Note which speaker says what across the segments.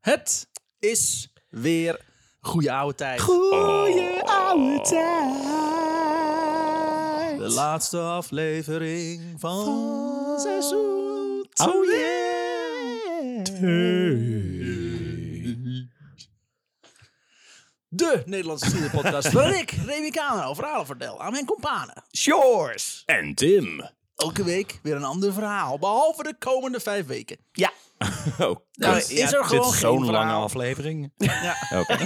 Speaker 1: Het
Speaker 2: Is
Speaker 1: weer goede oude tijd.
Speaker 2: goeie oude tijd.
Speaker 1: De laatste aflevering van,
Speaker 2: Van
Speaker 1: seizoen.
Speaker 2: Oh yeah.
Speaker 1: De Nederlandse Zielenpodcast. waarin ik, Remy Kano, verhalen vertel aan mijn kompanen.
Speaker 2: Shores.
Speaker 3: En Tim.
Speaker 1: Elke week weer een ander verhaal, behalve de komende vijf weken.
Speaker 2: Ja.
Speaker 3: Oh,
Speaker 1: Nou,
Speaker 3: kut.
Speaker 1: is er gewoon
Speaker 3: Dit is
Speaker 1: geen
Speaker 3: zo'n lange
Speaker 1: verhaal?
Speaker 3: aflevering.
Speaker 1: Ja.
Speaker 3: Oké.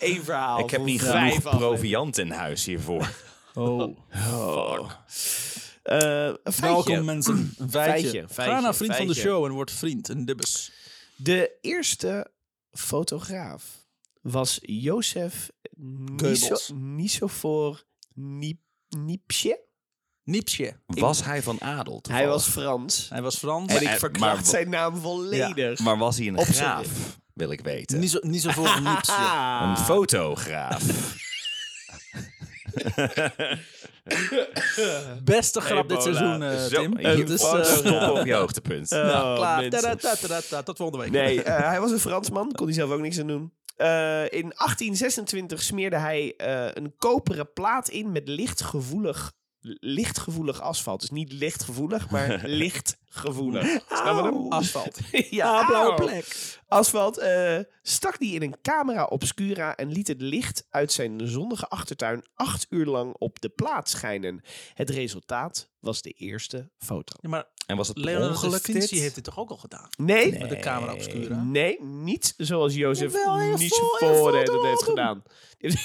Speaker 2: Eén verhaal.
Speaker 3: Ik heb
Speaker 2: voor
Speaker 3: niet
Speaker 2: vijf
Speaker 3: genoeg
Speaker 2: afleveringen.
Speaker 3: proviant in huis hiervoor.
Speaker 1: Oh.
Speaker 2: Eh, een feitje.
Speaker 1: Welkom mensen. Een feitje.
Speaker 2: Feitje, feitje,
Speaker 1: Ga naar vriend van de
Speaker 2: feitje.
Speaker 1: show en word vriend. Een dubbes.
Speaker 2: De eerste fotograaf was Jozef
Speaker 1: Goebbels.
Speaker 2: Niso Nisofor Ni- Nietzsche.
Speaker 1: Nietzsche.
Speaker 3: Was hij van adel
Speaker 2: Hij
Speaker 3: toevallig?
Speaker 2: was Frans.
Speaker 1: Hij was Frans.
Speaker 3: En
Speaker 2: En ik
Speaker 3: Eh, maar-
Speaker 2: verkracht zijn naam volledig.
Speaker 3: Maar was hij een
Speaker 2: Op zijn
Speaker 3: graaf, wil ik weten.
Speaker 1: Niet zo, niet zo voor een Nietzsche.
Speaker 2: Ah.
Speaker 3: Een fotograaf.
Speaker 1: Beste grap dit
Speaker 2: Ebola.
Speaker 1: seizoen, eh,
Speaker 3: Zo,
Speaker 1: Tim.
Speaker 3: je
Speaker 1: Dus,
Speaker 3: wou
Speaker 1: eh,
Speaker 3: stoppen op je hoogtepunt.
Speaker 2: Oh,
Speaker 3: Nou,
Speaker 1: klaar.
Speaker 2: mensen.
Speaker 1: Tadadadadada. Tot volgende week.
Speaker 2: Nee, eh, hij was een Fransman, kon hij zelf ook niks aan doen. Eh, in 1826 smeerde hij eh, een koperen plaat in met lichtgevoelig, lichtgevoelig asfalt. Dus niet lichtgevoelig, maar lichtgevoelig. Snap je hem?
Speaker 1: Asfalt.
Speaker 2: ja,
Speaker 1: Ah, blauwe
Speaker 2: au.
Speaker 1: plek.
Speaker 2: Asfalt eh, stak die in een camera obscura en liet het licht uit zijn zonnige achtertuin acht uur lang op de plaat schijnen. Het resultaat was de eerste foto.
Speaker 1: Ja, maar
Speaker 3: En was het per
Speaker 1: Leonardo da
Speaker 3: ongeluk dit?
Speaker 1: Vinci heeft dit toch ook al gedaan?
Speaker 2: Nee,
Speaker 1: Met de camera obscura.
Speaker 2: Nee, niet zoals Jozef
Speaker 1: Jawel, hij heeft vol- hij
Speaker 2: Nicevoorde
Speaker 1: heeft
Speaker 2: dat heeft
Speaker 1: fotoalbum.
Speaker 2: gedaan. Die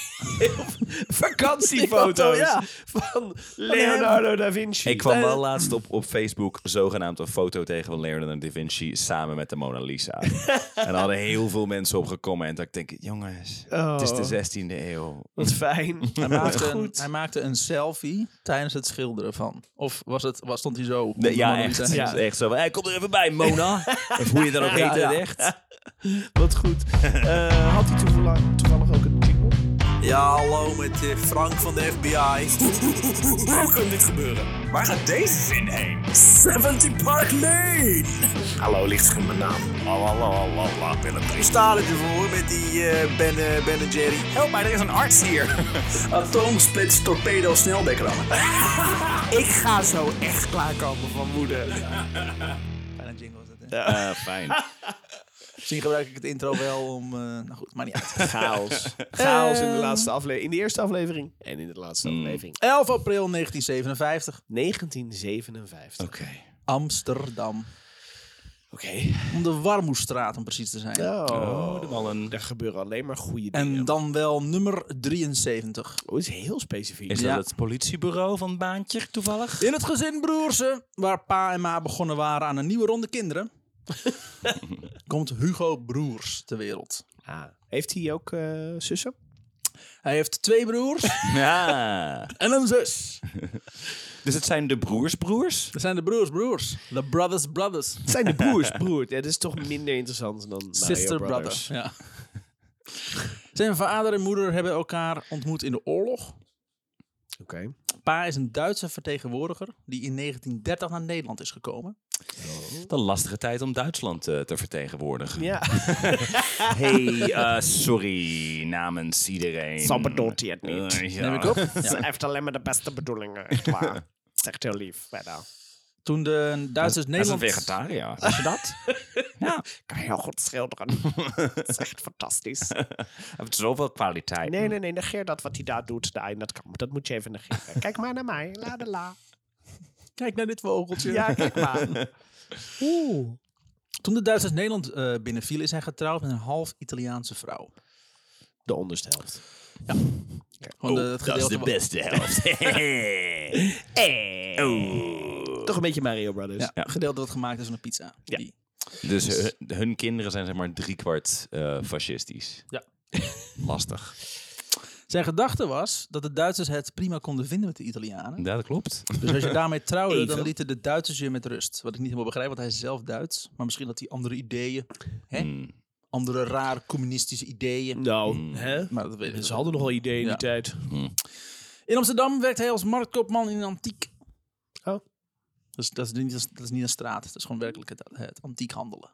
Speaker 2: heeft heel veel Vakantiefoto's
Speaker 1: Ja.
Speaker 2: van Leonardo da Vinci.
Speaker 3: Ik kwam
Speaker 1: Eh,
Speaker 3: wel laatst op, op Facebook zogenaamd een foto tegen van Leonardo da Vinci samen met de Mona Lisa. en er hadden heel veel mensen op gecomment. Dat ik denk, jongens,
Speaker 2: Oh,
Speaker 3: het is de 16e eeuw.
Speaker 2: wat fijn.
Speaker 1: Hij maakte, een,
Speaker 2: Goed.
Speaker 1: hij maakte een selfie tijdens het schilderen van. Of was het, was, stond hij zo? op
Speaker 3: Nee,
Speaker 1: de
Speaker 3: ja,
Speaker 1: Mona
Speaker 3: echt.
Speaker 1: Lisa?
Speaker 3: Het is echt zo van, hey, kom er even bij, Mona. of hoe je dat ook heet,
Speaker 1: Ja,
Speaker 3: in het
Speaker 1: ja.
Speaker 3: echt.
Speaker 2: Wat goed. Eh, had hij toevallig, toevallig ook een jingle?
Speaker 1: Ja, hallo met eh, Frank van de FBI.
Speaker 4: Hoe kan dit gebeuren? Waar gaat deze zin heen? 70 Park Lane! Hallo, lichtschimmel mijn naam. Lalalala, Willem.
Speaker 1: Staat het ervoor met die eh, ben, ben Jerry?
Speaker 4: Help mij, er is een arts hier.
Speaker 1: Atomsplits, torpedo, sneldekker.
Speaker 2: Ik ga zo echt klaarkomen van moeder.
Speaker 1: Fijne jingle was dat, hè?
Speaker 3: Eh, fijn.
Speaker 1: Misschien gebruik ik het intro wel om... eh, nou goed, maar niet uit.
Speaker 2: Chaos. Chaos in de laatste aflevering. In de eerste aflevering en in de laatste aflevering.
Speaker 1: 11 april 1957,
Speaker 2: 1957.
Speaker 3: Oké.
Speaker 1: Amsterdam.
Speaker 2: Oké.
Speaker 1: Om de Warmoestraat, om precies te zijn.
Speaker 2: Oh,
Speaker 3: Oh, de ballen.
Speaker 2: Er gebeuren alleen maar goede dingen.
Speaker 1: En dan wel nummer 73.
Speaker 2: Oh, is heel specifiek.
Speaker 3: Is
Speaker 1: Ja.
Speaker 3: dat het politiebureau van Baantje toevallig?
Speaker 1: In het gezin Broersen, waar pa en ma begonnen waren aan een nieuwe ronde kinderen, komt Hugo Broers ter wereld.
Speaker 2: Ah. Heeft hij ook eh, zussen?
Speaker 1: Hij heeft twee broers
Speaker 3: Ja.
Speaker 1: en een zus.
Speaker 3: Dus het zijn de broersbroers?
Speaker 1: Dat zijn de broers, broers. The brothers, brothers.
Speaker 2: Het zijn de broers, broer. Ja, dat is toch minder interessant dan Mario
Speaker 1: Sister,
Speaker 2: Brothers.
Speaker 1: brothers. Ja. Zijn vader en moeder hebben elkaar ontmoet in de oorlog.
Speaker 2: Oké.
Speaker 1: Pa is een Duitse vertegenwoordiger die in 1930 naar Nederland is gekomen.
Speaker 3: Wat een lastige tijd om Duitsland eh, te vertegenwoordigen.
Speaker 2: Ja.
Speaker 3: Hey, eh, sorry namens iedereen.
Speaker 2: Zo bedoelt hij het niet.
Speaker 3: Eh, ja.
Speaker 1: Neem ik op.
Speaker 2: Ze heeft alleen maar de beste bedoelingen. Echt waar. Het is echt heel lief. Verder.
Speaker 1: Toen de Duitsers
Speaker 3: Hij is een
Speaker 1: Nederland...
Speaker 3: vegetariër. Weet je dat?
Speaker 2: Ik kan heel goed schilderen. Het is echt fantastisch.
Speaker 3: Hij heeft zoveel kwaliteit.
Speaker 2: Nee, nee, nee. Negeer dat wat hij daar doet. Nee, dat, kan, dat moet je even negeren. Kijk maar naar mij. La de la.
Speaker 1: Kijk naar dit vogeltje.
Speaker 2: Ja, kijk maar. Oeh.
Speaker 1: Toen de Duitsers Nederland eh binnenvielen, is hij getrouwd met een half Italiaanse vrouw.
Speaker 2: De onderste helft.
Speaker 1: Gewoon Oh,
Speaker 2: Oh,
Speaker 1: de- het gedeelte wa-
Speaker 3: beste helft. Oeh.
Speaker 2: Eh. Toch een beetje Mario Brothers.
Speaker 1: Ja, het gedeelte wat gemaakt is van een pizza.
Speaker 2: Ja.
Speaker 1: Die-
Speaker 3: Dus hun, hun kinderen zijn zeg maar driekwart eh fascistisch.
Speaker 1: Ja.
Speaker 3: Lastig.
Speaker 1: Zijn gedachte was dat de Duitsers het prima konden vinden met de Italianen.
Speaker 3: Ja, dat klopt.
Speaker 1: Dus als je daarmee trouwde, dan
Speaker 2: Even.
Speaker 1: lieten de Duitsers je met rust. Wat ik niet helemaal begrijp, want hij is zelf Duits. Maar misschien had hij andere ideeën. Hè?
Speaker 3: Hmm.
Speaker 1: Andere raar communistische ideeën.
Speaker 2: Nou, hè?
Speaker 1: Maar dat weet ik
Speaker 2: Ze
Speaker 1: niet.
Speaker 2: hadden nogal ideeën in
Speaker 1: Ja.
Speaker 2: die tijd.
Speaker 1: In Amsterdam werkt hij als marktkoopman in een antiek.
Speaker 2: Oh.
Speaker 1: Dus dat is niet, dat is niet een straat. Dat is gewoon werkelijk het, het antiek handelen.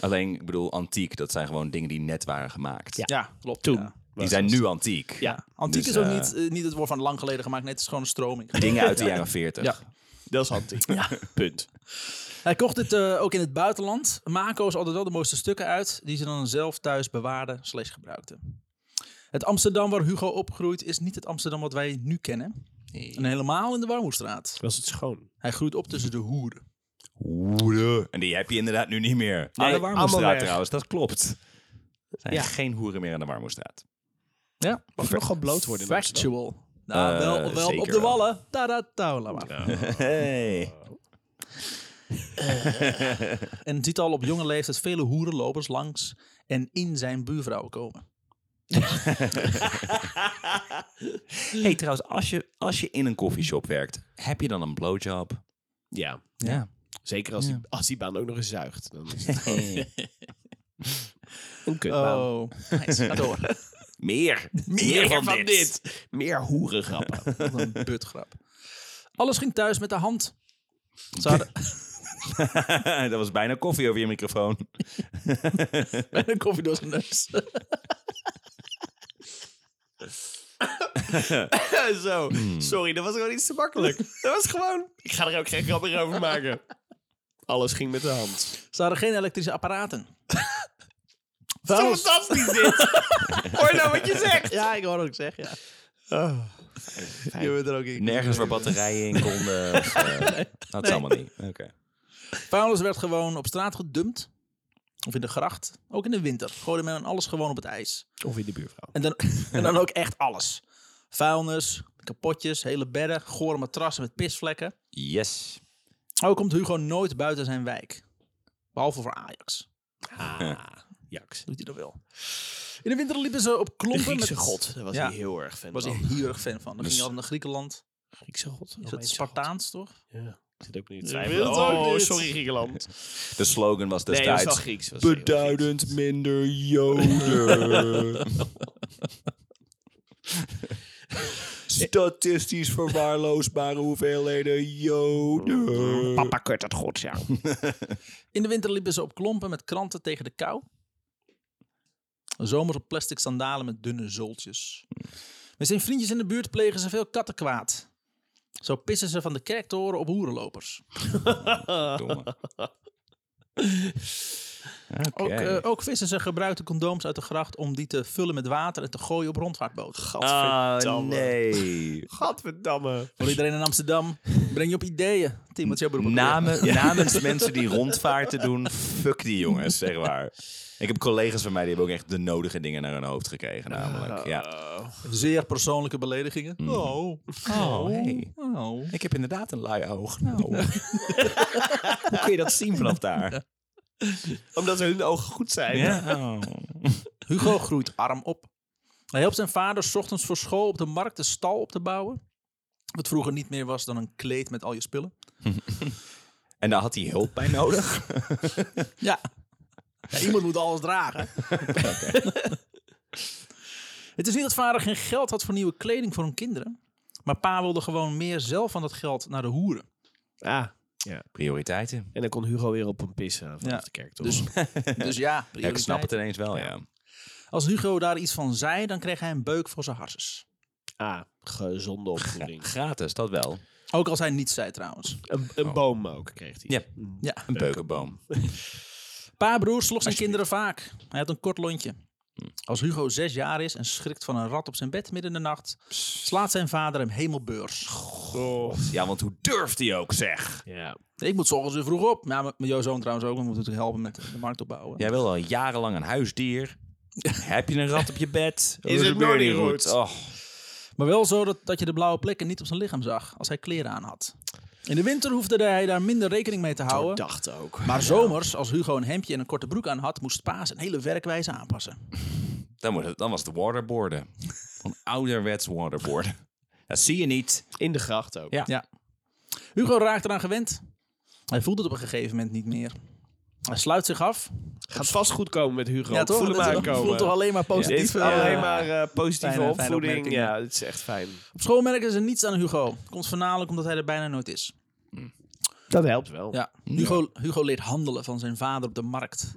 Speaker 3: Alleen, ik bedoel, antiek, dat zijn gewoon dingen die net waren gemaakt.
Speaker 2: Ja.
Speaker 1: Ja, klopt.
Speaker 2: Toen.
Speaker 1: ja.
Speaker 3: Die zijn nu antiek.
Speaker 2: Ja,
Speaker 1: Antiek
Speaker 3: Dus,
Speaker 1: is ook
Speaker 3: eh,
Speaker 1: niet, eh, niet het woord van lang geleden gemaakt. Nee, het is gewoon een stroming.
Speaker 3: Dingen uit de jaren 40.
Speaker 1: Ja.
Speaker 2: dat is antiek. Punt.
Speaker 1: Hij kocht het eh, ook in het buitenland. Mako is altijd wel de mooiste stukken uit, die ze dan zelf thuis bewaarden slash gebruikten. Het Amsterdam waar Hugo opgroeit is niet het Amsterdam wat wij nu kennen. En helemaal in de Warmoestraat.
Speaker 2: Was het schoon?
Speaker 1: Hij groeit op tussen de hoeren.
Speaker 3: Hoeren. En die heb je inderdaad nu niet meer. aan de
Speaker 2: allemaal
Speaker 3: Warmoestraat
Speaker 2: weg.
Speaker 3: trouwens, dat klopt. Er zijn
Speaker 1: Ja.
Speaker 3: geen hoeren meer aan de Warmoestraat.
Speaker 1: Ja,
Speaker 2: Mag je nog gewoon bloot worden in Amsterdam?
Speaker 1: factual. Nou,
Speaker 3: Eh,
Speaker 1: wel, wel op
Speaker 3: zeker
Speaker 1: de
Speaker 3: wel.
Speaker 1: wallen. Tada, tau, laat maar.
Speaker 3: Hey.
Speaker 1: En ziet al op jonge leeftijd vele hoerenlopers langs en in zijn buurvrouwen komen.
Speaker 3: hey, trouwens, als je, als je in een koffieshop werkt, heb je dan een blowjob?
Speaker 2: Ja,
Speaker 3: Ja.
Speaker 2: zeker als, die, als die baan ook nog eens zuigt. Dan is het een kutbaan.
Speaker 1: Oh, nice. Ga door.
Speaker 3: Meer.
Speaker 2: Meer van, dit. Meer hoerengrappen.
Speaker 1: Wat een butgrap. Alles ging thuis met de hand. Ze hadden
Speaker 3: dat was bijna koffie over je microfoon.
Speaker 1: en een koffie door zijn neus.
Speaker 2: Zo, sorry, dat was gewoon iets te makkelijk. Dat was gewoon... Ik ga er ook geen grap meer over maken. Alles ging met de hand.
Speaker 1: Ze hadden geen elektrische apparaten.
Speaker 2: Zo
Speaker 1: Waarom-
Speaker 2: fantastisch dit. Hoor nou wat je zegt.
Speaker 1: Ja, ik hoor wat ik zeg, ja. Je bent er ook in.
Speaker 3: Nergens waar batterijen in konden. of, eh, dat is allemaal niet. Oké.
Speaker 1: Paulus werd gewoon op straat gedumpt. Of in de gracht. Ook in de winter. Gooide men alles gewoon op het ijs.
Speaker 2: Of in de buurvrouw.
Speaker 1: En dan, en dan ook echt alles. Vuilnis, kapotjes, hele bedden, gore matrassen met pisvlekken.
Speaker 3: Yes.
Speaker 1: Ook komt Hugo nooit buiten zijn wijk. Behalve voor Ajax.
Speaker 2: Jaks.
Speaker 1: Doet hij dat wel. In de winter liepen ze op
Speaker 2: De
Speaker 1: klompen
Speaker 2: Griekse
Speaker 1: met...
Speaker 2: god, daar was
Speaker 1: Ja.
Speaker 2: hij heel erg fan
Speaker 1: was
Speaker 2: van.
Speaker 1: ik heel erg fan van. Dan ging je altijd naar Griekenland.
Speaker 2: Griekse god?
Speaker 1: Is dat
Speaker 2: Romeinse
Speaker 1: Spartaans, toch?
Speaker 2: god. Ja. Ik zit ook niet te
Speaker 1: wil
Speaker 2: twijfelen.
Speaker 1: het ook
Speaker 2: Oh,
Speaker 1: niet.
Speaker 2: sorry Griekenland.
Speaker 3: De slogan was dus
Speaker 2: Nee, dat is wel
Speaker 3: destijds...
Speaker 2: Grieks. eh, was heel
Speaker 3: Beduidend minder joden. Statistisch verwaarloosbare hoeveelheden joden.
Speaker 2: Grieks. Mm, Papa kurt het god, ja.
Speaker 1: In de winter liepen ze op klompen met kranten tegen de kou. Zomers op plastic sandalen met dunne zooltjes. Met zijn vriendjes in de buurt plegen ze veel kattenkwaad. Zo pissen ze van de kerktoren op hoerenlopers.
Speaker 3: Domme. Oké.
Speaker 1: Ook, eh, ook vissen ze gebruikte condooms uit de gracht om die te vullen met water en te gooien op rondvaartboten.
Speaker 3: Ah,
Speaker 2: Gadverdamme.
Speaker 3: nee.
Speaker 2: Gadverdamme.
Speaker 1: Voor iedereen in Amsterdam, breng je op ideeën. Tim, wat is jouw beroep? ook weer?
Speaker 3: Namen, Namens mensen die rondvaarten doen, fuck die jongens, zeg maar. Ik heb collega's van mij die hebben ook echt de nodige dingen naar hun hoofd gekregen, namelijk. Ja.
Speaker 1: Zeer persoonlijke beledigingen. Oh.
Speaker 3: Hmm. Oh, hey.
Speaker 1: Oh.
Speaker 3: Ik heb inderdaad een lui oog. Nou. Hoe kun je dat zien vanaf daar?
Speaker 2: Omdat hun ogen goed zijn.
Speaker 1: Hugo groeit arm op. Hij helpt zijn vader 's ochtends voor school op de markt een stal op te bouwen. Wat vroeger niet meer was dan een kleed met al je spullen.
Speaker 3: En daar had hij hulp bij nodig.
Speaker 1: Ja. iemand moet alles dragen. Het is niet dat vader geen geld had voor nieuwe kleding voor hun kinderen. Maar pa wilde gewoon meer zelf van dat geld naar de hoeren.
Speaker 2: Ah,
Speaker 3: Prioriteiten.
Speaker 2: en dan kon Hugo weer op hem pissen vanaf
Speaker 1: Ja.
Speaker 2: de kerk, toch? Dus,
Speaker 1: Dus ja,
Speaker 3: Ja, ik snap
Speaker 1: prioriteit.
Speaker 3: het ineens wel, ja.
Speaker 1: Als Hugo daar iets van zei, dan kreeg hij een beuk voor zijn harses.
Speaker 2: ah, gezonde opvoeding.
Speaker 3: Gratis, dat wel.
Speaker 1: Ook als hij niets zei trouwens.
Speaker 2: Een, een boom ook kreeg hij.
Speaker 3: Ja,
Speaker 1: Ja.
Speaker 3: een beukenboom.
Speaker 1: Pa broer sloeg zijn kinderen vaak. Hij had een kort lontje. Als Hugo zes jaar is en schrikt van een rat op zijn bed midden in de nacht, slaat zijn vader hem hemelbeurs.
Speaker 3: Ja, want hoe durft hij ook, zeg?
Speaker 2: Oh, Ja.
Speaker 1: Ik moet 's ochtends weer vroeg op. Ja, mijn mijn jouw zoon trouwens ook, want we moeten natuurlijk helpen met de markt opbouwen.
Speaker 3: Jij wil al jarenlang een huisdier. Heb je een rat op je bed?
Speaker 2: Is het
Speaker 3: gebeurt
Speaker 2: nog
Speaker 3: niet
Speaker 2: niet goed?
Speaker 3: Oh.
Speaker 1: Maar wel zo dat, dat je de blauwe plekken niet op zijn lichaam zag als hij kleren aan had. In de winter hoefde hij daar minder rekening mee te houden.
Speaker 2: Dacht ook.
Speaker 1: Maar zomers, als Hugo een hemdje en een korte broek aan had, moest pa zijn hele werkwijze aanpassen.
Speaker 3: Dan, moet het- dan was het waterboarden. Een ouderwets waterboarden. Dat zie je niet.
Speaker 2: In de gracht ook.
Speaker 3: Ja.
Speaker 1: Ja. Hugo raakt eraan gewend. Hij voelt het op een gegeven moment niet meer. Hij sluit zich af.
Speaker 2: Gaat vast goed komen met Hugo.
Speaker 1: Ja, toch?
Speaker 2: Voel hem
Speaker 1: Dat is- voelt
Speaker 2: aankomen.
Speaker 1: toch alleen maar
Speaker 2: Dit is
Speaker 1: positief. eh,
Speaker 2: alleen maar eh, positieve
Speaker 1: Fijne- fijne
Speaker 2: opvoeding.
Speaker 1: opmerking,
Speaker 2: ja, dit is echt fijn.
Speaker 1: Op school merken ze niets aan Hugo. Komt voornamelijk omdat hij er bijna nooit is.
Speaker 2: Dat helpt wel.
Speaker 1: Ja. Hugo, Hugo leert handelen van zijn vader op de markt.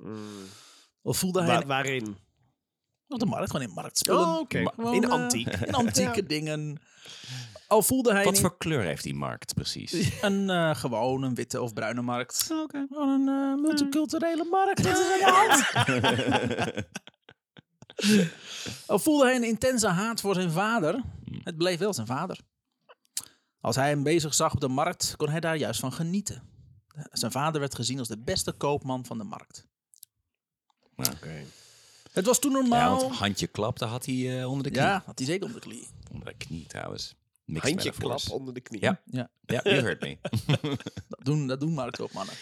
Speaker 1: Of voelde hij
Speaker 2: Mm. Wa- Oh, waarin?
Speaker 1: op de markt, gewoon in marktspullen.
Speaker 2: oké.
Speaker 1: Gewoon,
Speaker 2: In
Speaker 1: eh,
Speaker 2: antiek.
Speaker 1: in antieke dingen. Al voelde hij
Speaker 3: Wat
Speaker 1: niet-
Speaker 3: voor kleur heeft die markt precies?
Speaker 1: een eh gewoon een witte of bruine markt. Gewoon een eh, multiculturele markt. Dit is aan de hand. Al Oh, voelde hij een intense haat voor zijn vader. Het bleef wel zijn vader. Als hij hem bezig zag op de markt, kon hij daar juist van genieten. Zijn vader werd gezien als de beste koopman van de markt. Het was toen
Speaker 3: Nou, Ja,
Speaker 1: normaal.
Speaker 2: Nou.
Speaker 3: want handje klap, daar had hij eh, onder de knie.
Speaker 1: Ja, had hij zeker onder de knie.
Speaker 3: Onder de knie trouwens. Mixed
Speaker 2: Handje klap
Speaker 3: metaphors.
Speaker 2: onder de knie.
Speaker 3: Ja.
Speaker 1: Ja,
Speaker 3: Ja, you heard me.
Speaker 1: dat doen, dat doen marktkoopmannen.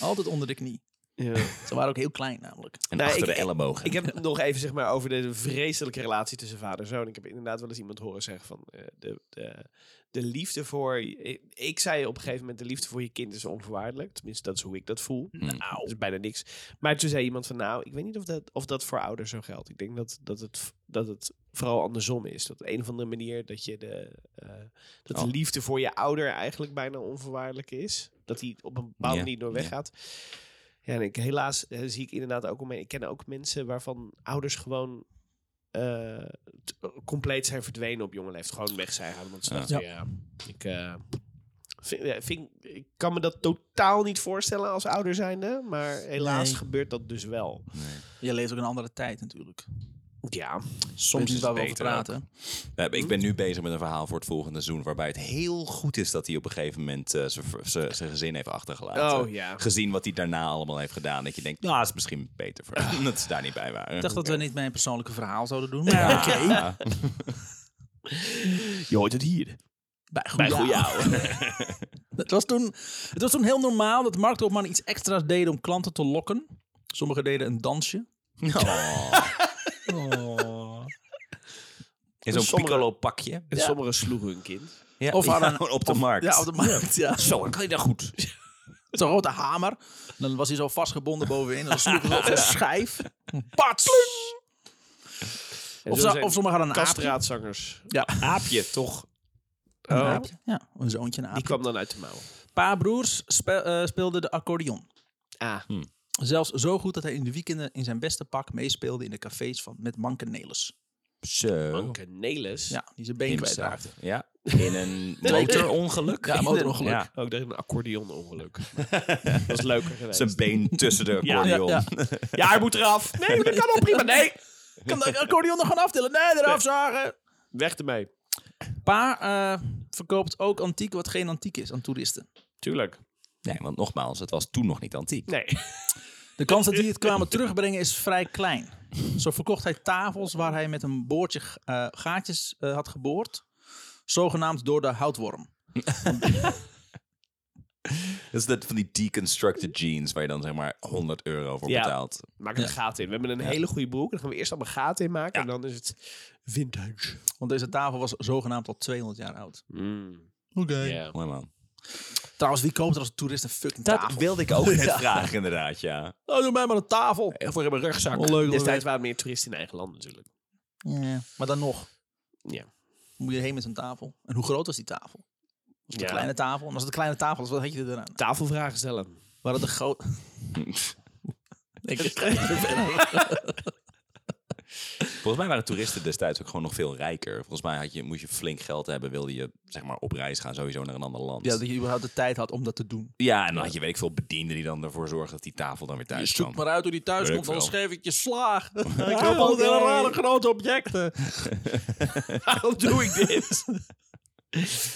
Speaker 1: Altijd onder de knie.
Speaker 2: Ja.
Speaker 1: Ze waren ook heel klein namelijk.
Speaker 3: En
Speaker 2: Nou,
Speaker 3: achter
Speaker 2: ik-
Speaker 3: de ellebogen.
Speaker 2: Ik heb het nog even zeg maar, over de vreselijke relatie tussen vader en zoon. Ik heb inderdaad wel eens iemand horen zeggen van eh, de, de, de liefde voor. Ik, ik zei op een gegeven moment: de liefde voor je kind is onvoorwaardelijk. Tenminste, dat is hoe ik dat voel. Nou, dat is bijna niks. Maar toen zei iemand van: Nou, ik weet niet of dat, of dat voor ouders zo geldt. Ik denk dat, dat, het, dat het vooral andersom is. Dat op een of andere manier dat je de, eh, dat de
Speaker 3: Oh.
Speaker 2: liefde voor je ouder eigenlijk bijna onvoorwaardelijk is. Dat die op een bepaalde
Speaker 3: Ja,
Speaker 2: manier door
Speaker 3: ja.
Speaker 2: weggaat. Ja, en ik, helaas eh, zie ik inderdaad ook om me- Ik ken ook mensen waarvan ouders gewoon eh, t- compleet zijn verdwenen op jonge leeftijd. Gewoon weg zijn gaan. Want ze
Speaker 3: Ja.
Speaker 2: dachten, ja. ik, eh, vind, ja, vind, ik kan me dat totaal niet voorstellen als ouder zijnde. Maar helaas
Speaker 1: Nee.
Speaker 2: gebeurt dat dus wel.
Speaker 1: Je leeft ook in een andere tijd natuurlijk.
Speaker 2: Ja,
Speaker 1: Soms
Speaker 3: is
Speaker 1: is waar we over
Speaker 3: beter
Speaker 1: praten.
Speaker 3: Eh, ik ben nu bezig met een verhaal voor het volgende seizoen... waarbij het heel goed is dat hij op een gegeven moment... eh, zijn v- zijn zijn gezin heeft achtergelaten.
Speaker 2: Oh, ja.
Speaker 3: Gezien wat hij daarna allemaal heeft gedaan. Dat je denkt, nou, dat is misschien beter voor hem. dat ze daar niet bij waren.
Speaker 1: Ik dacht dat we niet mijn persoonlijke verhaal zouden doen, maar oké.
Speaker 3: Ja.
Speaker 2: je hoort het hier.
Speaker 1: Bij goede het, was toen, het was toen heel normaal dat marktopmannen iets extra's deden om klanten te lokken. Sommigen deden een dansje.
Speaker 3: Oh. In zo'n
Speaker 2: Oh. Sommige-
Speaker 3: piccolo pakje.
Speaker 2: En sommigen sloegen hun kind.
Speaker 3: Ja,
Speaker 1: Of
Speaker 3: ja,
Speaker 1: aan een-
Speaker 3: gewoon op de markt.
Speaker 1: Ja, op de markt, ja.
Speaker 3: Zo, ik weet dat goed.
Speaker 1: Zo'n grote hamer. En dan was hij zo vastgebonden bovenin. En dan sloeg hij op zijn schijf. Pats!
Speaker 2: En
Speaker 1: Of,
Speaker 2: zo
Speaker 1: zo-
Speaker 2: zijn
Speaker 1: of sommigen hadden een aapje.
Speaker 2: Kastraatzangers.
Speaker 1: Ja,
Speaker 3: Aapje, toch?
Speaker 1: een
Speaker 2: Oh.
Speaker 1: aapje. Ja, een zoontje een
Speaker 2: Die
Speaker 1: aapje.
Speaker 2: kwam dan uit de mouw.
Speaker 1: Paar broers spe- eh, speelden de accordeon.
Speaker 2: Ah,
Speaker 1: Zelfs zo goed dat hij in de weekenden in zijn beste pak meespeelde in de cafés van, met Manke Nelis.
Speaker 3: Zo.
Speaker 2: Anke Nelis.
Speaker 1: Ja, die zijn been kwijtraakte.
Speaker 3: Ja, in een motorongeluk.
Speaker 1: Ja, een motorongeluk.
Speaker 3: Ja.
Speaker 2: Ook dat is een accordeonongeluk. dat is leuker geweest.
Speaker 3: Zijn been tussen de
Speaker 2: Ja,
Speaker 3: accordeon.
Speaker 1: ja,
Speaker 2: Ja, hij moet eraf. Nee, maar dat kan al prima. Nee,
Speaker 1: Kan de accordeon nog gewoon aftillen? Nee, eraf zagen.
Speaker 2: weg ermee.
Speaker 1: Pa eh, verkoopt ook antiek wat geen antiek is aan toeristen.
Speaker 2: Tuurlijk.
Speaker 3: Nee, want nogmaals, het was toen nog niet antiek.
Speaker 2: Nee.
Speaker 1: De kans dat die het kwamen terugbrengen is vrij klein. Zo verkocht hij tafels waar hij met een boordje eh, gaatjes eh, had geboord. Zogenaamd door de houtworm.
Speaker 3: Dat is dat van die deconstructed jeans waar je dan zeg maar 100 euro voor
Speaker 2: Ja.
Speaker 3: betaalt.
Speaker 2: Maak er een gaten in. We hebben een hele goede broek. Dan gaan we eerst allemaal gaten in maken. En dan is het vintage.
Speaker 1: Want deze tafel was zogenaamd al 200 jaar oud. Oké.
Speaker 3: Mooi man.
Speaker 1: Trouwens, wie koopt er als toerist een fucking
Speaker 3: Dat
Speaker 1: tafel?
Speaker 3: wilde ik ook net vragen inderdaad, ja.
Speaker 1: Oh, doe mij maar een tafel.
Speaker 3: Voor hebben rugzak.
Speaker 1: Onleuk.
Speaker 2: Destijds waren meer toeristen in eigen land natuurlijk.
Speaker 1: Ja, maar dan nog.
Speaker 2: Ja.
Speaker 1: Moet je heen met zo'n tafel. En hoe groot was die tafel? Was het een kleine tafel? En als het een kleine tafel was, wat had je er dan aan?
Speaker 2: Tafelvragen stellen.
Speaker 1: Waren het een groot... Ik
Speaker 3: Volgens mij waren toeristen destijds ook gewoon nog veel rijker. Volgens mij had je, moest je flink geld hebben, wilde je zeg maar op reis gaan sowieso naar een ander land.
Speaker 1: Ja, dat je überhaupt de tijd had om dat te doen.
Speaker 3: Ja, en dan had je weet ik veel bedienden die dan ervoor zorgden dat die tafel dan weer thuis kwam.
Speaker 1: uit hoe die thuis
Speaker 3: Weet ik wel.
Speaker 1: geef ik je slaag. ik heb
Speaker 2: oké.
Speaker 1: altijd hele rare grote objecten.
Speaker 2: Waarom doe ik dit?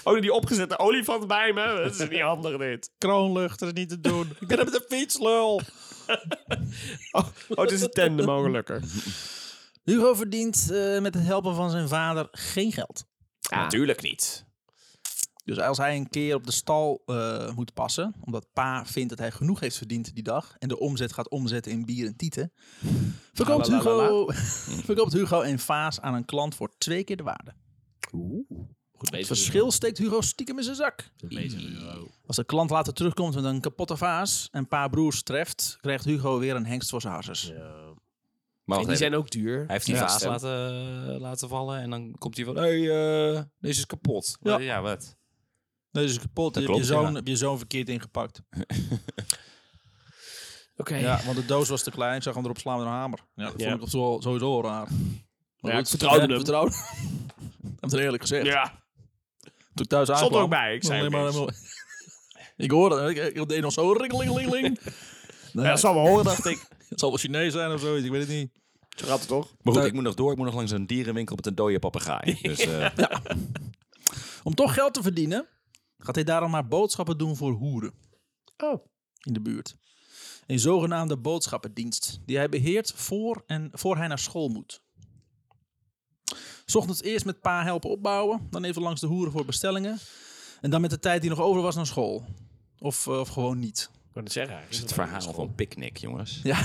Speaker 2: Ook die opgezette olifant bij me. Dat is niet handig dit.
Speaker 1: Kroonlucht, dat is niet te doen. ik ben met de fietslul.
Speaker 2: Oh, het is een tandem oh, ongelukker.
Speaker 1: Hugo verdient eh, met het helpen van zijn vader geen geld.
Speaker 3: Natuurlijk niet.
Speaker 1: Dus als hij een keer op de stal eh, moet passen, omdat pa vindt dat hij genoeg heeft verdiend die dag en de omzet gaat omzetten in bier en tieten, verkoopt Hugo, verkoopt Hugo een vaas aan een klant voor twee keer de waarde.
Speaker 2: Goed
Speaker 1: Het
Speaker 2: bezig.
Speaker 1: verschil steekt Hugo stiekem in zijn zak. Als de klant later terugkomt met een kapotte vaas en paar broers treft, krijgt Hugo weer een hengst voor zijn harsers.
Speaker 3: Maar
Speaker 2: En die zijn ook duur.
Speaker 3: Hij heeft die
Speaker 2: Ja,
Speaker 3: vaas
Speaker 2: stem.
Speaker 3: laten, laten vallen en dan komt hij van... Hé, hey, eh, deze is eh, kapot.
Speaker 1: Ja.
Speaker 3: Ja, wat?
Speaker 1: Nee, dus kapot. Je hebt je
Speaker 3: klopt,
Speaker 1: zoon,
Speaker 3: ja.
Speaker 1: heb je zoon verkeerd ingepakt.
Speaker 2: Oké.
Speaker 1: Ja, want de doos was te klein. Ze gaan erop slaan met een hamer. Ja, dat
Speaker 2: Ja.
Speaker 1: vond ik op zo- sowieso al raar. Maar
Speaker 2: Ja,
Speaker 1: goed,
Speaker 2: ik vertrouwde
Speaker 1: hè,
Speaker 2: hem.
Speaker 1: vertrouwde hem. Ik heb het eerlijk gezegd.
Speaker 2: Ja.
Speaker 1: Toen ik thuis aankwam.
Speaker 2: Stond er ook bij. Ik zei
Speaker 1: alleen
Speaker 2: ook
Speaker 1: maar
Speaker 2: niks.
Speaker 1: helemaal- ik hoorde het. Ik, ik deed nog zo ringelingelingeling. Nee,
Speaker 2: Ja, dat zal wel horen, dacht ik.
Speaker 1: Het zal wel Chinees zijn of zoiets. Ik weet het niet.
Speaker 2: Zo gaat het toch?
Speaker 3: Maar goed,
Speaker 1: Daar-
Speaker 3: ik moet nog door. Ik moet nog langs een dierenwinkel met een dode papegaai. Dus eh,
Speaker 1: Om toch geld te verdienen, gaat hij daarom maar boodschappen doen voor hoeren
Speaker 2: Oh.
Speaker 1: in de buurt. Een zogenaamde boodschappendienst, die hij beheert voor, en, voor hij naar school moet. 's ochtends eerst met pa helpen opbouwen, dan even langs de hoeren voor bestellingen. En dan met de tijd die nog over was naar school. Of, eh, of gewoon niet.
Speaker 2: Ik wou het zeggen. eigenlijk.
Speaker 3: het verhaal van picknick, jongens.
Speaker 1: Ja.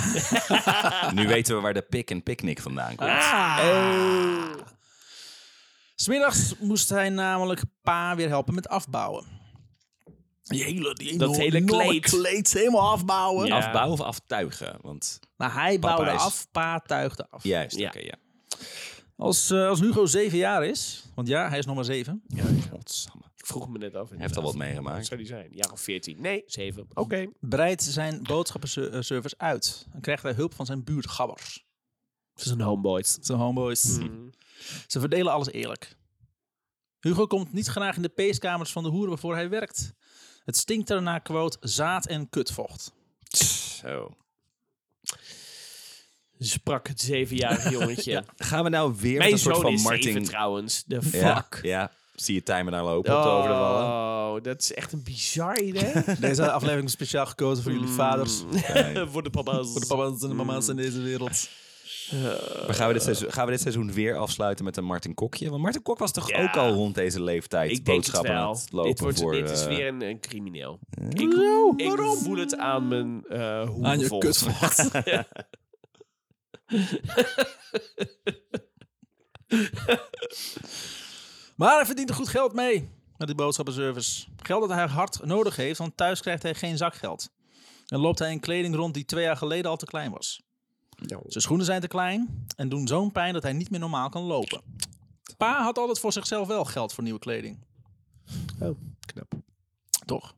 Speaker 3: Nu weten we waar de pik en picknick vandaan komt.
Speaker 2: Ah.
Speaker 1: Eh. Smiddags moest hij namelijk pa weer helpen met afbouwen. Die hele, die
Speaker 2: Dat hele
Speaker 1: enorme
Speaker 2: kleed.
Speaker 1: helemaal afbouwen.
Speaker 2: Ja.
Speaker 3: Afbouwen of aftuigen? Want
Speaker 1: Maar hij
Speaker 3: Papa
Speaker 1: bouwde
Speaker 3: is-
Speaker 1: af, pa tuigde af.
Speaker 3: juist,
Speaker 2: Ja.
Speaker 3: oké, ja.
Speaker 1: Als, eh, als Hugo zeven jaar is, want ja, hij is nog maar zeven.
Speaker 3: Godsamme. Hij
Speaker 2: Ik vroeg me net af.
Speaker 3: heeft al wat
Speaker 2: Wat
Speaker 3: meegemaakt.
Speaker 2: zou die zijn? Jaar of 14? Nee, 7. Oké.
Speaker 1: Breidt zijn boodschappenservice uit. En krijgt hij hulp van zijn buurtgabbers.
Speaker 2: Het is een homeboy.
Speaker 1: Zijn homeboys. Ze verdelen alles eerlijk. Hugo komt niet graag in de peeskamers van de hoeren waarvoor hij werkt. Het stinkt er naar quote zaad en kutvocht.
Speaker 3: Zo.
Speaker 2: Sprak het zevenjarige jongetje.
Speaker 3: Gaan we nou weer met
Speaker 2: Mijn
Speaker 3: een soort
Speaker 2: zoon
Speaker 3: van
Speaker 2: is
Speaker 3: Martin...
Speaker 2: zeven trouwens. De
Speaker 3: ja,
Speaker 2: fuck. Ah.
Speaker 3: ja, zie je timer nou lopen op de over de wallen.
Speaker 2: Oh, dat is echt een bizar idee.
Speaker 1: Deze aflevering is speciaal gekozen voor jullie vaders.
Speaker 2: Voor de papa's.
Speaker 1: Voor de papa's en de mama's in deze wereld.
Speaker 3: Maar gaan, we dit seizoen, gaan we dit seizoen weer afsluiten met een Martin Kokje? Want Martin Kok was toch
Speaker 2: Ja.
Speaker 3: ook al rond deze leeftijd
Speaker 2: Ik denk het
Speaker 3: boodschappen aan
Speaker 2: wel.
Speaker 3: het lopen
Speaker 2: dit, wordt,
Speaker 3: voor...
Speaker 2: dit is
Speaker 3: eh,
Speaker 2: weer een, een crimineel. Ik, ik voel het aan mijn eh
Speaker 1: Aan je
Speaker 2: hoevenvol.
Speaker 1: kutvocht. maar hij verdient er goed geld mee met die boodschappenservice. Geld dat hij hard nodig heeft, want thuis krijgt hij geen zakgeld. En loopt hij in kleding rond die twee jaar geleden al te klein was. Zijn schoenen zijn te klein en doen zo'n pijn dat hij niet meer normaal kan lopen. Pa had altijd voor zichzelf wel geld voor nieuwe kleding.
Speaker 2: Oh, knap.
Speaker 1: Toch.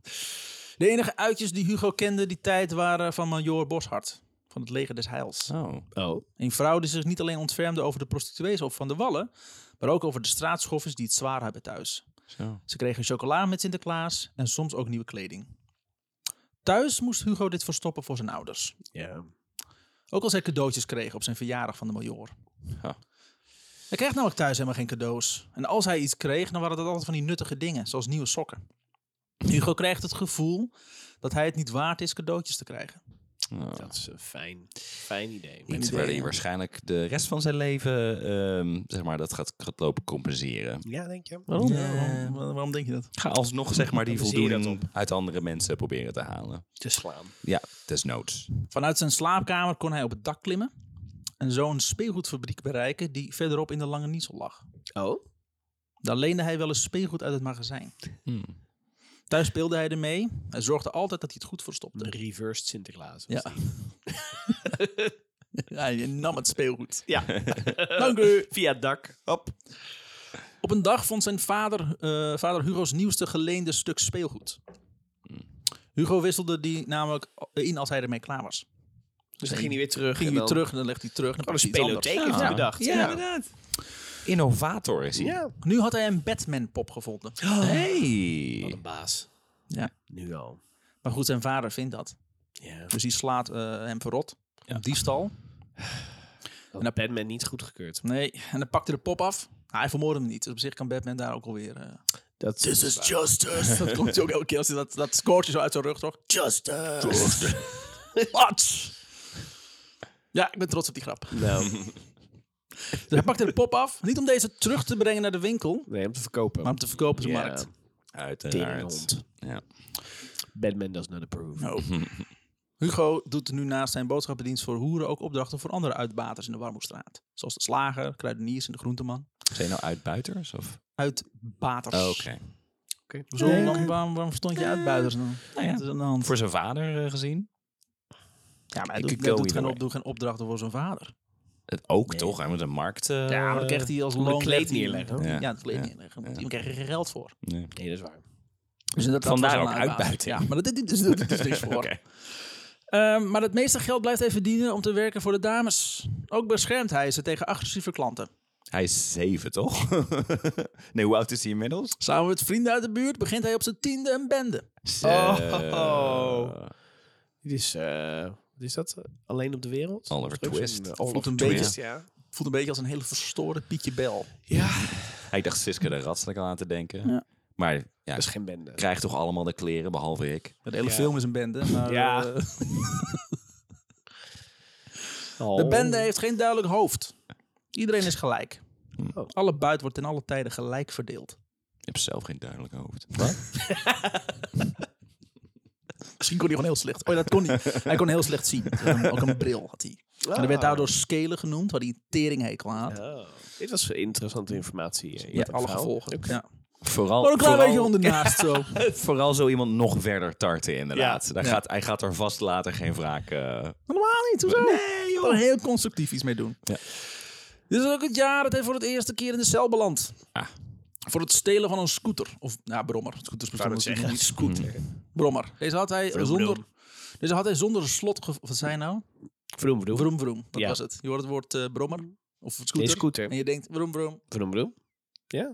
Speaker 1: De enige uitjes die Hugo kende die tijd waren van Major Boshart. Van het leger des heils.
Speaker 3: Oh.
Speaker 2: Oh.
Speaker 1: Een vrouw die zich niet alleen ontfermde over de prostituees op Van de Wallen, maar ook over de straatschoffers die het zwaar hebben thuis.
Speaker 3: Zo.
Speaker 1: Ze kregen chocola met Sinterklaas en soms ook nieuwe kleding. Thuis moest Hugo dit verstoppen voor zijn ouders.
Speaker 2: Ja.
Speaker 1: Ook als hij cadeautjes kreeg op zijn verjaardag van de major.
Speaker 3: Ja.
Speaker 1: Hij kreeg namelijk thuis helemaal geen cadeaus. En als hij iets kreeg, dan waren dat altijd van die nuttige dingen, zoals nieuwe sokken. Hugo krijgt het gevoel dat hij het niet waard is cadeautjes te krijgen.
Speaker 3: Oh.
Speaker 2: Dat is een fijn, fijn idee.
Speaker 3: Iets waar hij waarschijnlijk de rest van zijn leven, ehm, zeg maar, dat gaat, gaat lopen compenseren.
Speaker 2: Ja, denk je?
Speaker 1: Waarom? waarom, waarom denk je dat?
Speaker 3: Ga alsnog, zeg maar, die
Speaker 2: Waar baseer je dat
Speaker 3: voldoening uit andere mensen proberen te halen.
Speaker 2: Te slaan.
Speaker 3: Ja, desnoods.
Speaker 1: Vanuit zijn slaapkamer kon hij op het dak klimmen en zo een speelgoedfabriek bereiken die verderop in de Lange Niesel lag.
Speaker 2: Oh?
Speaker 1: Daar leende hij wel eens speelgoed uit het magazijn. Hmm. Thuis speelde hij ermee en zorgde altijd dat hij het goed verstopte.
Speaker 2: De reversed Sinterklaas.
Speaker 1: Ja. ja, je nam het speelgoed.
Speaker 2: ja.
Speaker 1: Dank u.
Speaker 2: Via het dak. Op.
Speaker 1: Op een dag vond zijn vader, eh, vader Hugo's nieuwste geleende stuk speelgoed. Hmm. Hugo wisselde die namelijk in als hij ermee klaar was.
Speaker 2: Dus dan ging hij weer
Speaker 1: Ging
Speaker 2: terug. en
Speaker 1: hij weer
Speaker 2: dan-
Speaker 1: terug en dan legde hij terug. en Dan
Speaker 2: Gewoon een
Speaker 1: pakte hij iets
Speaker 2: spelotheek
Speaker 1: anders.
Speaker 2: heeft hij bedacht.
Speaker 3: Ja, inderdaad. Innovator is hij.
Speaker 2: Ja.
Speaker 1: Nu had hij een Batman-pop gevonden.
Speaker 2: Wat
Speaker 3: Hey.
Speaker 2: een baas.
Speaker 1: Ja.
Speaker 2: Nu al.
Speaker 1: Maar goed, zijn vader vindt dat.
Speaker 2: Ja.
Speaker 1: Dus die slaat eh, hem verrot. Diefstal.
Speaker 2: Dat had Batman niet goedgekeurd.
Speaker 1: Nee. En dan pakt hij de pop af. Ah, hij vermoordde hem niet. Dus op zich kan Batman daar ook alweer... eh
Speaker 2: Dat
Speaker 1: This is justice. dat komt hij ook elke keer als hij dat, dat scoortje zo uit zijn rug toch? Justice. Wat? Ja, ik ben trots op die grap.
Speaker 2: Nou,
Speaker 1: Dus hij pakte de pop af. Niet om deze terug te brengen naar de winkel,
Speaker 2: nee, om te verkopen.
Speaker 1: maar om te verkopen op de
Speaker 2: Ja.
Speaker 1: markt. eh,
Speaker 3: Uiteraard.
Speaker 2: Teringhond.
Speaker 3: Ja.
Speaker 2: Batman does not approve.
Speaker 1: Nou. Hugo doet nu naast zijn boodschappendienst voor hoeren ook opdrachten voor andere uitbaters in de Warmoestraat. Zoals de slager, kruideniers en de groenteman.
Speaker 3: Zijn nou uitbuiters? Of?
Speaker 1: Uitbaters.
Speaker 3: Oh, Oké.
Speaker 2: Oké.
Speaker 1: Hoezo, waarom, waarom, waarom verstond je uitbuiters dan?
Speaker 3: Nou ja.
Speaker 1: Wat is er aan de hand?
Speaker 3: Voor zijn vader eh, gezien?
Speaker 1: ja, maar hij doet,
Speaker 3: Ik could
Speaker 1: hij
Speaker 3: go
Speaker 1: doet geen,
Speaker 3: either
Speaker 1: op, doet geen opdrachten voor zijn vader.
Speaker 3: Het ook toch? Hij moet een markt... eh,
Speaker 1: Ja, maar dan krijgt hij als
Speaker 2: een
Speaker 1: loon...
Speaker 2: kleed
Speaker 1: krijgt hij-
Speaker 2: neerleggen, hoor.
Speaker 1: Ja,
Speaker 3: Ja.
Speaker 1: het kleed
Speaker 3: Ja.
Speaker 1: neerleggen. Want Iemand krijgt er geen geld voor.
Speaker 3: nee.
Speaker 2: Nee, dat is waar.
Speaker 1: Dus dat, dat
Speaker 3: Vandaar
Speaker 1: was al
Speaker 3: ook
Speaker 1: een uitbaat.
Speaker 3: uitbuiting.
Speaker 1: Ja, maar dat, dit, is, dit is niks voor.
Speaker 3: Oké.
Speaker 1: Ehm, maar het meeste geld blijft hij verdienen om te werken voor de dames. Ook beschermt hij ze tegen agressieve klanten.
Speaker 3: Hij is zeven, toch? nee, hoe oud is hij inmiddels?
Speaker 1: Samen met vrienden uit de buurt begint hij op zijn tiende een bende.
Speaker 2: Oh. Dit is, eh, wat is dat? Alleen op de wereld?
Speaker 3: Oliver
Speaker 2: Dat is ook
Speaker 3: Twist.
Speaker 2: zo'n, eh,
Speaker 1: Voelt een
Speaker 2: Oliver
Speaker 1: beetje-
Speaker 2: Twist, ja.
Speaker 1: Voelt een beetje als een hele verstoorde Pietje Bel.
Speaker 2: Ja,
Speaker 3: Ik dacht Siska de Rat, zat ik al aan te denken.
Speaker 1: Ja.
Speaker 3: Maar ja,
Speaker 2: dat is geen bende.
Speaker 3: krijgt toch allemaal de kleren, behalve ik.
Speaker 1: De hele
Speaker 2: Ja.
Speaker 1: film is een bende. Maar,
Speaker 2: Ja.
Speaker 1: eh,
Speaker 2: Oh,
Speaker 1: de bende heeft geen duidelijk hoofd. Iedereen is gelijk.
Speaker 3: Oh.
Speaker 1: Alle buit wordt in alle tijden gelijk verdeeld.
Speaker 3: Ik heb zelf geen duidelijk hoofd. Wat?
Speaker 1: Misschien kon hij gewoon heel slecht. Oh, dat kon hij. Hij kon heel slecht zien. Ehm, Ook een bril had hij.
Speaker 3: Ah.
Speaker 1: En hij werd daardoor Skelen genoemd, waar hij een teringhekel aan had.
Speaker 2: Oh. Dit was interessante informatie. eh, in
Speaker 1: Met
Speaker 2: dat
Speaker 1: alle
Speaker 2: verhaal.
Speaker 1: gevolgen.
Speaker 2: Oké.
Speaker 1: Ja.
Speaker 3: Vooral,
Speaker 1: Oh, een klein beetje
Speaker 3: vooral,
Speaker 1: ondernaast zo.
Speaker 3: vooral zo iemand nog verder tarten, inderdaad. Daar
Speaker 1: Ja.
Speaker 3: Gaat, hij gaat er vast later geen wraak... eh,
Speaker 1: Normaal niet, hoezo? Nee, joh. Er heel constructief iets mee doen.
Speaker 3: Ja.
Speaker 1: Dit is ook het jaar dat hij voor het eerste keer in de cel belandt.
Speaker 3: Ah.
Speaker 1: Voor het stelen van een scooter. Of, nou, brommer. Scooters bestonden
Speaker 2: het
Speaker 1: natuurlijk nog niet. Scooter.
Speaker 2: Hmm.
Speaker 1: Brommer. Deze had hij zonder... Deze had hij zonder slot... ge- Wat zei hij nou?
Speaker 2: Vroom, vroom.
Speaker 1: Vroom, vroom. Dat
Speaker 2: Ja.
Speaker 1: was het. Je hoort het woord eh, brommer. Of scooter.
Speaker 2: Nee, scooter.
Speaker 1: En je denkt, vroom, vroom.
Speaker 2: Vroom, vroom.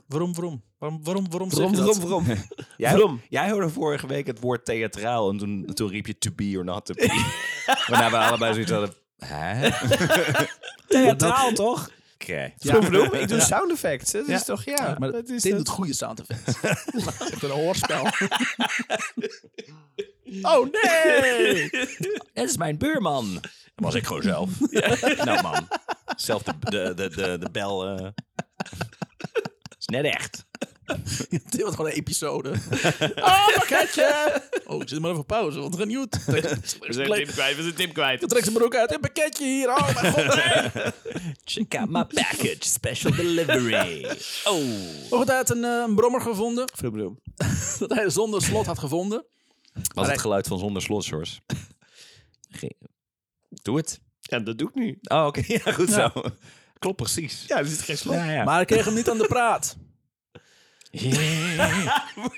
Speaker 1: Vroom, vroom. Waarom, waarom, waarom zeg
Speaker 2: Vroom,
Speaker 1: je dat?
Speaker 2: vroom, vroom.
Speaker 3: Jij,
Speaker 2: Waarom?
Speaker 3: jij hoorde vorige week het woord theatraal en toen, toen riep je to be or not to be. Waarna we allebei zoiets hadden... Hè? Oké.
Speaker 2: Theatraal, toch? Vroom, vroom. Ik doe
Speaker 3: dus-
Speaker 1: Ja.
Speaker 2: sound effects. Dat is toch, ja.
Speaker 1: Maar
Speaker 2: dat is
Speaker 1: dit
Speaker 2: dat-
Speaker 1: doet goede sound effects. Dat is echt een hoorspel.
Speaker 3: Oh nee! Het is mijn buurman. Dat was ik gewoon zelf. Nou man, zelf de, de, de, de, de bel. eh. is net echt.
Speaker 1: Dit wordt gewoon een episode. Oh, pakketje! Oh, ik zit maar even op pauze, want het gaat niet goed.
Speaker 2: We zijn Tim kwijt. We zijn Tim kwijt.
Speaker 1: Trek zijn broek uit. Een pakketje hier. Oh, mijn god.
Speaker 3: Check out my package, special delivery. Oh.
Speaker 1: Nog had een, eh, een brommer gevonden.
Speaker 2: Vroom, vroom.
Speaker 1: Dat hij zonder slot had gevonden.
Speaker 3: Was het geluid van zonder slot, Sjors? Doe het.
Speaker 2: Ja, dat doe ik nu.
Speaker 3: Oh, oké. Ja, goed zo. Klopt precies.
Speaker 2: Ja, er zit geen slot.
Speaker 3: ja.
Speaker 1: Maar hij kreeg hem niet aan de praat.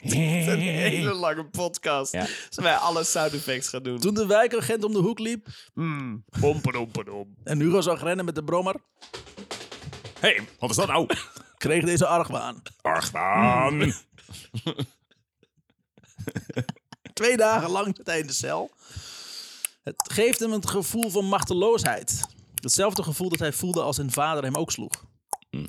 Speaker 2: Een hele lange podcast.
Speaker 3: Ja.
Speaker 2: Als wij alle sound effects gaan doen.
Speaker 1: Toen de wijkagent om de hoek liep
Speaker 2: Mm. Pom, padom, padom.
Speaker 1: en Hugo zag rennen met de brommer,
Speaker 3: hey, wat is dat nou?
Speaker 1: kreeg deze argwaan. Hmm.
Speaker 3: Argwaan.
Speaker 1: Twee dagen lang zat hij in de cel. Het geeft hem het gevoel van machteloosheid. Hetzelfde gevoel dat hij voelde als zijn vader hem ook sloeg.
Speaker 2: Hmm.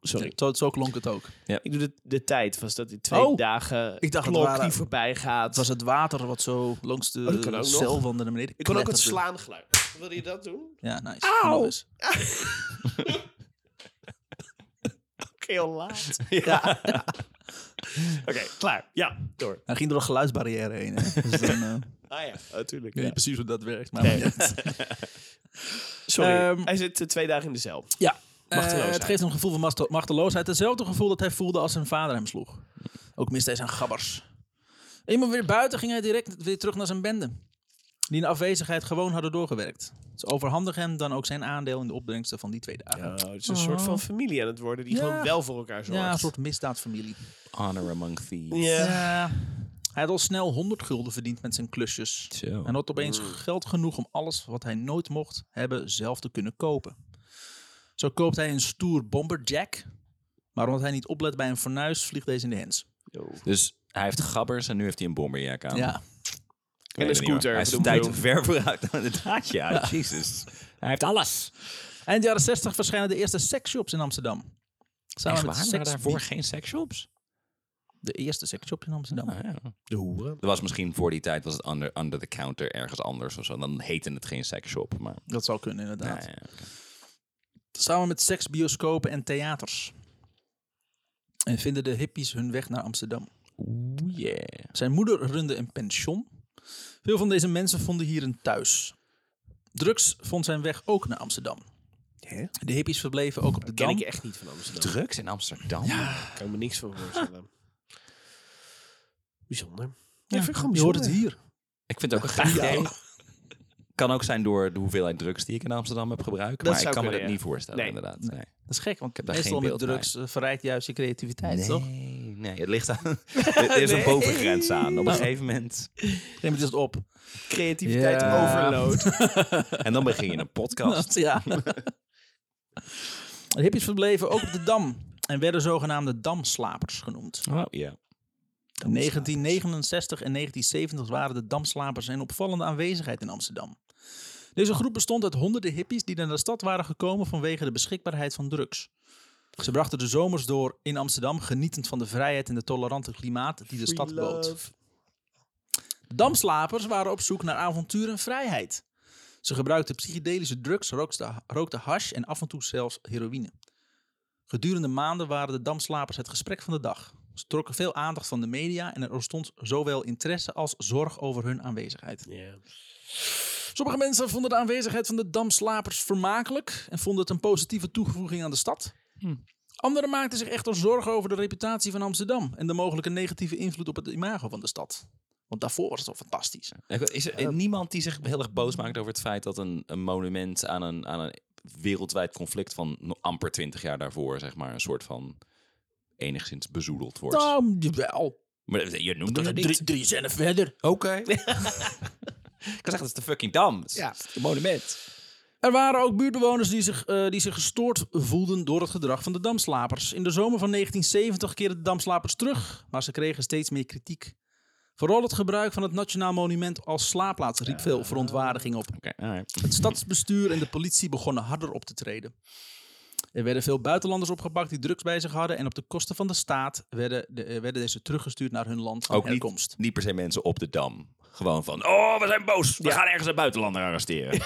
Speaker 2: Sorry.
Speaker 1: Zo, zo klonk het ook.
Speaker 2: Ik doe de, de tijd. Was dat in twee
Speaker 1: Oh.
Speaker 2: dagen
Speaker 1: Ik dacht het
Speaker 2: klok
Speaker 1: waren-
Speaker 2: die voorbij gaat.
Speaker 1: Het was het water wat zo langs de
Speaker 2: Oh, dat kan ook nog.
Speaker 1: celwanden naar beneden
Speaker 2: ik kon ook het
Speaker 1: kletterde.
Speaker 2: slaangeluid. Wil je dat doen?
Speaker 1: Ja, nice. dus. Kom nog eens.
Speaker 2: Heel laat.
Speaker 1: Ja.
Speaker 2: Oké, klaar. Ja, door.
Speaker 1: Hij ging door een geluidsbarrière heen. Hè. Dus dan, eh,
Speaker 2: Ah ja, natuurlijk.
Speaker 1: ik weet niet precies hoe dat werkt. Maar
Speaker 2: Nee.
Speaker 1: ja.
Speaker 2: Sorry.
Speaker 1: Ehm,
Speaker 2: Hij zit eh, twee dagen in de cel.
Speaker 1: Ja.
Speaker 2: Machteloosheid.
Speaker 1: Eh, het geeft hem een gevoel van machte- machteloosheid. Hetzelfde gevoel dat hij voelde als zijn vader hem sloeg. Ook miste hij zijn gabbers. Eenmaal weer buiten ging hij direct weer terug naar zijn bende. Die in afwezigheid gewoon hadden doorgewerkt. Ze overhandigen hem dan ook zijn aandeel in de opbrengsten van die twee dagen.
Speaker 2: Oh, het is een soort van familie aan het worden die
Speaker 1: Ja.
Speaker 2: gewoon wel voor elkaar zorgt.
Speaker 1: Ja, een soort misdaadfamilie.
Speaker 3: Honor among thieves.
Speaker 2: Ja.
Speaker 1: Ja. Eh, Hij had al snel 100 gulden verdiend met zijn klusjes.
Speaker 3: Zo.
Speaker 1: En had opeens
Speaker 2: Mm.
Speaker 1: geld genoeg om alles wat hij nooit mocht hebben zelf te kunnen kopen. Zo koopt hij een stoer bomberjack. Maar omdat hij niet oplet bij een fornuis, vliegt deze in de hens.
Speaker 3: Dus hij heeft gabbers en nu heeft hij een bomberjack aan.
Speaker 1: Ja.
Speaker 3: Ik weet
Speaker 2: En
Speaker 3: het
Speaker 2: een
Speaker 3: niet,
Speaker 2: scooter,
Speaker 3: hoor. Hij is
Speaker 2: bedoel,
Speaker 3: tijd
Speaker 2: bedoel.
Speaker 3: ver vooruit. Inderdaad, ja. Jezus. Hij heeft alles.
Speaker 1: Eind jaren 60 verschijnen de eerste seksshops in Amsterdam. Samen met Sex Beat-
Speaker 3: geen sexshops?
Speaker 1: De eerste sekshop in Amsterdam.
Speaker 2: De hoeren.
Speaker 3: Er Oh, was misschien voor die tijd was het under, under the counter ergens anders of zo. Dan heette het geen sexshop. Maar
Speaker 1: Dat zou kunnen,
Speaker 3: nou
Speaker 1: inderdaad.
Speaker 3: ja, oké.
Speaker 1: Samen met seksbioscopen en theaters. En vinden de hippies hun weg naar Amsterdam.
Speaker 3: Oeh, yeah.
Speaker 1: Zijn moeder runde een pension. Veel van deze mensen vonden hier een thuis. Drugs vond zijn weg ook naar Amsterdam.
Speaker 2: Hè?
Speaker 1: De hippies verbleven ook op de
Speaker 2: Ken
Speaker 1: Dam.
Speaker 2: ik echt niet van Amsterdam.
Speaker 3: Drugs in Amsterdam?
Speaker 2: Ik kan me niks van voorstellen. Bijzonder.
Speaker 1: Ja,
Speaker 2: vind ik gewoon
Speaker 1: je hoort het
Speaker 2: bijzonder.
Speaker 1: hier.
Speaker 3: Ik vind het ook een gaaf idee. Kan ook zijn door de hoeveelheid drugs die ik in Amsterdam heb gebruikt.
Speaker 2: Dat
Speaker 3: maar ik
Speaker 2: zou
Speaker 3: kan me dat
Speaker 2: kunnen, ja.
Speaker 3: niet voorstellen,
Speaker 2: Nee.
Speaker 3: inderdaad. Nee.
Speaker 1: Dat is gek, want
Speaker 3: daar
Speaker 1: meestal
Speaker 3: geen
Speaker 1: met
Speaker 3: beeld bij.
Speaker 1: drugs eh, verrijkt juist je creativiteit, toch?
Speaker 3: Nee. nee, het ligt aan. Er is een bovengrens aan. Op een gegeven moment.
Speaker 1: Op een gegeven moment is het op.
Speaker 2: Creativiteit
Speaker 1: Ja.
Speaker 2: overload.
Speaker 3: En dan begin je een podcast.
Speaker 1: Ja. De hippies verbleven ook op de Dam en werden zogenaamde damslapers genoemd.
Speaker 3: Oh, ja.
Speaker 1: In 1969 en 1970 waren de damslapers een opvallende aanwezigheid in Amsterdam. Deze groep bestond uit honderden hippies die naar de stad waren gekomen vanwege de beschikbaarheid van drugs. Ze brachten de zomers door in Amsterdam, genietend van de vrijheid en de tolerante klimaat die de stad bood.
Speaker 2: Love.
Speaker 1: De damslapers waren op zoek naar avontuur en vrijheid. Ze gebruikten psychedelische drugs, rookten, rookten hash en af en toe zelfs heroïne. Gedurende maanden waren de damslapers het gesprek van de dag. Ze trokken veel aandacht van de media en er ontstond zowel interesse als zorg over hun aanwezigheid.
Speaker 2: Ja.
Speaker 1: Sommige mensen vonden de aanwezigheid van de damslapers vermakelijk en vonden het een positieve toevoeging aan de stad. Anderen maakten zich echter zorgen over de reputatie van Amsterdam en de mogelijke negatieve invloed op het imago van de stad. Want daarvoor was het al fantastisch.
Speaker 3: Is er niemand die zich heel erg boos maakt over het feit dat een, een monument aan een, aan een wereldwijd conflict van no- amper twintig jaar daarvoor, zeg maar, een soort van enigszins bezoedeld wordt?
Speaker 1: Nou, jawel.
Speaker 3: Maar eh, je noemt dat
Speaker 1: Drie,
Speaker 3: niet.
Speaker 1: drie, drie zinnen verder.
Speaker 3: Oké. ik kan zeggen, dat is de fucking dam. Het is
Speaker 2: Ja.
Speaker 3: een monument.
Speaker 1: Er waren ook buurtbewoners die zich, eh, die zich gestoord voelden door het gedrag van de damslapers. In de zomer van 1970 keerden de damslapers terug, maar ze kregen steeds meer kritiek. Vooral het gebruik van het Nationaal Monument als slaapplaats riep veel verontwaardiging op.
Speaker 3: Oké, alright.
Speaker 1: Het stadsbestuur en de politie begonnen harder op te treden. Er werden veel buitenlanders opgepakt die drugs bij zich hadden en op de kosten van de staat werden, de, eh, werden deze teruggestuurd naar hun land van
Speaker 3: Ook
Speaker 1: herkomst.
Speaker 3: niet, niet per se mensen op de dam. Gewoon van, oh, we zijn boos. We gaan ergens een buitenlander arresteren.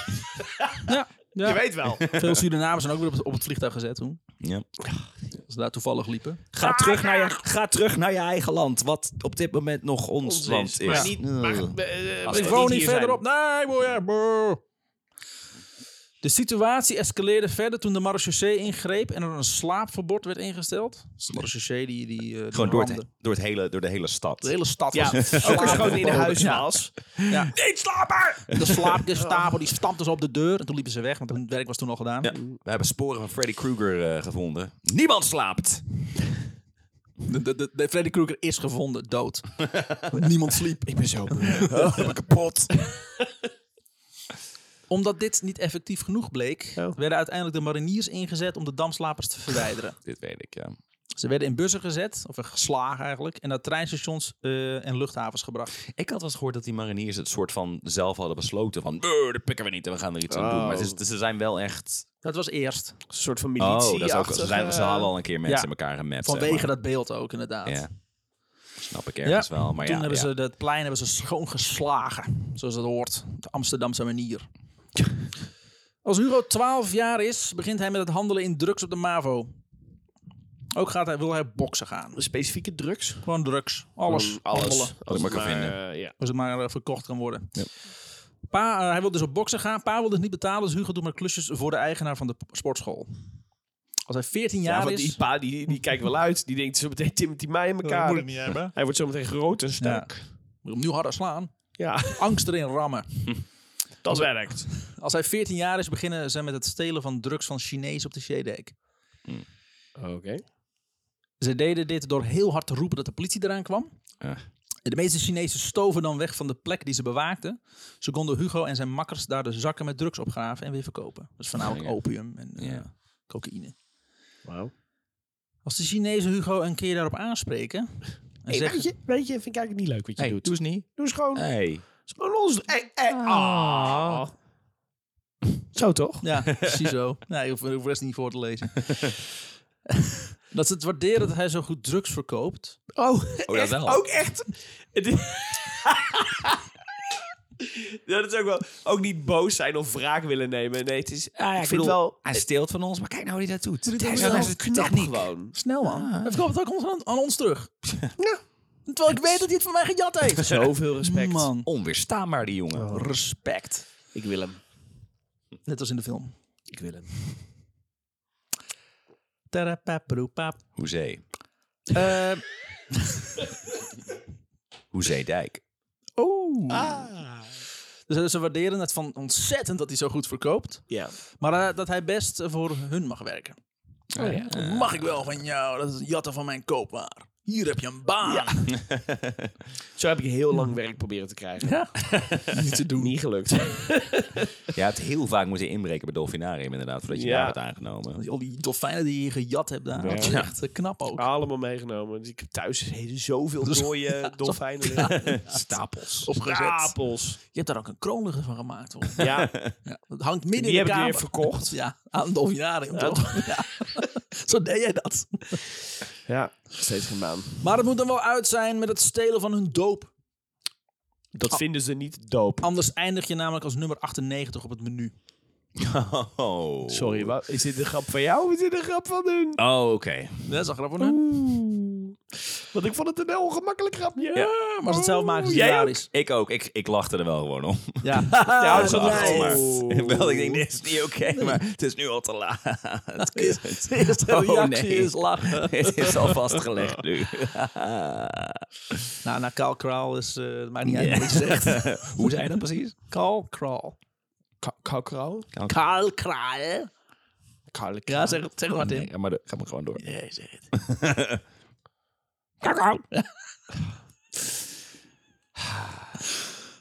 Speaker 1: Ja, ja.
Speaker 2: Je weet wel.
Speaker 1: Veel Surinamers zijn ook weer op het, op het vliegtuig gezet toen,
Speaker 3: ja.
Speaker 1: als ze daar toevallig liepen.
Speaker 3: Ga terug, naar je, ga terug naar je eigen land, wat op dit moment nog ons,
Speaker 2: Ons
Speaker 3: land
Speaker 2: is,
Speaker 3: is.
Speaker 2: Maar niet, maar,
Speaker 3: Ugh.
Speaker 2: eh,
Speaker 3: Als
Speaker 2: we
Speaker 1: Ik
Speaker 3: het
Speaker 2: moeten
Speaker 1: woon
Speaker 2: hier
Speaker 1: niet
Speaker 2: zijn.
Speaker 1: verderop. Nee, boeien, boe. De situatie escaleerde verder toen de marechaussee ingreep en er een slaapverbod werd ingesteld. Dus de marechaussee die... die eh, die
Speaker 3: Gewoon door, het,
Speaker 1: ramde.
Speaker 3: door, het hele, door de hele stad.
Speaker 1: De hele stad
Speaker 2: Ja,
Speaker 1: was
Speaker 2: ook als je gewoon in de huis was.
Speaker 1: Ja.
Speaker 2: Niet slapen!
Speaker 1: De slaapgestapel die stampte ze op de deur en toen liepen ze weg, want hun werk was toen al gedaan.
Speaker 3: Ja, we hebben sporen van Freddy Krueger eh, gevonden. Niemand slaapt.
Speaker 1: De, de, de- de Freddy Krueger is gevonden, dood. Niemand sliep. Ik ben zo
Speaker 3: Oh, ik ben kapot.
Speaker 1: Omdat dit niet effectief genoeg bleek,
Speaker 2: Oh.
Speaker 1: werden uiteindelijk de mariniers ingezet om de damslapers te verwijderen.
Speaker 3: Dit weet ik, ja.
Speaker 1: Ze werden in bussen gezet, of geslagen eigenlijk, en naar treinstations eh, en luchthavens gebracht.
Speaker 3: Ik had wel eens gehoord dat die mariniers het soort van zelf hadden besloten. Van, "Eh, dat pikken we niet en we gaan er iets aan doen. Maar ze, ze zijn wel echt...
Speaker 1: Dat was eerst.
Speaker 2: Een soort van
Speaker 3: Oh,
Speaker 2: militie.
Speaker 3: dat is ook, ze, zijn, ze
Speaker 2: eh,
Speaker 3: hadden al een keer mensen
Speaker 1: Ja.
Speaker 3: in elkaar gemapt. zeg
Speaker 1: Vanwege
Speaker 3: maar.
Speaker 1: dat beeld ook, inderdaad.
Speaker 3: Ja. Snap ik ergens
Speaker 1: Ja,
Speaker 3: wel. Maar
Speaker 1: Toen
Speaker 3: ja,
Speaker 1: hebben
Speaker 3: ja.
Speaker 1: ze dat plein hebben ze schoongeslagen, zoals dat hoort. Op de Amsterdamse manier. Als Hugo 12 jaar is, begint hij met het handelen in drugs op de MAVO. Ook gaat hij, wil hij boksen gaan.
Speaker 2: eh, Specifieke drugs.
Speaker 1: Gewoon drugs. Alles. handelen.
Speaker 3: Als ik maar kan vinden.
Speaker 2: eh, ja.
Speaker 1: Als het maar eh, verkocht kan worden. Pa, eh, hij wil dus op boksen gaan. Pa wil dus niet betalen, dus Hugo doet maar klusjes voor de eigenaar van de p- sportschool. Als hij 14
Speaker 2: Ja,
Speaker 1: jaar
Speaker 2: want
Speaker 1: is...
Speaker 2: die pa, die, die kijkt wel uit. Die denkt zo meteen Timothy mij in
Speaker 1: Dat
Speaker 2: elkaar.
Speaker 1: niet hebben.
Speaker 2: Hij wordt zo meteen groot en
Speaker 1: Ja.
Speaker 2: sterk.
Speaker 1: Moet hem nu harder slaan.
Speaker 2: Ja,
Speaker 1: Angst erin rammen.
Speaker 2: dat werkt.
Speaker 1: Als hij 14 jaar is, beginnen ze met het stelen van drugs van Chinezen op de Zeedijk.
Speaker 2: Oké.
Speaker 1: Ze deden dit door heel hard te roepen dat de politie eraan kwam.
Speaker 3: Eh.
Speaker 1: De meeste Chinezen stoven dan weg van de plek die ze bewaakten. Ze konden Hugo en zijn makkers daar de zakken met drugs opgraven en weer verkopen. Dus voornamelijk
Speaker 3: Ja, ja.
Speaker 1: opium en eh,
Speaker 3: Ja.
Speaker 1: cocaïne.
Speaker 2: Wauw.
Speaker 1: Als de Chinezen Hugo een keer daarop aanspreken en
Speaker 2: Hey,
Speaker 1: zeggen...
Speaker 2: weet, je, weet je, vind ik eigenlijk niet leuk wat je doet.
Speaker 3: eens niet.
Speaker 2: Doe eens gewoon,
Speaker 3: Hey.
Speaker 2: is gewoon ons. Hey, hey, ah. Zo toch?
Speaker 1: Ja, precies zo. Nee, je hoeft je hoeft rest niet voor te lezen. dat ze het waarderen dat hij zo goed drugs verkoopt.
Speaker 2: Oh,
Speaker 3: dat
Speaker 2: echt,
Speaker 3: wel.
Speaker 2: Ook echt. Het is- Ja, dat is ook wel. Ook niet boos zijn of wraak willen nemen. Nee, het is. Ah, ik vind
Speaker 3: bedoel,
Speaker 2: wel.
Speaker 3: Hij steelt van ons, maar kijk nou hoe hij dat doet.
Speaker 2: Het is
Speaker 3: Ja,
Speaker 2: wel
Speaker 3: dat is
Speaker 2: knap
Speaker 3: techniek.
Speaker 2: gewoon.
Speaker 1: Snel man.
Speaker 2: Ah.
Speaker 1: Hij verkoopt het ook ons- aan, aan ons terug. Terwijl ik weet dat hij het van mij gejat heeft.
Speaker 2: Zoveel respect.
Speaker 1: Man,
Speaker 3: Onweerstaanbaar, die jongen.
Speaker 2: Oh.
Speaker 1: respect.
Speaker 2: Ik wil hem.
Speaker 1: Net als in de film.
Speaker 2: Ik wil hem.
Speaker 1: Tarapaparoepap.
Speaker 3: Hoezee.
Speaker 1: Eh,
Speaker 3: Ehm. Hoezee Dijk.
Speaker 2: Oh.
Speaker 1: Oeh. Dus ze waarderen het van ontzettend dat hij zo goed verkoopt.
Speaker 2: Ja.
Speaker 1: Maar eh, dat hij best
Speaker 2: Oh
Speaker 1: eh, voor hun mag werken. Mag ik wel van jou? Dat is het jatten van mijn koopwaar. Hier heb je een baan. Ja.
Speaker 2: Zo heb ik heel lang werk proberen te krijgen.
Speaker 1: Niet te doen.
Speaker 2: Niet gelukt.
Speaker 3: Je hebt heel vaak moeten inbreken bij Dolfinarium inderdaad, voordat je
Speaker 2: Ja.
Speaker 3: daar werd aangenomen.
Speaker 1: Al die dolfijnen die je gejat hebt daar. Dat is echt eh, knap ook.
Speaker 2: Allemaal meegenomen. Dus ik heb thuis he- zoveel dode dolfijnen. liggen.
Speaker 1: Stapels. Opgezet.
Speaker 2: Stapels.
Speaker 1: Je hebt daar ook een kroonluger van gemaakt. Hoor.
Speaker 2: Ja,
Speaker 1: Ja, dat hangt midden
Speaker 2: die
Speaker 1: in
Speaker 2: heb
Speaker 1: de
Speaker 2: ik
Speaker 1: kamer.
Speaker 2: weer verkocht.
Speaker 1: Ja, aan het dolfinarium toch? Ja. Zo deed jij dat.
Speaker 2: Ja, steeds geen baan.
Speaker 1: Maar het moet dan wel uit zijn met het stelen van hun doop.
Speaker 2: Dat vinden ze niet doop.
Speaker 1: Anders eindig je namelijk als nummer 98 op het menu.
Speaker 3: Oh.
Speaker 2: Sorry, wat? Is dit een grap van jou of is dit een grap van hun?
Speaker 3: Oh, oké.
Speaker 1: Dat is een grap voor hun.
Speaker 2: Want ik vond het een heel ongemakkelijk grapje.
Speaker 1: Maar als het zelf maken is Ah, het
Speaker 2: Jij ook?
Speaker 1: hilarisch.
Speaker 3: Ik ook. Ik, ik lachte er wel gewoon om.
Speaker 1: Ja.
Speaker 2: Ja,
Speaker 1: ja,
Speaker 2: dat is
Speaker 3: Zo
Speaker 2: wel
Speaker 3: achter,
Speaker 2: nice.
Speaker 3: maar,
Speaker 2: Oh.
Speaker 3: wel, ik denk, dit is niet oké, maar het is nu al te laat.
Speaker 1: De eerste
Speaker 3: Oh,
Speaker 1: reactie
Speaker 3: nee.
Speaker 1: is lachen.
Speaker 3: het is al vastgelegd nu.
Speaker 1: Nou, na Carl Kraal is... eh het maakt niet uit wat je zegt.
Speaker 3: Hoe zei je dat precies?
Speaker 1: Carl Kraal.
Speaker 2: Kaukrouw?
Speaker 1: Carl Kraal. Ja, zeg, zeg maar Tim.
Speaker 3: Nee, maar de- ga maar gewoon door.
Speaker 1: Nee, zeg het.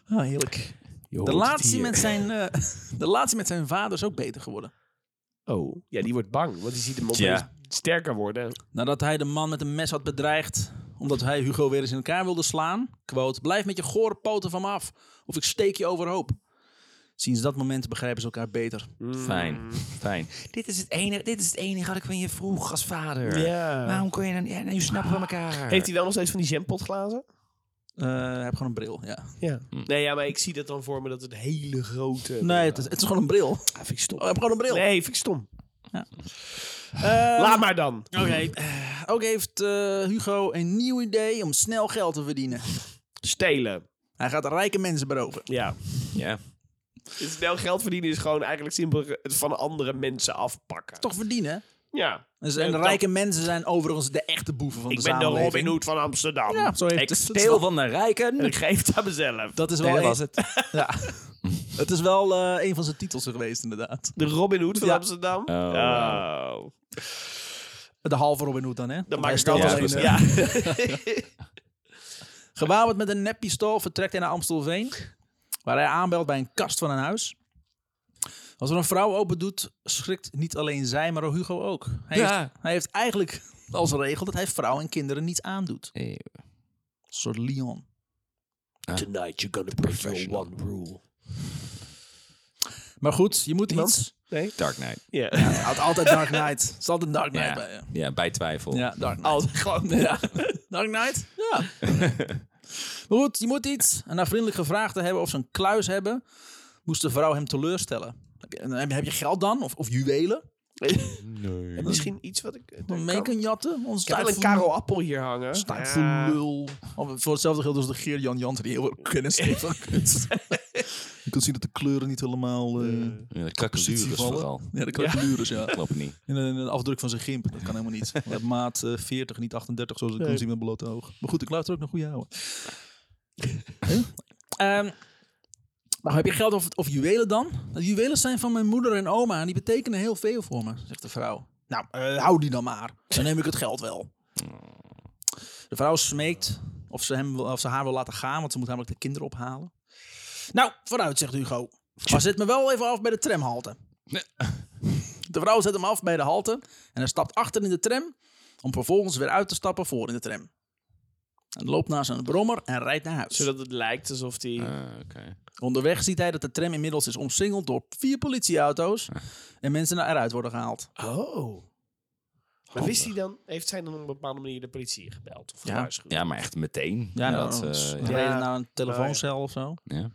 Speaker 1: Ah, heerlijk. De laatste, met zijn, eh, de laatste met zijn vader is ook beter geworden.
Speaker 2: Oh, ja, die wordt bang, want die ziet hem
Speaker 3: Tja.
Speaker 2: opeens sterker worden.
Speaker 1: Nadat hij de man met een mes had bedreigd omdat hij Hugo weer eens in elkaar wilde slaan, quote, blijf met je gore poten van me af of ik steek je overhoop. Sinds dat moment begrijpen ze elkaar beter.
Speaker 2: Mm.
Speaker 3: Fijn, fijn. Dit is, het enige, dit is het enige wat ik van je vroeg als vader.
Speaker 2: Ja.
Speaker 3: Waarom kon je dan... Ja, nu snappen we elkaar.
Speaker 2: Heeft hij wel nog steeds van die jampotglazen?
Speaker 1: Eh, hij heeft gewoon een bril, ja.
Speaker 2: Ja.
Speaker 3: Hm.
Speaker 2: Nee, ja, maar ik zie dat dan voor me dat het hele grote...
Speaker 1: Nee, het is, het is gewoon een bril. Oh,
Speaker 2: Ah, vind ik stom.
Speaker 1: hij heeft gewoon een bril.
Speaker 2: Nee, vind ik stom.
Speaker 1: Ja. Ehm.
Speaker 2: Laat maar dan.
Speaker 1: Oké. eh, Ook heeft eh, Hugo een nieuw idee om snel geld te verdienen.
Speaker 2: Stelen.
Speaker 1: Hij gaat rijke mensen beroven.
Speaker 2: Ja.
Speaker 3: Ja.
Speaker 2: Snel Dus geld verdienen is gewoon eigenlijk simpel het van andere mensen afpakken.
Speaker 1: Toch verdienen?
Speaker 2: Ja.
Speaker 1: Dus, en
Speaker 2: Ja,
Speaker 1: de
Speaker 2: dat-
Speaker 1: rijke mensen zijn overigens de echte boeven van
Speaker 2: Ik
Speaker 1: de
Speaker 2: ben de
Speaker 1: samenleving.
Speaker 2: Robin Hood van Amsterdam.
Speaker 1: Ja, zo heeft
Speaker 3: Ik
Speaker 1: het-
Speaker 3: steel van de rijken.
Speaker 2: En ik geef het aan mezelf.
Speaker 1: Dat is wel
Speaker 3: Dat
Speaker 1: een-
Speaker 3: was het.
Speaker 1: Ja. het is wel eh, een van zijn titels geweest, inderdaad.
Speaker 2: De Robin Hood van
Speaker 1: Ja.
Speaker 2: Amsterdam.
Speaker 3: Oh, wow.
Speaker 2: Oh.
Speaker 1: De halve Robin Hood dan, hè?
Speaker 2: Dat
Speaker 1: Want
Speaker 2: maakt
Speaker 1: hij
Speaker 2: het wel
Speaker 1: stelt
Speaker 3: wel
Speaker 1: alleen,
Speaker 2: precies.
Speaker 1: eh,
Speaker 2: Ja.
Speaker 1: Gewapend met een neppistool vertrekt hij naar Amstelveen, waar hij aanbelt bij een kast van een huis. Als er een vrouw open doet, schrikt niet alleen zij, maar Hugo ook. Hij,
Speaker 3: Ja.
Speaker 1: heeft, hij heeft eigenlijk als regel dat hij vrouwen en kinderen niet aandoet.
Speaker 3: Eeuw.
Speaker 1: Een soort Leon.
Speaker 2: Tonight you're gonna break your one rule.
Speaker 1: Maar goed, je moet
Speaker 2: Iemand?
Speaker 1: iets.
Speaker 2: Nee?
Speaker 3: Dark Knight. Nou
Speaker 2: Ja.
Speaker 1: Het had altijd Dark Knight. Het is altijd Dark Knight
Speaker 3: Ja,
Speaker 1: bij je.
Speaker 3: ja. bij twijfel.
Speaker 1: Ja, Dark Knight.
Speaker 2: Als gewoon...
Speaker 1: Ja. Dark Knight? Ja. maar goed, je moet iets. En na vriendelijk gevraagd te hebben of ze een kluis hebben, moest de vrouw hem teleurstellen. Heb je, heb je- heb je geld dan? Of, of juwelen?
Speaker 2: En Misschien iets wat ik... eh,
Speaker 1: Om mee
Speaker 2: kan-
Speaker 1: kan jatten? Ons
Speaker 2: Ik heb wel een Karel Appel hier hangen.
Speaker 1: Staat
Speaker 2: Ja.
Speaker 1: voor lul. Oh, voor hetzelfde geld als de Geer Jan Jansen die heel veel kennis heeft van kunst. je kunt zien dat de kleuren niet helemaal... eh
Speaker 3: Ja, de kakkezuur is
Speaker 1: vallen.
Speaker 3: vooral.
Speaker 1: Ja, de kleuren, ja.
Speaker 3: Klopt niet.
Speaker 1: In een, in een afdruk van zijn gimp. Dat kan helemaal niet. Hij heeft maat eh, 40, niet 38, zoals ik kon zien met blote oog. Maar goed, ik luister ook naar goede ouwe. Ehm, maar heb je geld of, of juwelen dan? De juwelen zijn van mijn moeder en oma en die betekenen heel veel voor me, zegt de vrouw. Nou, eh, hou die dan maar. Dan neem ik het geld wel. De vrouw smeekt of ze, hem, wil- of ze haar wil laten gaan, want ze moet namelijk de kinderen ophalen. Nou, vooruit, zegt Hugo. Maar zet me wel even af bij de tramhalte. De vrouw zet hem af bij de halte en hij stapt achter in de tram om vervolgens weer uit te stappen voor in de tram. En loopt naar zijn brommer en rijdt naar huis.
Speaker 2: Zodat het lijkt alsof die...
Speaker 3: Ah, Oké.
Speaker 1: Onderweg ziet hij dat de tram inmiddels is omsingeld door vier politieauto's en mensen naar eruit worden gehaald.
Speaker 2: Oh. Maar wist hij dan... Heeft zij dan op een bepaalde manier de politie gebeld? Of
Speaker 1: Ja.
Speaker 2: gewaarschuwd?
Speaker 3: Ja, maar echt meteen.
Speaker 1: Ja, nou,
Speaker 3: dat,
Speaker 1: ze
Speaker 3: eh, ja.
Speaker 1: reden
Speaker 2: ja.
Speaker 1: naar een telefooncel of zo.
Speaker 3: ja.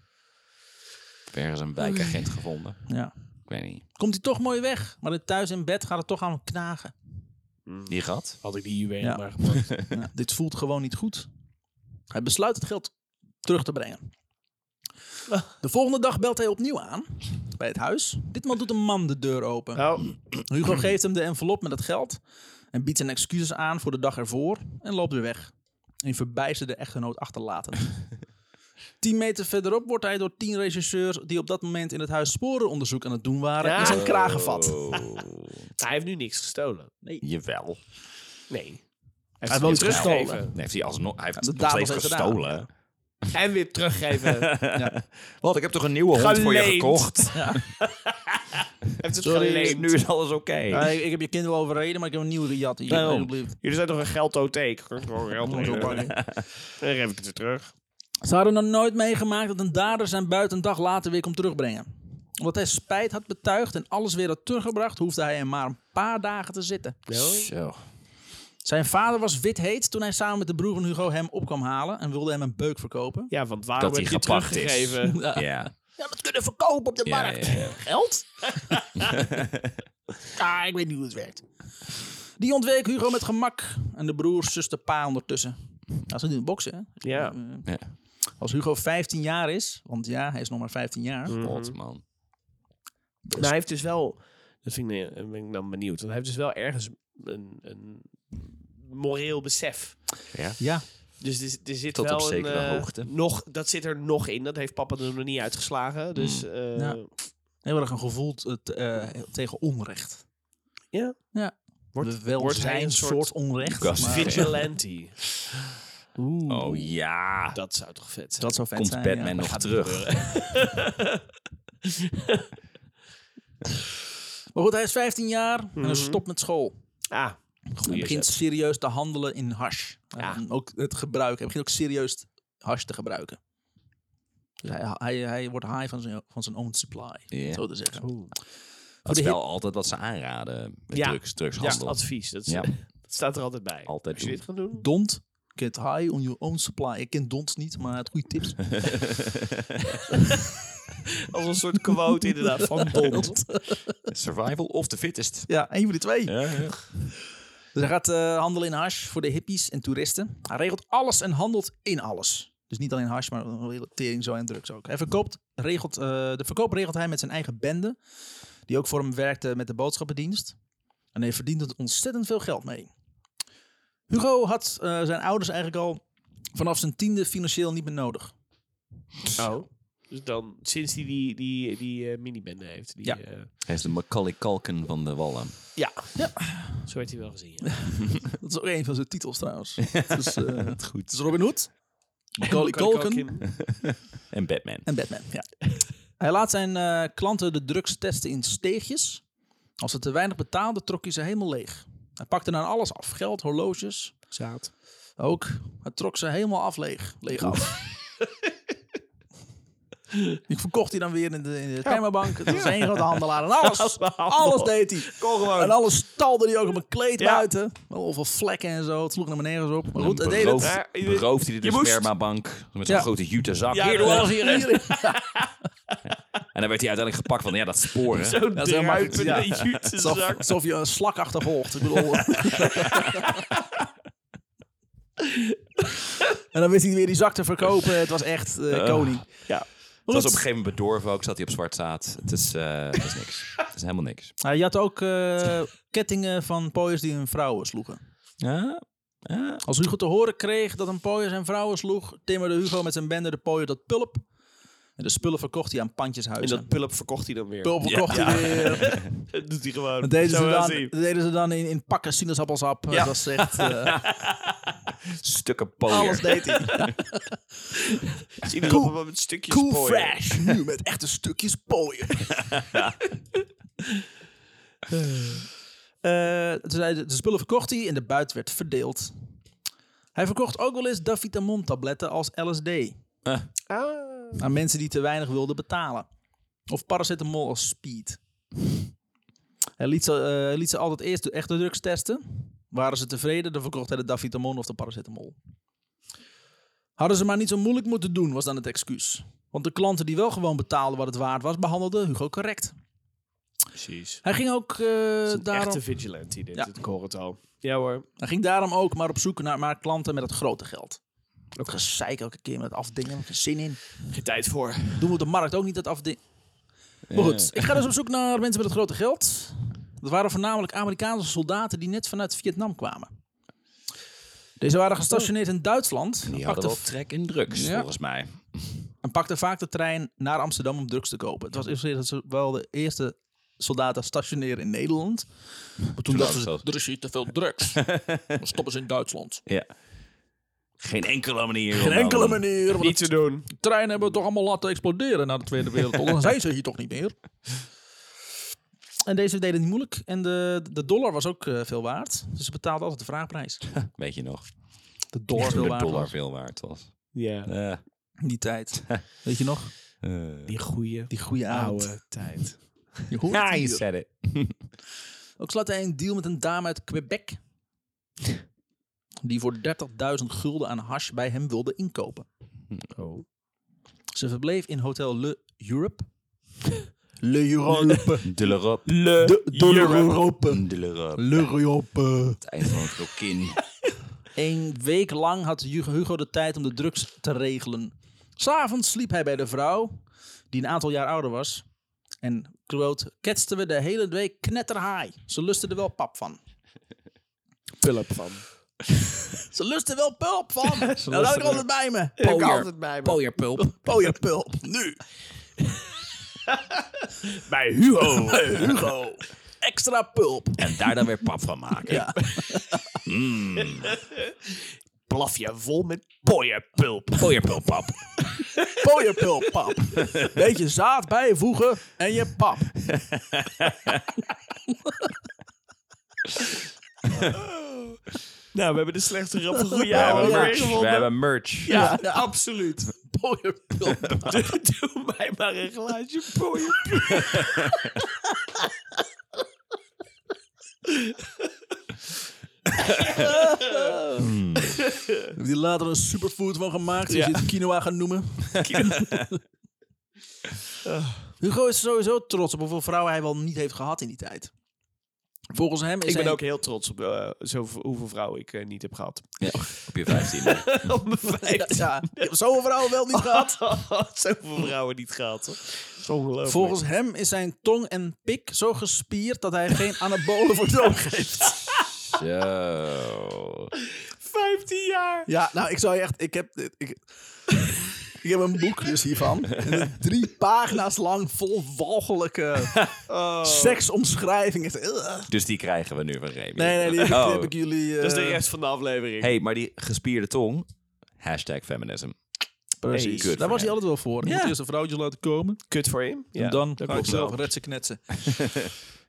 Speaker 3: Ergens een wijkagent gevonden.
Speaker 1: Ja.
Speaker 3: Ik weet niet.
Speaker 1: Komt hij toch mooi weg, maar thuis in bed gaat het toch aan hem knagen.
Speaker 3: Die gat?
Speaker 2: Hmm. Had ik die juwelen
Speaker 1: Ja.
Speaker 2: maar gepakt.
Speaker 1: Ja, dit voelt gewoon niet goed. Hij besluit het geld terug te brengen. De volgende dag belt hij opnieuw aan bij het huis. Ditmaal doet een man de deur open.
Speaker 2: Oh,
Speaker 1: Hugo geeft hem de envelop met het geld en biedt zijn excuses aan voor de dag ervoor en loopt weer weg. In verbijsterde echtgenoot achterlatend. Tien meter verderop wordt hij door tien regisseurs die op dat moment in het huis sporenonderzoek aan het doen waren,
Speaker 2: Ja.
Speaker 1: in zijn kraag gevat.
Speaker 3: Oh.
Speaker 2: Nou, hij heeft nu niks gestolen.
Speaker 3: Jawel.
Speaker 2: Nee. Hij Hij
Speaker 1: heeft wel iets gestolen.
Speaker 2: teruggegeven.
Speaker 3: Nee, heeft hij, alsnog, hij heeft
Speaker 1: de
Speaker 3: het nog steeds
Speaker 1: dadels heeft gedaan.
Speaker 3: gestolen.
Speaker 2: En weer teruggeven. Hij
Speaker 3: Wat, ik heb toch een nieuwe hond voor je
Speaker 2: Geleend.
Speaker 3: gekocht?
Speaker 2: heeft het
Speaker 1: Sorry,
Speaker 2: geleend.
Speaker 3: Nu is alles oké.
Speaker 1: Ja, ik, ik heb je kind wel overreden, maar ik heb een nieuwe gejat. Hier,
Speaker 3: Daarom.
Speaker 1: alsjeblieft.
Speaker 2: Jullie zijn toch een geldotheek? Ik kan gewoon geld
Speaker 1: Moet ik
Speaker 2: lenen.
Speaker 1: oppakken.
Speaker 2: Dan geef ik het weer terug.
Speaker 1: Ze hadden nog nooit meegemaakt dat een dader zijn buit een dag later weer kon terugbrengen. Omdat hij spijt had betuigd en alles weer had teruggebracht, hoefde hij er maar een paar dagen te zitten.
Speaker 3: Zo.
Speaker 1: Zijn vader was wit-heet toen hij samen met de broer van Hugo hem op kwam halen en wilde hem een beuk verkopen.
Speaker 2: Ja, want waarom
Speaker 3: Dat
Speaker 2: heb je
Speaker 3: hij
Speaker 2: het
Speaker 3: gepakt is.
Speaker 2: teruggegeven?
Speaker 3: Ja.
Speaker 1: Ja, dat kunnen verkopen op de
Speaker 3: Ja, ja, ja.
Speaker 1: Geld? ah, ik weet niet hoe het werkt. Die ontweek Hugo met gemak en de broers, zuster, pa ondertussen. Nou, ze doen boksen, hè?
Speaker 2: Ja.
Speaker 1: Eh, Als Hugo 15 jaar is, want ja, hij is nog maar 15 jaar.
Speaker 3: God, man.
Speaker 2: Maar hij heeft dus wel... Dat vind ik, eh, ben ik dan benieuwd. Want hij heeft dus wel ergens een, een moreel besef.
Speaker 1: Ja,
Speaker 2: Dus er, zit- er zit
Speaker 3: Tot op
Speaker 2: wel
Speaker 3: zekere
Speaker 2: een, eh,
Speaker 3: hoogte.
Speaker 2: Nog, dat zit er nog in. Dat heeft papa er nog niet uitgeslagen. Dus eh,
Speaker 1: Mm. Ja. heel erg een gevoel t- t- eh, tegen onrecht.
Speaker 2: Ja.
Speaker 1: ja.
Speaker 2: Wordt-
Speaker 1: wel
Speaker 2: wordt hij
Speaker 1: zijn
Speaker 2: een
Speaker 1: soort,
Speaker 2: soort
Speaker 1: onrecht.
Speaker 3: Gast-
Speaker 1: maar-
Speaker 3: Vind-
Speaker 2: vigilante.
Speaker 1: Oeh,
Speaker 3: Oh ja.
Speaker 2: Dat zou toch vet zijn.
Speaker 1: dat zou vet
Speaker 3: Komt
Speaker 1: zijn.
Speaker 3: Batman
Speaker 1: ja.
Speaker 3: nog terug?
Speaker 1: Maar goed, hij is 15 jaar en
Speaker 3: Mm-hmm.
Speaker 1: hij stopt met school.
Speaker 2: Ah,
Speaker 1: Hij
Speaker 2: goeie
Speaker 1: begint
Speaker 2: zet.
Speaker 1: serieus te handelen in hash.
Speaker 2: Ja.
Speaker 1: En Ook het gebruiken. Hij begint ook serieus hash te gebruiken. Dus hij, hij, hij wordt high van zijn, van zijn own supply,
Speaker 3: Ja.
Speaker 1: zo te zeggen.
Speaker 3: Dat
Speaker 1: de
Speaker 3: is
Speaker 1: hip-
Speaker 3: wel altijd wat ze aanraden met
Speaker 2: Ja.
Speaker 3: drugs,
Speaker 2: Dat is
Speaker 3: drugshandel.
Speaker 2: advies. Dat, is-
Speaker 3: Ja.
Speaker 2: dat staat er altijd bij.
Speaker 3: Altijd
Speaker 2: Als je
Speaker 3: doen.
Speaker 2: dit gaat doen.
Speaker 1: Don't get high on your own supply. Ik ken Dont niet, maar het goede tips.
Speaker 2: Als een soort quote inderdaad van Bond.
Speaker 3: Survival of the fittest.
Speaker 1: ja, één van de twee.
Speaker 3: Ja, ja.
Speaker 1: Dus hij gaat eh, handelen in hash voor de hippies en toeristen. Hij regelt alles en handelt in alles. Dus niet alleen hash, maar een hele tering zo en drugs ook. Hij verkoopt, regelt, eh, de verkoop regelt hij met zijn eigen bende. Die ook voor hem werkte met de boodschappendienst. En hij verdiende er ontzettend veel geld mee. Hugo had eh, zijn ouders eigenlijk al vanaf zijn tiende financieel niet meer nodig.
Speaker 2: Oh. Dus dan, sinds hij die, die, die eh minibende heeft. Die, eh,
Speaker 1: Ja.
Speaker 2: ja.
Speaker 3: Hij is de Macaulay Kalken van de Wallen.
Speaker 2: ja.
Speaker 1: Ja.
Speaker 2: Zo werd hij wel gezien. ja.
Speaker 1: Dat is ook een van zijn titels trouwens. Het is, eh, het
Speaker 3: Goed.
Speaker 1: is Robin Hood, Macaulay Culkin
Speaker 3: En Batman.
Speaker 1: En Batman, ja. Hij laat zijn eh, klanten de drugs testen in steegjes. Als ze te weinig betaalden, trok hij ze helemaal leeg. Hij pakte dan alles af. Geld, horloges,
Speaker 2: Zaad.
Speaker 1: ook. Hij trok ze helemaal af leeg. Leeg af. Die verkocht hij dan weer in de, in de timmerbank. Het was één grote handelaar. En alles, alles deed hij. En alles stalde hij ook op een kleed
Speaker 2: Ja.
Speaker 1: buiten. Wel veel vlekken en zo. Het sloeg naar beneden op. Maar goed,
Speaker 3: Dan
Speaker 1: hij deed het.
Speaker 3: berooft-
Speaker 2: Ja, eh, je-
Speaker 3: berooft hij de
Speaker 2: je moest.
Speaker 3: spermabank met zo'n
Speaker 1: Ja.
Speaker 3: grote jute zak.
Speaker 2: Ja,
Speaker 3: Hier, doe
Speaker 2: dat-
Speaker 3: alles hierin. En dan werd hij uiteindelijk gepakt van, ja, dat sporen.
Speaker 2: Zo'n
Speaker 1: Dat is heel makkelijk,
Speaker 2: druipende
Speaker 1: ja.
Speaker 2: jutezak.
Speaker 1: Alsof je een slak achtervolgt. Ik bedoel. en dan wist hij weer die zak te verkopen. Het was echt eh, koning.
Speaker 2: Ja.
Speaker 1: Maar
Speaker 3: Het was op
Speaker 1: goed,
Speaker 3: een gegeven moment bedorven ook, zat hij op zwart zaad. Het is, eh, het is niks. Het is helemaal niks.
Speaker 1: Hij had ook eh, kettingen van pooiers die hun vrouwen sloegen.
Speaker 3: Ja, ja.
Speaker 1: Als Hugo te horen kreeg dat een pooier zijn vrouwen sloeg, timmerde Hugo met zijn bende de pooier tot pulp. En de spullen verkocht hij aan
Speaker 2: En
Speaker 1: pandjeshuizen.
Speaker 2: dat pulp verkocht hij dan weer.
Speaker 1: pulp verkocht hij weer.
Speaker 2: Dat doet hij gewoon.
Speaker 1: Dat deden,
Speaker 2: Zo
Speaker 1: ze
Speaker 2: wel
Speaker 1: dan,
Speaker 2: zien.
Speaker 1: dat deden ze dan in, in pakken sinaasappelsap. Dat was echt... eh,
Speaker 3: Stukken pooier.
Speaker 1: alles deed hij.
Speaker 2: Zien we op een stukje
Speaker 1: Cool
Speaker 2: spoor.
Speaker 1: fresh, nu met echte stukjes pooien. Eh, toen zei de, de spullen verkocht hij en de buit werd verdeeld. Hij verkocht ook wel eens Davitamon-tabletten als LSD
Speaker 2: Ah.
Speaker 1: aan mensen die te weinig wilden betalen. Of paracetamol als speed. Hij liet ze, eh, hij liet ze altijd eerst de echte drugs testen. Waren ze tevreden, dan verkocht hij de Davitamon of de paracetamol. Hadden ze maar niet zo moeilijk moeten doen, was dan het excuus. Want de klanten die wel gewoon betaalden wat het waard was, behandelde Hugo correct.
Speaker 2: Precies.
Speaker 1: Hij ging ook, eh, daarom,
Speaker 2: Echte vigilante dit.
Speaker 1: Ja.
Speaker 2: Ik hoor het al. Ja hoor.
Speaker 1: hij ging daarom ook maar op zoek naar maar klanten met het grote geld. Ook gezeik elke keer met afdingen, geen zin in.
Speaker 2: Geen tijd voor.
Speaker 1: Doen we op de markt ook niet dat afding. Maar goed, ik ga dus op zoek naar mensen met het grote geld. Dat waren voornamelijk Amerikaanse soldaten die net vanuit Vietnam kwamen. Deze waren gestationeerd in Duitsland en
Speaker 3: Die hadden
Speaker 1: pakten,
Speaker 3: wel trek in drugs,
Speaker 1: Ja.
Speaker 3: volgens mij.
Speaker 1: en pakten vaak de trein naar Amsterdam om drugs te kopen. Het was eerst dat ze wel de eerste soldaten stationeren in Nederland. Maar toen dachten ze,
Speaker 3: dat-
Speaker 1: er is hier te veel drugs. Dan stoppen ze in Duitsland.
Speaker 3: Ja. Geen enkele manier.
Speaker 1: Geen
Speaker 3: om-
Speaker 1: enkele manier. want
Speaker 2: Niet te doen.
Speaker 1: de treinen hebben we toch allemaal laten exploderen na de Tweede Wereldoorlog. Dan zijn ze hier toch niet meer. En deze deden het niet moeilijk. En de, de dollar was ook eh, veel waard. Dus ze betaalden altijd de vraagprijs.
Speaker 3: Weet je nog?
Speaker 1: De dollar
Speaker 3: Toen
Speaker 1: veel
Speaker 3: de
Speaker 1: waard
Speaker 3: dollar
Speaker 1: was
Speaker 3: veel waard was.
Speaker 2: Ja.
Speaker 3: Eh, eh.
Speaker 1: in die tijd. Weet je nog?
Speaker 2: Die goede
Speaker 1: Die goede oude.
Speaker 2: oude tijd.
Speaker 1: Je hoort
Speaker 3: Ah,
Speaker 1: het
Speaker 3: je
Speaker 1: hier.
Speaker 3: said it.
Speaker 1: Ook sluit hij een deal met een dame uit Quebec. Die voor 30.000 gulden aan hash bij hem wilde inkopen.
Speaker 2: Oh.
Speaker 1: Ze verbleef in hotel Le Europe. Le Europe.
Speaker 3: De l'Europe.
Speaker 1: De, de Le Europe.
Speaker 3: De l'Europe.
Speaker 1: Le Europe.
Speaker 3: Het eind van het rokin.
Speaker 1: Een week lang had Hugo Hugo de tijd om de drugs te regelen. S'avonds sliep hij bij de vrouw, die een aantal jaar ouder was. En, quote, ketsten we de hele week knetterhaai. Ze lusten er wel pap van.
Speaker 2: Pulp van.
Speaker 1: Ze lusten wel pulp van. Nou, Dat had ik altijd bij me.
Speaker 2: Ik altijd bij me.
Speaker 1: Pooierpulp. Pooierpulp. Nu.
Speaker 2: Bij Hugo.
Speaker 1: Hugo. Extra pulp.
Speaker 3: En daar dan weer pap van maken.
Speaker 1: Ja.
Speaker 2: Blaf je vol met pooierpulp.
Speaker 3: Pooierpulpap.
Speaker 1: Pooierpulp, pap. Beetje zaad bijvoegen en je pap.
Speaker 2: Nou, we hebben de slechtste rap van goede
Speaker 3: We
Speaker 2: oude
Speaker 3: hebben
Speaker 2: weer
Speaker 3: merch. We
Speaker 2: gevonden.
Speaker 3: hebben merch.
Speaker 2: Ja,
Speaker 1: Ja.
Speaker 2: absoluut.
Speaker 1: Pooierpulp.
Speaker 2: Doe, doe mij maar een glaasje pooierpulp.
Speaker 1: Heeft hij later een superfood van gemaakt, die
Speaker 2: Ja.
Speaker 1: ze het quinoa gaan noemen. Hugo is sowieso trots op hoeveel vrouwen hij wel niet heeft gehad in die tijd. Volgens hem is
Speaker 2: Ik ben
Speaker 1: hij...
Speaker 2: ook heel trots op eh, zoveel, hoeveel vrouwen ik eh, niet heb gehad.
Speaker 3: Ja, op je 15.
Speaker 2: Op mijn
Speaker 1: Ja,
Speaker 2: vijfde.
Speaker 1: ja, ik heb zoveel vrouwen wel niet gehad.
Speaker 2: Oh, zoveel vrouwen niet gehad. hoor. Dat is ongelooflijk.
Speaker 1: Volgens hem is zijn tong en pik zo gespierd dat hij geen anabolen voor nodig heeft.
Speaker 3: Zo.
Speaker 2: 15 jaar.
Speaker 1: Ja, nou, ik zou je echt... Ik heb, dit- ik, ik heb een boek dus hiervan. En het is drie pagina's lang vol walgelijke seksomschrijvingen.
Speaker 3: Dus die krijgen we nu van Remy.
Speaker 1: Nee, nee, die heb, ik- die
Speaker 3: Oh.
Speaker 1: heb ik jullie...
Speaker 2: Dat is de
Speaker 1: eh,
Speaker 2: rest van de aflevering.
Speaker 3: hey, maar die gespierde tong. Hashtag feminism.
Speaker 1: Precies.
Speaker 3: Hey, kut
Speaker 1: Daar
Speaker 3: voor
Speaker 1: was hij
Speaker 3: hem.
Speaker 1: altijd wel voor. Je moet eerst een vrouwtje laten komen.
Speaker 2: Kut voor hem. Ja,
Speaker 1: en dan
Speaker 2: dat
Speaker 1: ga ik
Speaker 2: klopt
Speaker 1: zelf
Speaker 2: wel.
Speaker 1: retsen knetsen.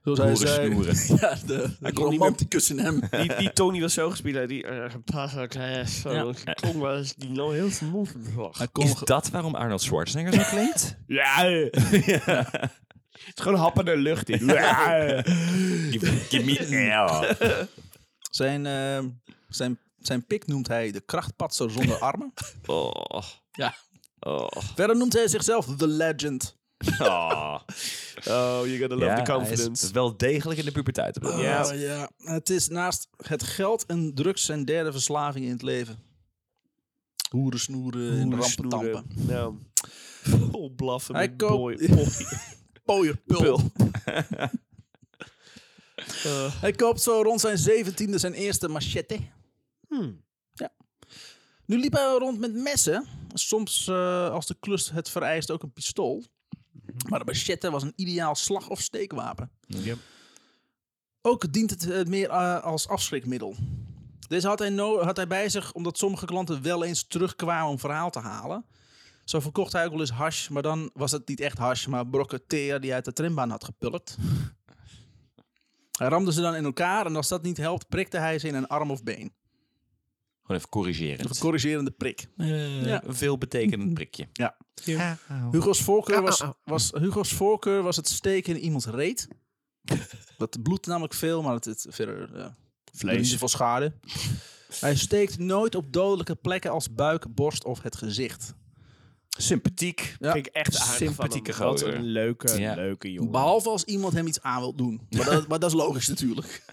Speaker 1: Zoals hij
Speaker 3: Boeren
Speaker 1: zei.
Speaker 3: snoeren.
Speaker 1: Ja, de, de
Speaker 2: kon niet meer-
Speaker 1: romanticus in hem.
Speaker 2: Die, die Tony was zo gespeeld. Die eh, pas ook, eh, zo.
Speaker 1: Ja.
Speaker 2: die tong was die nou heel vermoeiend was.
Speaker 1: Hij kon
Speaker 3: Is
Speaker 1: ge-
Speaker 3: dat waarom Arnold Schwarzenegger zo klinkt?
Speaker 2: Ja. Het is gewoon happende lucht in. Ja.
Speaker 3: give, give me air.
Speaker 1: zijn, eh, zijn, zijn pik noemt hij de krachtpatser zonder armen.
Speaker 3: Oh.
Speaker 1: Ja.
Speaker 3: Oh.
Speaker 1: Verder noemt hij zichzelf The Legend.
Speaker 3: oh.
Speaker 2: Oh, you gotta love
Speaker 3: Ja,
Speaker 2: the
Speaker 3: hij is
Speaker 2: confidence.
Speaker 3: wel degelijk in de puberteit. op dat moment.
Speaker 2: Ja.
Speaker 1: Oh, ja. Het is naast het geld en drugs zijn derde verslaving in het leven. Hoeren, snoeren, en rampen, tampen.
Speaker 2: Nou. Vol blaffen
Speaker 1: Hij
Speaker 2: met
Speaker 1: koopt-
Speaker 2: boy, boy.
Speaker 1: Pooier, pul.
Speaker 2: Pul. Eh,
Speaker 1: Hij koopt zo rond zijn zeventiende zijn eerste machete.
Speaker 2: Hmm.
Speaker 1: Ja. Nu liep hij wel rond met messen. Soms, eh, als de klus het vereist, ook een pistool. Maar de machete was een ideaal slag- of steekwapen. Ook dient het eh, meer eh, als afschrikmiddel. Deze had hij, no- had hij bij zich omdat sommige klanten wel eens terugkwamen om verhaal te halen. Zo verkocht hij ook wel eens hash, maar dan was het niet echt hash, maar brokken teer die hij uit de trambaan had gepulkt. Hij ramde ze dan in elkaar en als dat niet helpt, prikte hij ze in een arm of been.
Speaker 3: Gewoon even corrigeren.
Speaker 1: Of een corrigerende prik.
Speaker 3: ja. Een veelbetekenend prikje.
Speaker 1: Ja. Hugo's voorkeur was, was, Hugo's voorkeur was het steken in iemands reet. Dat bloedt namelijk veel, maar het, het verder eh doet niet zoveel schade. Hij steekt nooit op dodelijke plekken als buik, borst of het gezicht.
Speaker 3: Sympathiek.
Speaker 1: Ja.
Speaker 2: Vind ik echt aardig van
Speaker 3: Sympathieke
Speaker 2: hem. Wat
Speaker 3: gozer.
Speaker 2: een leuke,
Speaker 3: Ja.
Speaker 2: leuke jongen.
Speaker 1: Behalve als iemand hem iets aan wil doen. Maar dat, maar dat is logisch natuurlijk.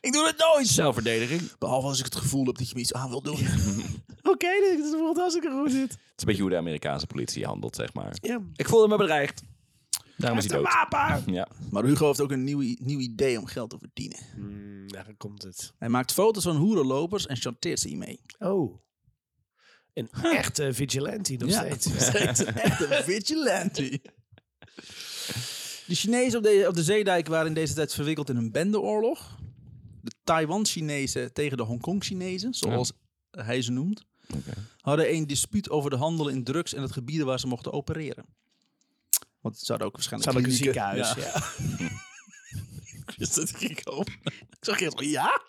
Speaker 1: ik doe het nooit!
Speaker 3: Zelfverdediging. Het
Speaker 1: Behalve als ik het gevoel heb dat je me iets aan wil doen.
Speaker 2: Oké, dit is fantastisch hoe dit.
Speaker 3: is een beetje hoe de Amerikaanse politie handelt, zeg maar.
Speaker 2: Ja.
Speaker 3: Ik voelde me bedreigd. Daarom is hij dood.
Speaker 2: wapen!
Speaker 3: Ja.
Speaker 1: Maar Hugo heeft ook een nieuw, i- nieuw idee om geld te verdienen.
Speaker 2: Mm, daar komt het.
Speaker 1: Hij maakt foto's van hoerenlopers en chanteert ze hiermee.
Speaker 2: Oh. Een echte vigilante nog steeds.
Speaker 1: Steeds een echte vigilante. De Chinezen op de, op de zeedijk waren in deze tijd verwikkeld in een bendeoorlog. De Taiwan-Chinezen tegen de Hongkong-Chinezen, zoals hij ze noemt, hadden een dispuut over de handel in drugs en het gebieden waar ze mochten opereren. Want ze hadden ook waarschijnlijk
Speaker 2: Zou ik een
Speaker 1: klinieken.
Speaker 2: ziekenhuis?
Speaker 1: Ja.
Speaker 2: Ja.
Speaker 1: Dus dat ging ik op. Ik zag eerst van, ja?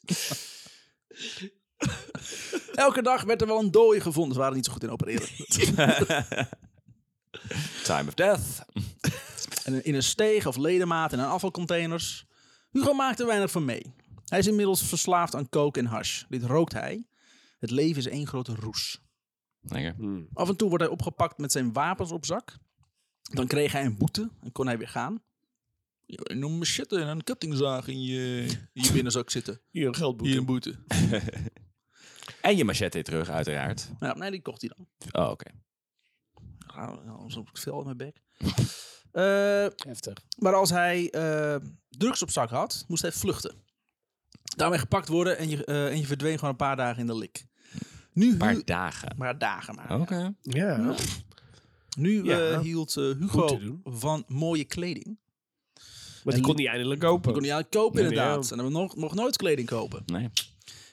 Speaker 1: Elke dag werd er wel een dooi gevonden. Ze waren niet zo goed in opereren.
Speaker 3: Time of death.
Speaker 1: en in een steeg of ledemaat en aan afvalcontainers. Hugo maakte er weinig van mee. Hij is inmiddels verslaafd aan coke en hash. Dit rookt hij. Het leven is één grote roes.
Speaker 3: Lekker.
Speaker 1: Af en toe wordt hij opgepakt met zijn wapens op zak. Dan kreeg hij een boete en kon hij weer gaan. Je noem me shit en een kettingzaag in je, in je binnenzak zitten.
Speaker 2: Hier een geldboete.
Speaker 1: Hier een boete.
Speaker 3: En je machete terug, uiteraard.
Speaker 1: Ja, nee, die kocht hij dan.
Speaker 3: Oh, oké.
Speaker 1: Anders op ik veel in mijn bek. Eh,
Speaker 2: Heftig.
Speaker 1: maar als hij eh, drugs op zak had, moest hij vluchten. Daarmee gepakt worden en je, eh, en je verdween gewoon een paar dagen in de lik. Nu hu-
Speaker 3: Een paar Oh. dagen.
Speaker 1: maar dagen maar.
Speaker 3: Oké.
Speaker 2: Ja.
Speaker 1: Nu eh,
Speaker 2: Ja.
Speaker 1: hield eh,
Speaker 2: Goed te
Speaker 1: Hugo
Speaker 2: doen.
Speaker 1: van mooie kleding. En-
Speaker 2: Maar die kon hij eindelijk
Speaker 1: Dat
Speaker 2: kopen.
Speaker 1: kon hij aan kopen
Speaker 2: Nee,
Speaker 1: inderdaad.
Speaker 2: ja.
Speaker 1: En hij mocht, mocht nooit kleding kopen.
Speaker 3: Nee.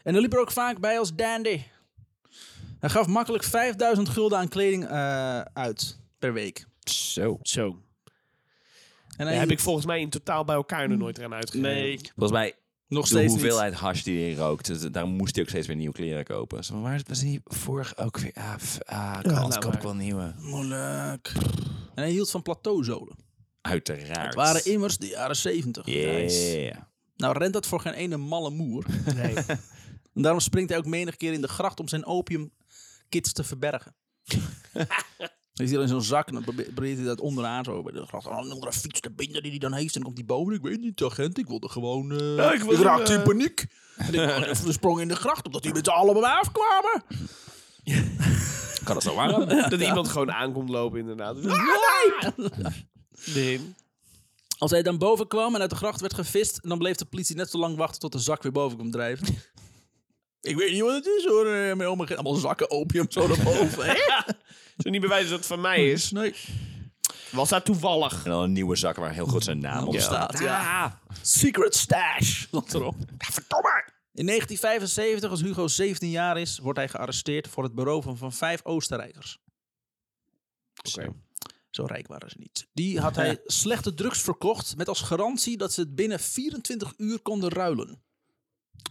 Speaker 1: En er liep er ook vaak bij als dandy. Hij gaf makkelijk 5000 gulden aan kleding eh, uit per week.
Speaker 3: Zo.
Speaker 2: Zo.
Speaker 1: En hij
Speaker 2: Daar heb ik volgens mij in totaal bij elkaar nog nooit eraan uitgegeven.
Speaker 1: Nee,
Speaker 3: Volgens mij,
Speaker 1: nog
Speaker 3: de
Speaker 1: steeds niet.
Speaker 3: hoeveelheid hash die hij rookt, dus daar moest hij ook steeds weer nieuwe kleren kopen. Zo, waar was die vorig ook weer? Ah, f- ah ik
Speaker 2: laat
Speaker 3: anders koop ik
Speaker 2: maar.
Speaker 3: wel nieuwe.
Speaker 1: Moeilijk. En hij hield van plateauzolen.
Speaker 3: Uiteraard.
Speaker 1: Het waren immers de jaren 70.
Speaker 3: Yeah.
Speaker 1: Nou rent dat voor geen ene malle moer.
Speaker 2: Nee.
Speaker 1: En daarom springt hij ook menig keer in de gracht om zijn opiumkids te verbergen. Hij zit dan in zo'n zak en dan probe- probeert hij dat onderaan zo bij de gracht. Oh, een andere fiets te binden die hij dan heeft. En dan komt hij boven. Ik weet niet, agent. Ik wilde gewoon... eh,
Speaker 2: Ja, ik
Speaker 1: ik,
Speaker 2: wilde,
Speaker 1: raakte in
Speaker 2: eh,
Speaker 1: paniek. En ik even de sprong in de gracht omdat die met z'n allen bij mij afkwamen.
Speaker 3: Kan dat zo warm?
Speaker 2: Dat iemand gewoon aankomt lopen inderdaad.
Speaker 1: Ah,
Speaker 2: Nee.
Speaker 1: Als hij dan boven kwam en uit de gracht werd gevist, dan bleef de politie net zo lang wachten tot de zak weer boven kwam drijven. Ik weet niet wat het is hoor. Eh, Mijn oma ging allemaal zakken opium zo naar boven. Hè?
Speaker 2: Zo niet bewijzen dat het van mij is.
Speaker 1: Nee.
Speaker 2: Was dat toevallig? Ah.
Speaker 3: en dan een nieuwe zak waar heel goed zijn naam op
Speaker 1: Ja.
Speaker 3: staat.
Speaker 1: Ja. Secret stash. Stond erop.
Speaker 2: Verdomme!
Speaker 1: In 1975, als Hugo 17 jaar is, wordt hij gearresteerd voor het beroven van vijf Oostenrijkers.
Speaker 2: Oké.
Speaker 1: Zo rijk waren ze niet. Die had hij slechte drugs verkocht met als garantie dat ze het binnen 24 uur konden ruilen.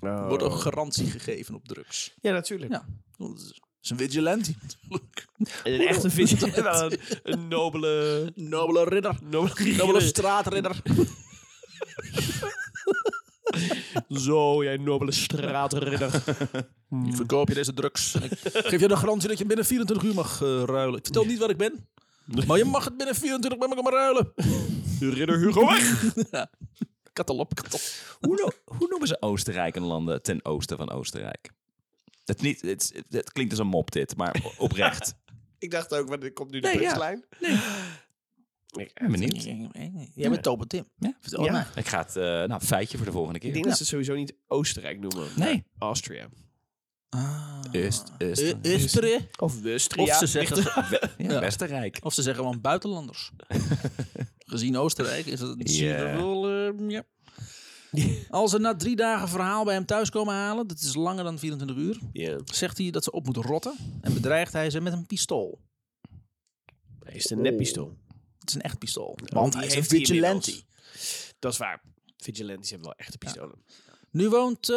Speaker 1: Er wordt ook garantie gegeven op drugs.
Speaker 2: Ja, natuurlijk.
Speaker 1: Oh. Ja, dat is een vigilante natuurlijk.
Speaker 2: Een echte vis. een, een nobele...
Speaker 1: Nobele ridder.
Speaker 2: nobele,
Speaker 1: Nobele straatridder.
Speaker 2: Zo, jij nobele straatridder. Mm.
Speaker 1: Ik verkoop je deze drugs. En ik geef je de garantie dat je binnen 24 uur mag eh, ruilen. Ik vertel niet waar ik ben. Maar je mag het binnen 24 uur met me gaan ruilen.
Speaker 2: Ridder Hugo weg!
Speaker 1: Katalop, katalop.
Speaker 3: Hoe, no- hoe noemen ze Oostenrijk een landen ten oosten van Oostenrijk? Het, is niet, het, is- het klinkt als een mop dit, maar o- oprecht.
Speaker 2: Ik dacht ook, maar er komt nu de
Speaker 3: Nee, ja.
Speaker 2: punchline.
Speaker 3: Ik ben benieuwd.
Speaker 1: Jij bent Tobe Tim.
Speaker 3: Ja.
Speaker 1: Vertel het
Speaker 2: Ja.
Speaker 1: mij.
Speaker 3: Ik ga het, eh, nou, feitje voor de volgende
Speaker 2: Ik
Speaker 3: keer.
Speaker 2: denk dat ze het sowieso niet Oostenrijk noemen.
Speaker 3: Nee.
Speaker 2: Austria.
Speaker 1: Ah.
Speaker 3: Oost, Oost-
Speaker 1: Eh, Istere.
Speaker 2: Of Wustria.
Speaker 1: Of ze zeggen,
Speaker 3: ja, Westerrijk.
Speaker 1: of ze zeggen gewoon buitenlanders. Gezien Oostenrijk is dat zie je
Speaker 3: Ja.
Speaker 1: dat wel. eh, ja. Als ze na drie dagen verhaal bij hem thuis komen halen, dat is langer dan 24 uur, zegt hij dat ze op moeten rotten en bedreigt hij ze met een pistool.
Speaker 2: Hij is een neppistool.
Speaker 1: Het is een echt pistool, Oh. want
Speaker 2: die
Speaker 1: hij is een
Speaker 2: heeft hij
Speaker 1: vigilante.
Speaker 2: inmiddels. Dat is waar. Vigilantes hebben wel echte pistolen.
Speaker 1: Nu woont eh,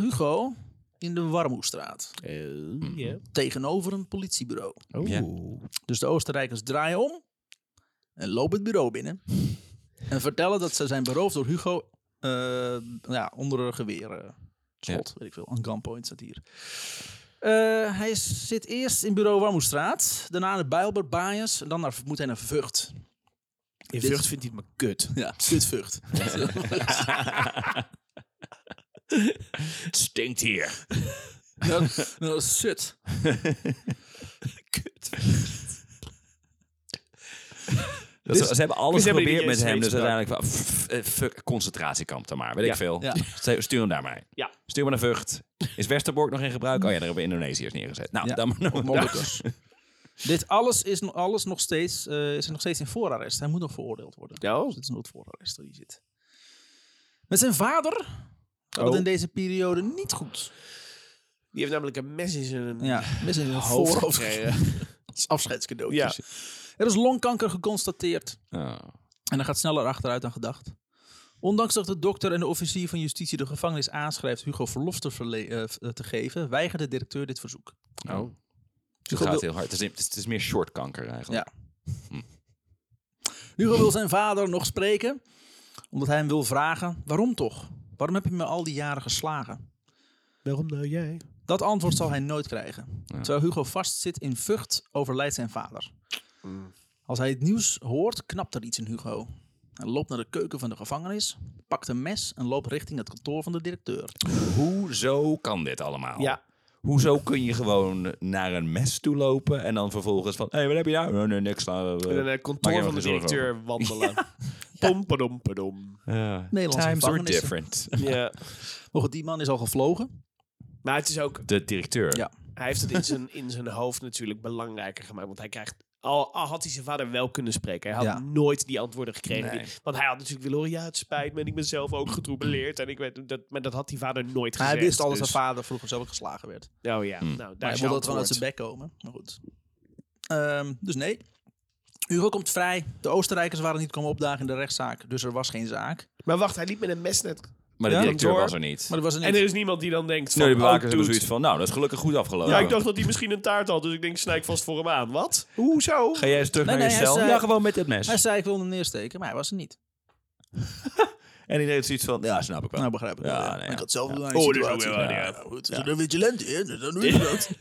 Speaker 1: Hugo in de Warmoestraat,
Speaker 2: Eh, ja.
Speaker 1: tegenover een politiebureau.
Speaker 2: Oh.
Speaker 3: Ja.
Speaker 1: Dus de Oostenrijkers draaien om en lopen het bureau binnen. En vertellen dat ze zijn beroofd door Hugo eh, ja, onder een geweer. eh, slot, weet ik veel. Een gunpoint staat hier. Eh, hij is- zit eerst in bureau Warmoestraat, daarna naar Bijlber, Baaiens en dan naar, moet hij naar Vught.
Speaker 2: In
Speaker 1: Dit-
Speaker 2: Vught vindt hij het maar kut.
Speaker 1: Ja, dit Vught.
Speaker 3: Het stinkt hier.
Speaker 1: nou, nou, shit.
Speaker 2: Kut.
Speaker 3: Dat ze, ze hebben alles
Speaker 2: Ze hebben
Speaker 3: geprobeerd
Speaker 2: die
Speaker 3: met hem, dus
Speaker 2: steeds
Speaker 3: uiteindelijk van, f- eh, fuck, concentratiekamp dan maar, weet ik
Speaker 2: Ja.
Speaker 3: veel.
Speaker 1: Ja.
Speaker 3: Stu- Stuur hem daar maar.
Speaker 2: Ja.
Speaker 3: Stuur maar naar Vught. Is Westerbork nog in gebruik? Oh ja, daar hebben we Indonesiërs neergezet. Nou,
Speaker 1: Ja.
Speaker 3: dan maar naar
Speaker 1: Molukkers. Dit alles is, no- alles nog steeds, eh, is nog steeds in voorarrest. Hij moet nog veroordeeld worden.
Speaker 2: Ja.
Speaker 1: Dus het is een voorarrest dat hij zit. Met zijn vader gaat het
Speaker 2: Oh.
Speaker 1: in deze periode niet goed.
Speaker 2: Die heeft namelijk een mes in zijn
Speaker 1: Ja, met zijn
Speaker 2: hoofd
Speaker 1: voorhoofd.
Speaker 2: gekregen.
Speaker 1: Als afscheidscadeautje.
Speaker 2: Ja.
Speaker 1: Er is longkanker geconstateerd.
Speaker 3: Oh,
Speaker 1: En hij gaat sneller achteruit dan gedacht. Ondanks dat de dokter en de officier van justitie de gevangenis aanschrijft Hugo verlof te, verle- eh, v- te geven, weigerde de directeur dit verzoek.
Speaker 3: Oh. Het gaat heel hard. Het is, het is, het is meer shortkanker eigenlijk.
Speaker 1: Hugo wil zijn vader nog spreken, omdat hij hem wil vragen: waarom toch? Waarom heb je me al die jaren geslagen?
Speaker 2: Waarom nou jij?
Speaker 1: Dat antwoord zal hij nooit krijgen. Terwijl Hugo vastzit in Vught, overlijdt zijn vader. Als hij het nieuws hoort, knapt er iets in Hugo. Hij loopt naar de keuken van de gevangenis, pakt een mes en loopt richting het kantoor van de directeur.
Speaker 3: Hoezo kan dit
Speaker 1: Oh.
Speaker 3: allemaal?
Speaker 2: Ja.
Speaker 3: Hoezo kun je gewoon naar een mes toe lopen en dan vervolgens van... Hé, hey, wat heb je nou? Nee, nee, niks. nou,
Speaker 1: Oh.
Speaker 3: eh,
Speaker 2: En naar het
Speaker 3: maak
Speaker 2: kantoor
Speaker 3: je
Speaker 2: van de
Speaker 3: geen zorgen
Speaker 2: directeur wandelen. Pom, padom, padom.
Speaker 3: over. Ja.
Speaker 1: Nederlandse
Speaker 3: eh, Times are
Speaker 1: gevangenissen.
Speaker 3: different.
Speaker 2: Ja.
Speaker 1: Maar goed, die man is al gevlogen.
Speaker 2: Maar het is ook,
Speaker 3: De directeur.
Speaker 1: Ja.
Speaker 2: hij heeft het in zijn, in zijn hoofd natuurlijk belangrijker gemaakt. Want hij krijgt, al, al had hij zijn vader wel kunnen spreken, hij had
Speaker 1: Ja.
Speaker 2: nooit die antwoorden gekregen.
Speaker 3: Nee.
Speaker 2: die- want hij had natuurlijk willen horen, ja het spijt me en ik ben zelf ook getroebeleerd. En ik weet, dat, maar dat had die vader nooit
Speaker 1: Maar
Speaker 2: gezegd.
Speaker 1: hij wist al dat
Speaker 2: dus-
Speaker 1: zijn vader vroeger zelf ook geslagen werd.
Speaker 2: Oh ja, nou daar
Speaker 1: Maar
Speaker 2: is
Speaker 1: hij
Speaker 2: je
Speaker 1: wilde het gewoon uit
Speaker 2: antwoord.
Speaker 1: zijn bek komen. Maar goed. Ehm, dus nee. Hugo komt vrij. De Oostenrijkers waren niet komen opdagen in de rechtszaak. Dus er was geen zaak.
Speaker 2: Maar wacht, hij liep met een mes net.
Speaker 3: Maar de
Speaker 1: Ja,
Speaker 3: directeur
Speaker 2: kantoor.
Speaker 3: was er niet.
Speaker 1: Maar er was een
Speaker 2: En er is niemand die dan denkt van,
Speaker 3: Nee, de
Speaker 2: oh,
Speaker 3: bewakers hebben
Speaker 2: dude.
Speaker 3: zoiets van... Nou, dat is gelukkig goed afgelopen.
Speaker 2: Ja, ik dacht dat hij misschien een taart had, dus ik denk, snij ik vast voor hem aan. Wat? Hoezo?
Speaker 3: Ga jij eens terug
Speaker 1: Nee,
Speaker 3: naar
Speaker 1: nee,
Speaker 3: je
Speaker 1: hij
Speaker 3: cel?
Speaker 1: zei-
Speaker 3: ja, gewoon met het mes.
Speaker 1: Hij zei ik wilde hem neersteken, maar hij was er niet.
Speaker 3: En die deed zoiets van... Ja, snap ik wel.
Speaker 1: Nou, begrijp ik wel.
Speaker 3: Ja,
Speaker 1: ja.
Speaker 3: nee,
Speaker 1: Maar
Speaker 3: ja.
Speaker 1: Ik had zelf wel een
Speaker 2: Oh, dit is ook
Speaker 1: situatie.
Speaker 2: weer waar, ja.
Speaker 1: Nou, goed. Als je er vigilant in, dus dan doe je dat.
Speaker 3: het is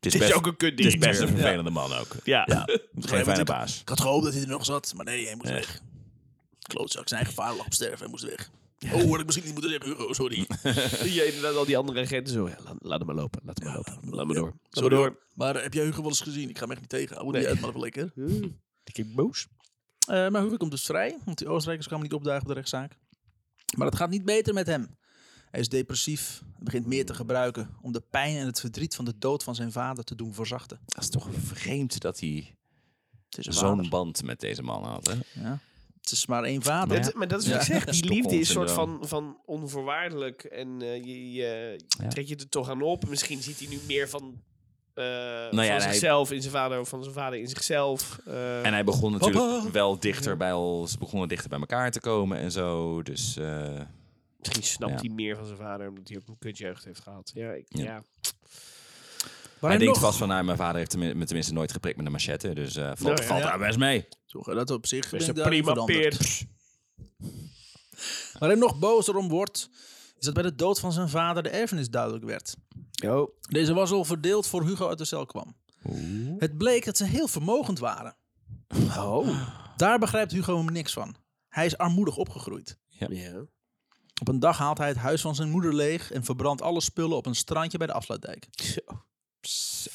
Speaker 2: Dit
Speaker 3: best,
Speaker 2: is ook een kut
Speaker 3: het is best
Speaker 2: directeur.
Speaker 3: een vervelende man ook.
Speaker 2: Ja.
Speaker 3: Geen fijne baas.
Speaker 1: Ik had gehoopt dat hij er nog zat, maar nee, hij moest weg. Klootzak, zijn gevaar lag op sterven, hij moest weg. Oh, had ik misschien niet moeten zeggen, Hugo, sorry.
Speaker 2: Ja, inderdaad, al die andere agenten zo. ja, laat, laat hem maar lopen, laat hem maar lopen. Laat me door. Laat me
Speaker 1: Sorry
Speaker 2: door.
Speaker 1: hoor. Maar eh, heb jij Hugo wel eens gezien? Ik ga hem echt niet tegen. Hou nee. niet uit, maar even lekker.
Speaker 2: Ik keek boos.
Speaker 1: Eh, maar Hugo komt dus vrij, want die Oostenrijkers kwamen niet opdagen op de rechtszaak. Maar het gaat niet beter met hem. Hij is depressief en begint meer te gebruiken om de pijn en het verdriet van de dood van zijn vader te doen verzachten.
Speaker 3: Dat is toch vreemd dat hij
Speaker 1: Het is een
Speaker 3: zo'n
Speaker 1: vader.
Speaker 3: band met deze man had. Hè?
Speaker 1: Ja. Het is maar één vader.
Speaker 2: Dat, maar dat is wat
Speaker 1: Ja.
Speaker 2: ik zeg. Die
Speaker 3: Stockholm
Speaker 2: liefde is een soort
Speaker 3: syndroom.
Speaker 2: van, van onvoorwaardelijk. En eh, je, je
Speaker 3: Ja.
Speaker 2: trek je er toch aan op. Misschien ziet hij nu meer van, eh,
Speaker 3: ja, en
Speaker 2: van
Speaker 3: hij-
Speaker 2: zichzelf in zijn vader of van zijn vader in zichzelf. eh.
Speaker 3: En hij begon natuurlijk wel dichter bij ons, begonnen dichter bij elkaar te komen en zo. Dus eh,
Speaker 2: misschien snapt
Speaker 3: ja.
Speaker 2: hij meer van zijn vader omdat hij ook een kutjeugd heeft gehad. Ja, ik,
Speaker 3: Ja.
Speaker 2: ja.
Speaker 1: Waar
Speaker 3: hij denkt
Speaker 1: nog-
Speaker 3: vast van, nou, mijn vader heeft tenmin- me tenminste nooit geprikt met een machette. Dus eh valt,
Speaker 2: ja.
Speaker 3: valt daar best mee.
Speaker 1: Zo gaat dat op zich.
Speaker 2: Best
Speaker 1: ben ik
Speaker 2: een
Speaker 1: daar niet
Speaker 2: prima
Speaker 1: veranderd.
Speaker 2: peer.
Speaker 1: Waar hij nog bozer om wordt, is dat bij de dood van zijn vader de erfenis duidelijk werd.
Speaker 2: Yo.
Speaker 1: Deze was al verdeeld voor Hugo uit de cel kwam. Het bleek dat ze heel vermogend waren. Daar begrijpt Hugo hem niks van. Hij is armoedig opgegroeid.
Speaker 2: Ja.
Speaker 1: Op een dag haalt hij het huis van zijn moeder leeg en verbrandt alle spullen op een strandje bij de afsluitdijk.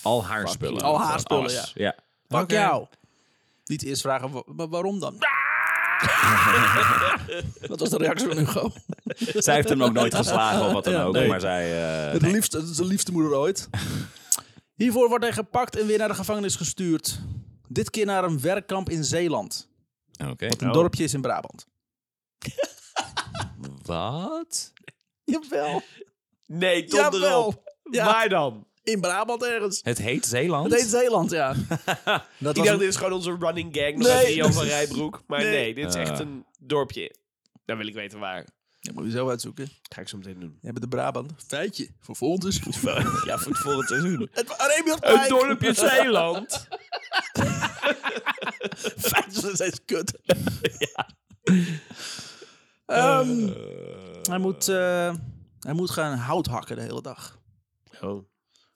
Speaker 3: Al haar spullen.
Speaker 1: Al haar spullen,
Speaker 3: Alles. ja.
Speaker 1: Pak jou! Niet eerst vragen, wa- maar waarom dan? Dat was de reactie van Hugo.
Speaker 3: Zij heeft hem ook nooit geslagen of wat dan
Speaker 1: Ja,
Speaker 3: ook.
Speaker 1: nee.
Speaker 3: Maar zij... eh,
Speaker 1: Het liefste, het is de liefste moeder ooit. Hiervoor wordt hij gepakt en weer naar de gevangenis gestuurd. Dit keer naar een werkkamp in Zeeland.
Speaker 3: eh, Oké.
Speaker 1: Wat
Speaker 2: Oh.
Speaker 1: een dorpje is in Brabant.
Speaker 3: Wat?
Speaker 1: Jawel.
Speaker 2: Nee, donder
Speaker 1: Jawel.
Speaker 2: op.
Speaker 1: Ja.
Speaker 2: Waar dan?
Speaker 1: In Brabant ergens.
Speaker 3: Het heet Zeeland?
Speaker 1: Het heet Zeeland, ja. Dat
Speaker 2: Ik
Speaker 1: was
Speaker 2: dacht, dit is gewoon onze running gang.
Speaker 1: Nee.
Speaker 2: Nee. Jan van Rijbroek. Maar nee,
Speaker 1: Nee.
Speaker 2: dit is
Speaker 3: Ah.
Speaker 2: echt een dorpje. Dan wil ik weten waar.
Speaker 1: Dat moet je zelf uitzoeken.
Speaker 2: Ga ik zo meteen doen.
Speaker 1: Je hebt de Brabant. Feitje. dus- Voor volgend is het
Speaker 2: Ja, voor het volgende seizoen.
Speaker 1: Remiel
Speaker 2: Een dorpje in Zeeland.
Speaker 1: Feitjes zijn steeds kut. Ehm, hij, moet, eh, hij moet gaan hout hakken de hele dag.
Speaker 2: Oh.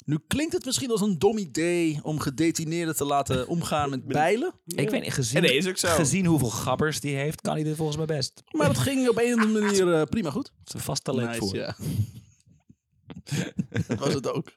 Speaker 1: Nu klinkt het misschien als een dom idee om gedetineerden te laten omgaan met bijlen.
Speaker 3: Ik weet niet, gezien,
Speaker 2: Nee, is ook zo.
Speaker 3: gezien hoeveel gabbers die heeft, kan hij dit volgens mij best.
Speaker 1: Maar het ging op een of andere manier eh, prima goed.
Speaker 3: Het is een vast talent voor.
Speaker 1: ja. dat was het ook.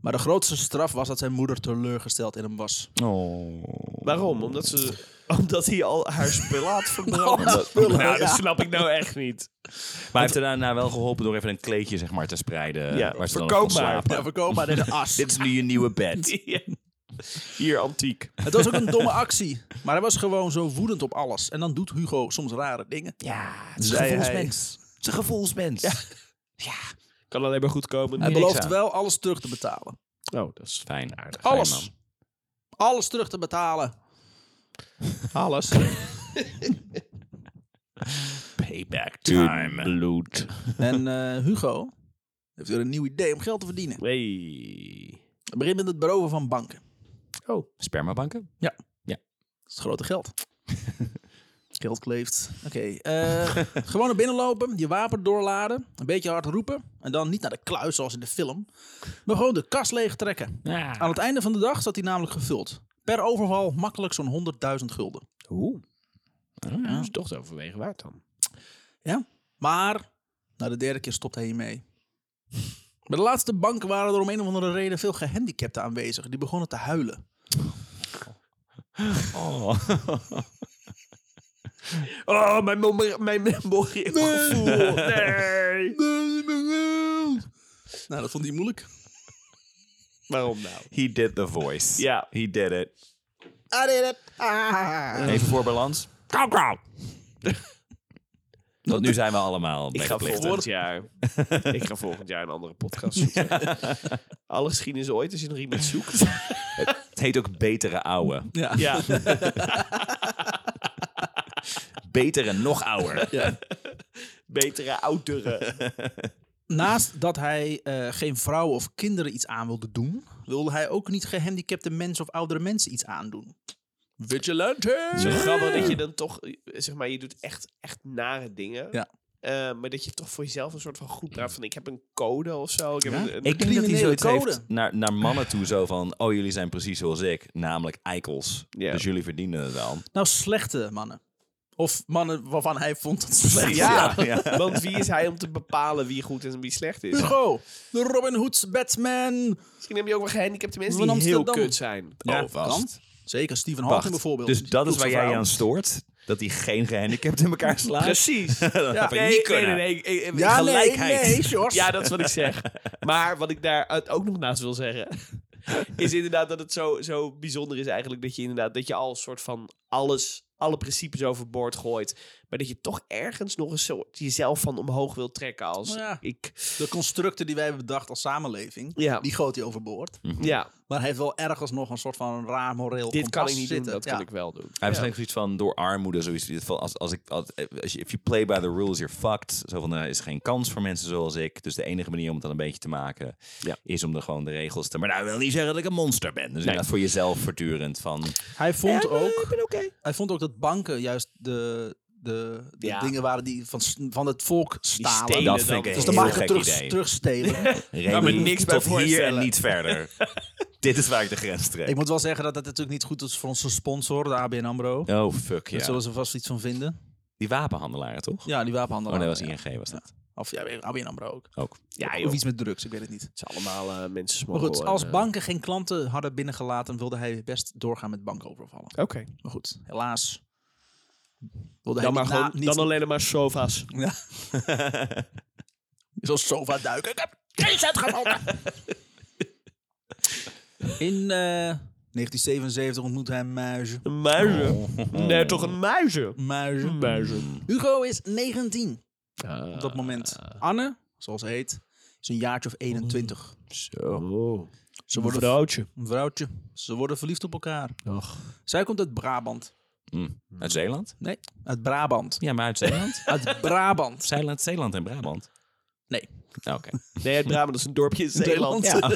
Speaker 1: Maar de grootste straf was dat zijn moeder teleurgesteld in hem was.
Speaker 3: Oh.
Speaker 2: Waarom? Omdat ze Omdat hij al haar spullen had verbrand. nou, dat snap ik nou echt niet.
Speaker 3: Maar hij heeft er daarna wel geholpen door even een kleedje zeg maar, te spreiden.
Speaker 2: Ja,
Speaker 3: waar ze dan
Speaker 2: verkoop
Speaker 3: op kon
Speaker 2: maar.
Speaker 3: slapen.
Speaker 1: Ja, verkoop maar deze as.
Speaker 3: Dit is nu je nieuwe bed.
Speaker 2: Ja. Hier, antiek.
Speaker 1: Het was ook een domme actie. Maar hij was gewoon zo woedend op alles. En dan doet Hugo soms rare dingen.
Speaker 3: Ja, het is een
Speaker 2: Zei hij.
Speaker 3: gevoelsmens. Het is een gevoelsmens. Ja.
Speaker 2: Kan alleen maar goed komen.
Speaker 1: Hij
Speaker 3: niks
Speaker 1: belooft
Speaker 3: aan.
Speaker 1: wel alles terug te betalen.
Speaker 2: Oh, dat is
Speaker 3: Fijn, aardig.
Speaker 1: Alles.
Speaker 3: Fijn, man.
Speaker 1: Alles terug te betalen.
Speaker 2: alles.
Speaker 3: Payback time. Bloed.
Speaker 1: En eh, Hugo heeft weer een nieuw idee om geld te verdienen.
Speaker 2: Nee.
Speaker 1: Het begint met het beroven van banken.
Speaker 2: Oh.
Speaker 3: Spermabanken?
Speaker 1: Dat is het grote geld. geld kleeft. Oké. eh, gewoon naar binnen lopen, je wapen doorladen, een beetje hard roepen. En dan niet naar de kluis zoals in de film, maar gewoon de kast leeg trekken. Aan het einde van de dag zat hij namelijk gevuld. Per overval makkelijk zo'n 100.000 gulden.
Speaker 2: Oeh.
Speaker 3: Oh,
Speaker 2: Dat is toch te overwegen waard dan.
Speaker 1: Maar na de derde keer stopte hij hiermee. Bij de laatste bank waren er om een of andere reden veel gehandicapten aanwezig. Die begonnen te huilen.
Speaker 3: Oh.
Speaker 2: Oh, mijn memor- mijn memorieel gevoel. Oh, Nee.
Speaker 1: Nou, dat vond hij moeilijk.
Speaker 2: Waarom nou?
Speaker 3: He did the voice.
Speaker 2: Ja.
Speaker 3: He did it.
Speaker 2: I did it.
Speaker 3: Even voor balans. Kauw, kauw. Want nu zijn we allemaal
Speaker 2: Ik ga
Speaker 3: meeplichten.
Speaker 2: volgend jaar. ik ga volgend jaar een andere podcast zoeken. Alle geschiedenis ooit als je nog iemand zoekt.
Speaker 3: Het heet ook betere ouwe.
Speaker 1: Ja.
Speaker 2: ja.
Speaker 3: Betere nog ouwer.
Speaker 2: Betere ouderen.
Speaker 1: Naast dat hij eh, geen vrouwen of kinderen iets aan wilde doen, wilde hij ook niet gehandicapte mensen of oudere mensen iets aandoen.
Speaker 2: Zo
Speaker 1: Vigilante!
Speaker 2: grappig dat je dan toch, eh, zeg maar, je doet echt, echt nare dingen.
Speaker 1: Ja.
Speaker 2: Eh, maar dat je toch voor jezelf een soort van groep draagt van ik heb een code of zo. Ik heb
Speaker 1: Ja?
Speaker 2: een,
Speaker 3: Ik
Speaker 2: een-
Speaker 3: denk dat hij
Speaker 1: Criminele
Speaker 3: zoiets
Speaker 1: code.
Speaker 3: heeft naar, naar mannen toe zo van... Oh, jullie zijn precies zoals ik. Namelijk eikels.
Speaker 2: Ja.
Speaker 3: Dus jullie verdienen het wel.
Speaker 1: Nou, slechte mannen. Of mannen waarvan hij vond dat ze slecht
Speaker 2: Ja,
Speaker 3: Ja, ja.
Speaker 2: want wie is hij om te bepalen wie goed en wie slecht is?
Speaker 1: Hugo, de Robin Hood's Batman.
Speaker 2: Misschien heb je ook wel gehandicapte mensen
Speaker 1: Van
Speaker 2: die heel
Speaker 1: Amsterdam.
Speaker 2: kut zijn.
Speaker 1: Ja,
Speaker 3: oh, vast.
Speaker 1: kan. Zeker, Stephen
Speaker 3: Wacht,
Speaker 1: Hawking bijvoorbeeld.
Speaker 3: Dus dat is waar jij je
Speaker 1: Vrouw.
Speaker 3: aan stoort? Dat hij geen gehandicapten in elkaar slaat?
Speaker 2: Precies.
Speaker 3: Dat heb ik
Speaker 2: Nee,
Speaker 3: niet
Speaker 2: nee,
Speaker 3: kunnen.
Speaker 2: nee, nee, ik- ik- ik-
Speaker 1: Ja,
Speaker 3: Gelijkheid.
Speaker 1: Nee, nee, Sjors.
Speaker 2: Ja, dat is wat ik zeg. Maar wat ik daar uit- ook nog naast wil zeggen. Is inderdaad dat het zo, zo bijzonder is eigenlijk. Dat je inderdaad. Dat je al een soort van alles. Alle principes overboord gooit. Maar dat je toch ergens nog een soort. jezelf van omhoog wil trekken. Als
Speaker 1: Ja.
Speaker 2: ik.
Speaker 1: De constructen die wij hebben bedacht als samenleving,
Speaker 2: Ja.
Speaker 1: die gooit hij overboord.
Speaker 2: Ja,
Speaker 1: Maar hij heeft wel ergens nog een soort van raar moreel
Speaker 2: dit kan
Speaker 1: kompas
Speaker 2: ik niet
Speaker 1: zitten.
Speaker 2: doen. Dat
Speaker 1: Ja.
Speaker 2: kan ik wel doen.
Speaker 3: Hij heeft waarschijnlijk zoiets van door armoede, zoiets van als, als ik, als, als je, if you play by the rules, you're fucked. Zo van, er is geen kans voor mensen zoals ik. Dus de enige manier om het dan een beetje te maken,
Speaker 2: Ja.
Speaker 3: is om er gewoon de regels te... Maar dat wil niet zeggen dat ik een monster ben. Dus inderdaad voor jezelf voortdurend van...
Speaker 1: Hij vond ook...
Speaker 2: Ik ben oké.
Speaker 1: Hij vond ook dat banken juist de, de, de
Speaker 2: Ja.
Speaker 1: dingen waren die van, s- van het volk stalen.
Speaker 2: stelen
Speaker 3: Dat vind ik
Speaker 1: dus de
Speaker 3: een heel
Speaker 1: markt
Speaker 3: gek
Speaker 1: terug, Nou,
Speaker 3: idee.
Speaker 1: terugstelen.
Speaker 3: Remy,
Speaker 2: me niks bij
Speaker 3: tot hier en
Speaker 2: voorstellen.
Speaker 3: niet verder. Dit is waar ik de grens trek.
Speaker 1: ik moet wel zeggen dat dat natuurlijk niet goed is voor onze sponsor, de ABN AMRO. Daar
Speaker 3: Oh, fuck, ja.
Speaker 1: zullen ze vast iets van vinden.
Speaker 3: Die wapenhandelaren, toch?
Speaker 1: Ja, die wapenhandel.
Speaker 3: Oh, nee, was ING, was dat
Speaker 1: Of ja, ABN AMRO ook.
Speaker 3: ook.
Speaker 2: Ja, joh.
Speaker 1: of iets met drugs, ik weet het niet.
Speaker 2: Het is allemaal eh, mensen
Speaker 1: Maar goed,
Speaker 2: smokkelen,
Speaker 1: als
Speaker 2: eh.
Speaker 1: banken geen klanten hadden binnengelaten, wilde hij best doorgaan met bankovervallen.
Speaker 2: Oké.
Speaker 1: Maar goed, helaas. Wilde
Speaker 2: Dan,
Speaker 1: hij
Speaker 2: maar
Speaker 1: niet
Speaker 2: gewoon,
Speaker 1: na- niet-
Speaker 2: dan alleen maar sofa's.
Speaker 1: Ja. Zo'n sofa duiken. Ik heb geen cent gevonden. In eh, 1977 ontmoet hij Muizen.
Speaker 2: Een muizen. Nee, toch een muizen.
Speaker 1: Muizen.
Speaker 2: Muizen.
Speaker 1: Hugo is 19 op dat moment. Anne, zoals ze heet, is een jaartje of 21.
Speaker 2: Zo.
Speaker 1: Ze
Speaker 2: Een
Speaker 1: worden
Speaker 2: vrouwtje.
Speaker 1: een vrouwtje. Ze worden verliefd op elkaar.
Speaker 2: Och.
Speaker 1: Zij komt uit Brabant.
Speaker 3: Mm. Uit Zeeland?
Speaker 1: Nee, uit Brabant.
Speaker 3: Ja, maar uit Zeeland?
Speaker 1: Uit Brabant.
Speaker 3: Zeeland, Zeeland en Brabant?
Speaker 1: Nee.
Speaker 3: Oh, Oké.
Speaker 2: Nee, uit Brabant dat is een dorpje in Zeeland.
Speaker 1: Ja.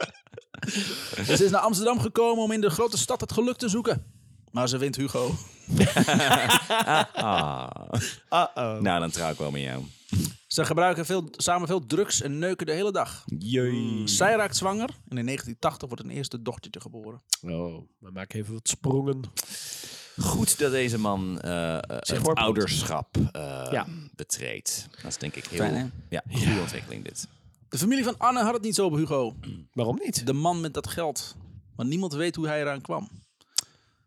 Speaker 1: ze is naar Amsterdam gekomen om in de grote stad het geluk te zoeken. Maar ze wint Hugo.
Speaker 3: Ah.
Speaker 1: Oh.
Speaker 2: Uh-oh.
Speaker 3: Nou, dan trouw ik wel met jou.
Speaker 1: Ze gebruiken veel, samen veel drugs en neuken de hele dag.
Speaker 3: Jee.
Speaker 1: Zij raakt zwanger en in 1980 wordt een eerste dochtertje geboren.
Speaker 2: Oh, maar maak even wat sprongen.
Speaker 3: Goed dat deze man eh, eh, het
Speaker 2: voorbeeld.
Speaker 3: ouderschap eh,
Speaker 2: Ja.
Speaker 3: betreedt. Dat is denk ik heel...
Speaker 1: Fijn, hè?
Speaker 3: ja, goede ontwikkeling dit.
Speaker 1: De familie van Anne had het niet zo op Hugo.
Speaker 2: Waarom niet?
Speaker 1: De man met dat geld. Maar niemand weet hoe hij eraan kwam.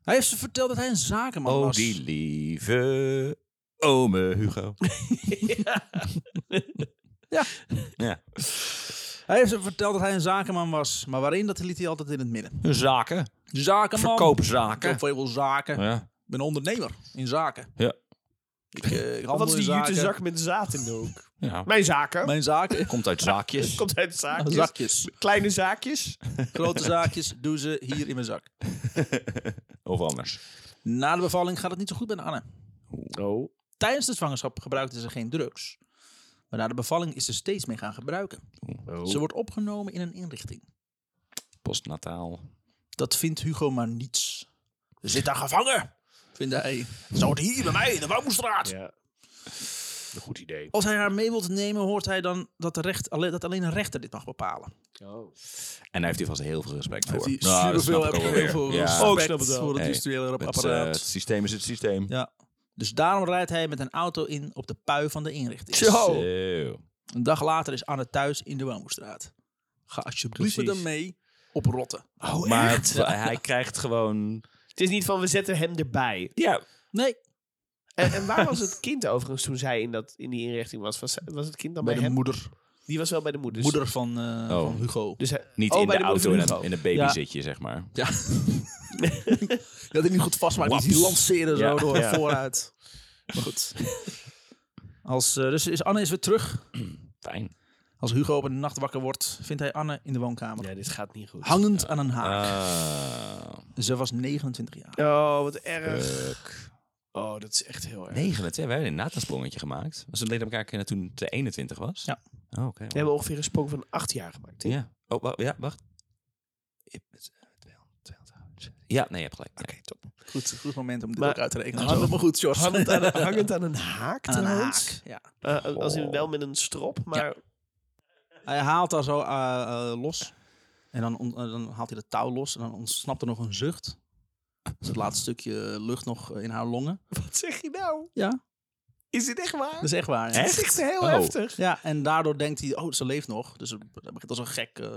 Speaker 1: Hij heeft ze verteld dat hij een zakenman
Speaker 3: Oh,
Speaker 1: was.
Speaker 3: die lieve ome Hugo.
Speaker 1: Ja.
Speaker 3: ja.
Speaker 1: Hij heeft ze verteld dat hij een zakenman was. Maar waarin, dat liet hij altijd in het midden.
Speaker 3: Zaken.
Speaker 1: Zakenman. Ik
Speaker 3: Verkoopzaken.
Speaker 1: heb veel zaken.
Speaker 3: Ja.
Speaker 1: Ik ben ondernemer in zaken.
Speaker 3: Ja.
Speaker 1: Ik, eh, ik handel
Speaker 2: Wat is
Speaker 1: in
Speaker 2: die
Speaker 1: zaken.
Speaker 2: jute zak met zaad in de hoek?
Speaker 3: ja.
Speaker 2: Mijn Nou, zaken.
Speaker 1: Mijn zaken.
Speaker 3: Komt uit zaakjes.
Speaker 2: Komt uit zaakjes.
Speaker 1: Zakjes.
Speaker 2: Kleine zaakjes.
Speaker 1: Grote zaakjes doe ze hier in mijn zak.
Speaker 3: Of anders.
Speaker 1: Na de bevalling gaat het niet zo goed met Anne.
Speaker 2: Oh.
Speaker 1: Tijdens de zwangerschap gebruikte ze geen drugs. Maar na de bevalling is ze steeds meer gaan gebruiken.
Speaker 2: oh,
Speaker 1: Ze wordt opgenomen in een inrichting.
Speaker 3: Postnataal.
Speaker 1: Dat vindt Hugo maar niets. Ze zit daar gevangen, vindt hij. Ze hoort hier bij mij in de Wouwstraat.
Speaker 2: Ja. Een goed idee.
Speaker 1: Als hij haar mee wilt nemen, hoort hij dan dat, de recht, alleen, dat alleen een rechter dit mag bepalen.
Speaker 2: Oh.
Speaker 3: En daar heeft hij vast heel veel respect voor.
Speaker 1: Heeft hij
Speaker 3: Nou, dat snap
Speaker 1: superveel
Speaker 3: ik ook
Speaker 1: heb
Speaker 3: wel
Speaker 1: heel
Speaker 3: weer.
Speaker 1: veel
Speaker 3: Ja.
Speaker 1: respect
Speaker 2: Oh, ik snap het wel.
Speaker 1: voor het
Speaker 3: Nee,
Speaker 1: industriële
Speaker 3: Het, eh,
Speaker 1: apparaat.
Speaker 3: het systeem is het systeem.
Speaker 1: ja. Dus daarom rijdt hij met een auto in op de pui van de inrichting.
Speaker 2: Zo.
Speaker 3: Zo.
Speaker 1: Een dag later is Anne thuis in de Woonstraat. Ga alsjeblieft met
Speaker 2: Precies.
Speaker 1: hem mee op rotten.
Speaker 3: maar het- hij krijgt gewoon...
Speaker 2: Het is niet van we zetten hem erbij.
Speaker 3: Ja,
Speaker 1: Nee,
Speaker 2: En, en waar was het kind overigens toen zij in, dat, in die inrichting was? Was, was het kind dan bij,
Speaker 1: bij de
Speaker 2: hem?
Speaker 1: moeder.
Speaker 2: Die was wel bij de moeder. Dus-
Speaker 1: moeder van, eh,
Speaker 3: Oh.
Speaker 1: van Hugo.
Speaker 2: Dus hij-
Speaker 3: niet
Speaker 2: oh,
Speaker 3: in
Speaker 2: bij
Speaker 3: de, auto
Speaker 2: moeder van
Speaker 3: in een,
Speaker 2: Hugo.
Speaker 3: in een babyzitje, zeg maar.
Speaker 1: Ja. dat hij niet goed vast, maar die lanceren zo
Speaker 3: Ja.
Speaker 1: door
Speaker 2: Ja.
Speaker 1: vooruit. Maar goed. Als, eh, dus is Anne is weer terug.
Speaker 3: Fijn.
Speaker 1: Als Hugo op een nacht wakker wordt, vindt hij Anne in de woonkamer.
Speaker 2: Nee, dit gaat niet goed.
Speaker 1: Hangend aan een haak.
Speaker 3: Ah.
Speaker 1: Ze was 29 jaar.
Speaker 2: Oh, wat erg.
Speaker 3: Fuck.
Speaker 2: Oh, dat is echt heel erg.
Speaker 3: 29, we hebben inderdaad een sprongetje gemaakt. Ze deden elkaar kennen toen het 21 was.
Speaker 1: Ja.
Speaker 3: Oh, oké.
Speaker 2: We hebben ongeveer een sprong van acht jaar gemaakt. hè?
Speaker 3: Ja. Oh, wa- ja, wacht. eh, Ja, nee, je hebt gelijk. Oké, top.
Speaker 1: Goed, goed moment om dit
Speaker 2: Maar-
Speaker 1: ook uit te rekenen.
Speaker 2: Hang-
Speaker 1: Zo, maar goed, Jos.
Speaker 2: Hangend aan, een- hangend aan een haak
Speaker 1: Aan een
Speaker 2: trouwens.
Speaker 1: haak. Ja.
Speaker 2: Eh, als in wel met een strop, maar...
Speaker 1: Hij haalt haar zo eh, eh, los. En dan, on- eh, dan haalt hij het touw los. En dan ontsnapt er nog een zucht. Dus het laatste stukje lucht nog eh, in haar longen.
Speaker 2: Wat zeg je nou?
Speaker 1: Ja.
Speaker 2: Is dit echt waar?
Speaker 1: Dat is echt waar. ja.
Speaker 2: Dat is echt heel
Speaker 3: Oh.
Speaker 2: heftig.
Speaker 1: Ja, en daardoor denkt hij, oh, ze leeft nog. Dus hij begint als een gek eh,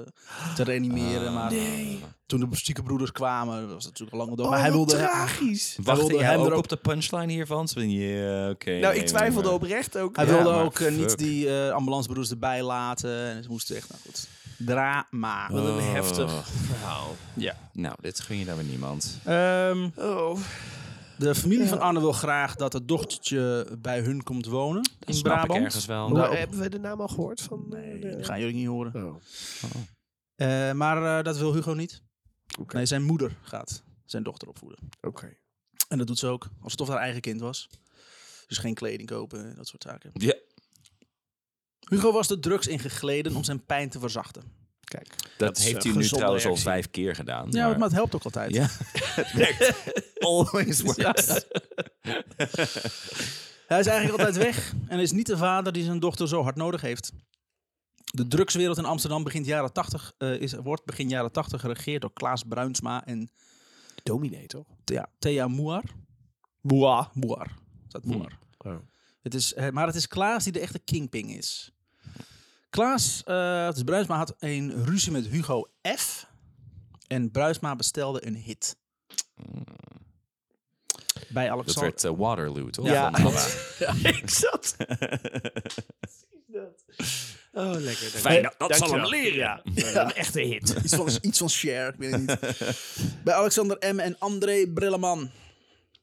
Speaker 1: te reanimeren. maar toen de zieke broeders kwamen, was het natuurlijk al lang dood.
Speaker 2: Oh,
Speaker 1: maar hij
Speaker 2: wat
Speaker 1: wilde...
Speaker 2: tragisch.
Speaker 3: Wacht,
Speaker 1: wilde
Speaker 3: jij
Speaker 1: hem
Speaker 3: ook
Speaker 1: erop-
Speaker 3: op de punchline hiervan? Zo van, Ja, oké.
Speaker 2: nou,
Speaker 3: nee,
Speaker 2: ik twijfelde
Speaker 3: maar-
Speaker 2: oprecht ook.
Speaker 1: Hij
Speaker 3: Ja,
Speaker 1: wilde
Speaker 3: maar
Speaker 1: ook eh, niet
Speaker 3: fuck.
Speaker 1: die eh, ambulancebroeders erbij laten. En ze moesten echt, nou goed. Drama.
Speaker 2: Wat een
Speaker 3: Oh.
Speaker 2: heftig verhaal.
Speaker 3: Nou, dit gun je daar weer niemand.
Speaker 1: Ehm,
Speaker 2: Oh.
Speaker 1: de familie van Anne wil graag dat het dochtertje bij hun komt wonen.
Speaker 3: Dat
Speaker 1: in
Speaker 3: snap
Speaker 1: Brabant.
Speaker 3: ik ergens wel.
Speaker 2: Nou,
Speaker 1: op-
Speaker 2: hebben we de naam al gehoord van... Nee,
Speaker 1: Die gaan jullie niet horen.
Speaker 2: Oh.
Speaker 1: Eh, maar eh, dat wil Hugo niet.
Speaker 2: Oké.
Speaker 1: Nee, zijn moeder gaat zijn dochter opvoeden.
Speaker 2: Oké.
Speaker 1: En dat doet ze ook, alsof het haar eigen kind was. Dus geen kleding kopen, en dat soort zaken.
Speaker 3: Ja.
Speaker 1: Hugo was de drugs ingegleden om zijn pijn te verzachten.
Speaker 2: Kijk.
Speaker 3: Dat,
Speaker 2: is een
Speaker 3: heeft hij nu
Speaker 2: gezonde
Speaker 3: trouwens
Speaker 2: reactie.
Speaker 3: al vijf keer gedaan.
Speaker 1: Ja, maar het helpt ook altijd.
Speaker 3: Ja. het werkt. Always works.
Speaker 1: Hij is eigenlijk altijd weg en is niet de vader die zijn dochter zo hard nodig heeft. De drugswereld in Amsterdam begint jaren 80, eh, is, wordt begin jaren 80 geregeerd door Klaas Bruinsma en
Speaker 2: Dominator.
Speaker 1: Thea, Thea Moer.
Speaker 2: Boa.
Speaker 1: Moer. Dat Moer.
Speaker 3: Hm.
Speaker 2: Oh.
Speaker 1: Het is, eh, maar het is Klaas die de echte kingping is. Klaas, eh dus Bruisma had een ruzie met Hugo F. En Bruisma bestelde een hit. Bij
Speaker 3: Hm. Dat
Speaker 1: Alexander.
Speaker 3: werd eh, Waterloo, toch?
Speaker 1: Ja.
Speaker 3: Van ABBA.
Speaker 2: ik zat. Oh, lekker.
Speaker 3: Fijn, dat- dat zal hem
Speaker 2: leren. Ja. Een echte hit.
Speaker 1: Iets van, iets van Cher, ik weet het niet. Bij Alexander M. en André Brilleman.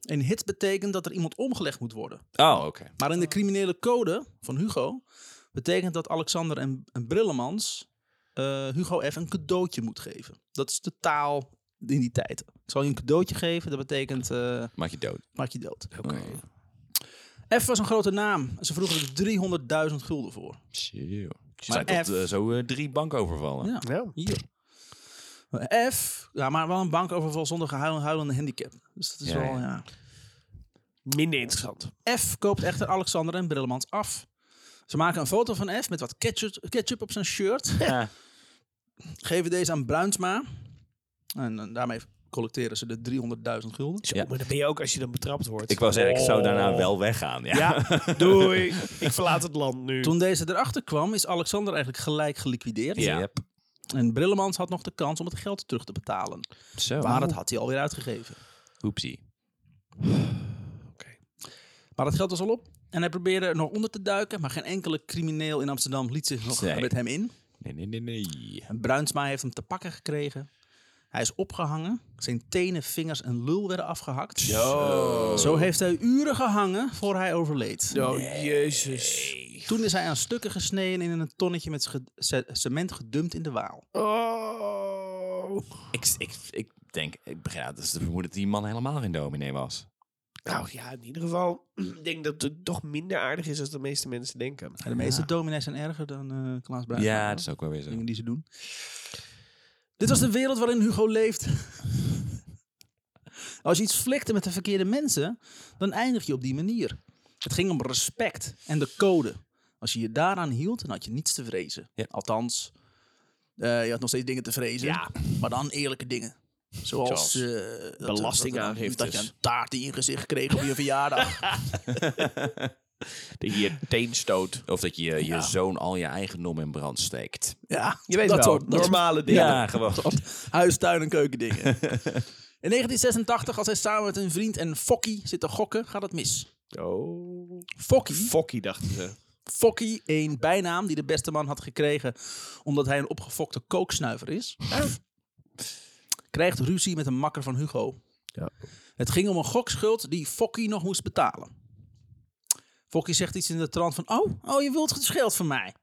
Speaker 1: Een hit betekent dat er iemand omgelegd moet worden.
Speaker 3: Oh, oké.
Speaker 1: Maar in de criminele code van Hugo betekent dat Alexander en, en Brillemans eh, Hugo F. een cadeautje moet geven. Dat is de taal in die tijd. Ik zal je een cadeautje geven, dat betekent eh,
Speaker 3: Maak je dood.
Speaker 1: maak je dood.
Speaker 3: Oké.
Speaker 1: F was een grote naam. en Ze vroegen er 300.000 gulden voor.
Speaker 3: Chill.
Speaker 1: Maar
Speaker 3: Zijn tot
Speaker 1: F-
Speaker 3: eh, zo eh, drie bankovervallen.
Speaker 1: Ja. Hier. F, ja, maar wel een bankoverval zonder gehuil- huilende handicap. Dus dat is
Speaker 3: Ja,
Speaker 1: wel,
Speaker 3: ja.
Speaker 1: ja.
Speaker 2: Minder interessant.
Speaker 1: F koopt echter Alexander en Brillemans af. Ze maken een foto van F met wat ketchup, ketchup op zijn shirt.
Speaker 3: Ja.
Speaker 1: Geven deze aan Bruinsma. En, eh, daarmee collecteren ze de 300.000 gulden.
Speaker 2: Zo,
Speaker 3: Ja.
Speaker 2: Maar dan ben je ook als je dan betrapt wordt.
Speaker 3: Ik wou zeggen, ik zou daarna
Speaker 2: Oh.
Speaker 3: wel weggaan. Ja.
Speaker 2: Ja, doei. Ik verlaat het land nu.
Speaker 1: Toen deze erachter kwam, is Alexander eigenlijk gelijk geliquideerd.
Speaker 3: Ja. Yep.
Speaker 1: En Brillemans had nog de kans om het geld terug te betalen.
Speaker 3: Zo.
Speaker 1: Maar dat had hij alweer uitgegeven.
Speaker 3: Oepsie.
Speaker 1: Maar dat geld was al op. En hij probeerde er nog onder te duiken, maar geen enkele crimineel in Amsterdam liet zich nog
Speaker 3: Nee.
Speaker 1: met hem in.
Speaker 3: Nee, nee, nee, nee.
Speaker 1: En Bruinsma heeft hem te pakken gekregen. Hij is opgehangen. Zijn tenen, vingers en lul werden afgehakt. Zo heeft hij uren gehangen voor hij overleed.
Speaker 2: Oh, jezus.
Speaker 1: Toen is hij aan stukken gesneden en in een tonnetje met ge- ce- cement gedumpt in de Waal.
Speaker 2: Oh.
Speaker 3: Ik, ik, ik denk, ik begrijp dat is de vermoeden dat die man helemaal geen dominee was.
Speaker 2: Nou ja, in ieder geval, ik denk dat het toch minder aardig is dan de meeste mensen denken.
Speaker 1: En de meeste dominees zijn erger dan eh Klaas Bruinsma.
Speaker 3: Ja,
Speaker 1: hoor.
Speaker 3: dat is ook wel weer zo.
Speaker 1: dingen die ze doen. Dit was de wereld waarin Hugo leeft. Als je iets flikte met de verkeerde mensen, dan eindig je op die manier. Het ging om respect en de code. Als je je daaraan hield, dan had je niets te vrezen.
Speaker 3: Ja.
Speaker 1: Althans, eh, je had nog steeds dingen te vrezen,
Speaker 2: Ja.
Speaker 1: maar dan eerlijke dingen. Zoals
Speaker 2: Zoals
Speaker 1: eh, dat- dat-
Speaker 2: belastingaangiftes.
Speaker 1: Dat, je een taart in je gezicht kreeg op je verjaardag.
Speaker 2: Dat je je teen stoot.
Speaker 3: Of dat je je zoon al je eigendom in brand steekt.
Speaker 1: ja,
Speaker 2: Je weet
Speaker 1: dat
Speaker 2: wel,
Speaker 1: soort- dat soort-
Speaker 2: normale dingen.
Speaker 3: gewoon.
Speaker 1: Huis, tuin en keukendingen. In 1986, als hij samen met een vriend en Fokkie zit te gokken, gaat het mis.
Speaker 2: Oh.
Speaker 1: Fokkie,
Speaker 2: Fokkie, dachten ze.
Speaker 1: Fokkie, een bijnaam die de beste man had gekregen omdat hij een opgefokte kooksnuiver is, krijgt ruzie met een makker van Hugo.
Speaker 2: Ja.
Speaker 1: Het ging om een gokschuld die Fokkie nog moest betalen. Fokkie zegt iets in de trant van, oh, oh, je wilt het geld van mij.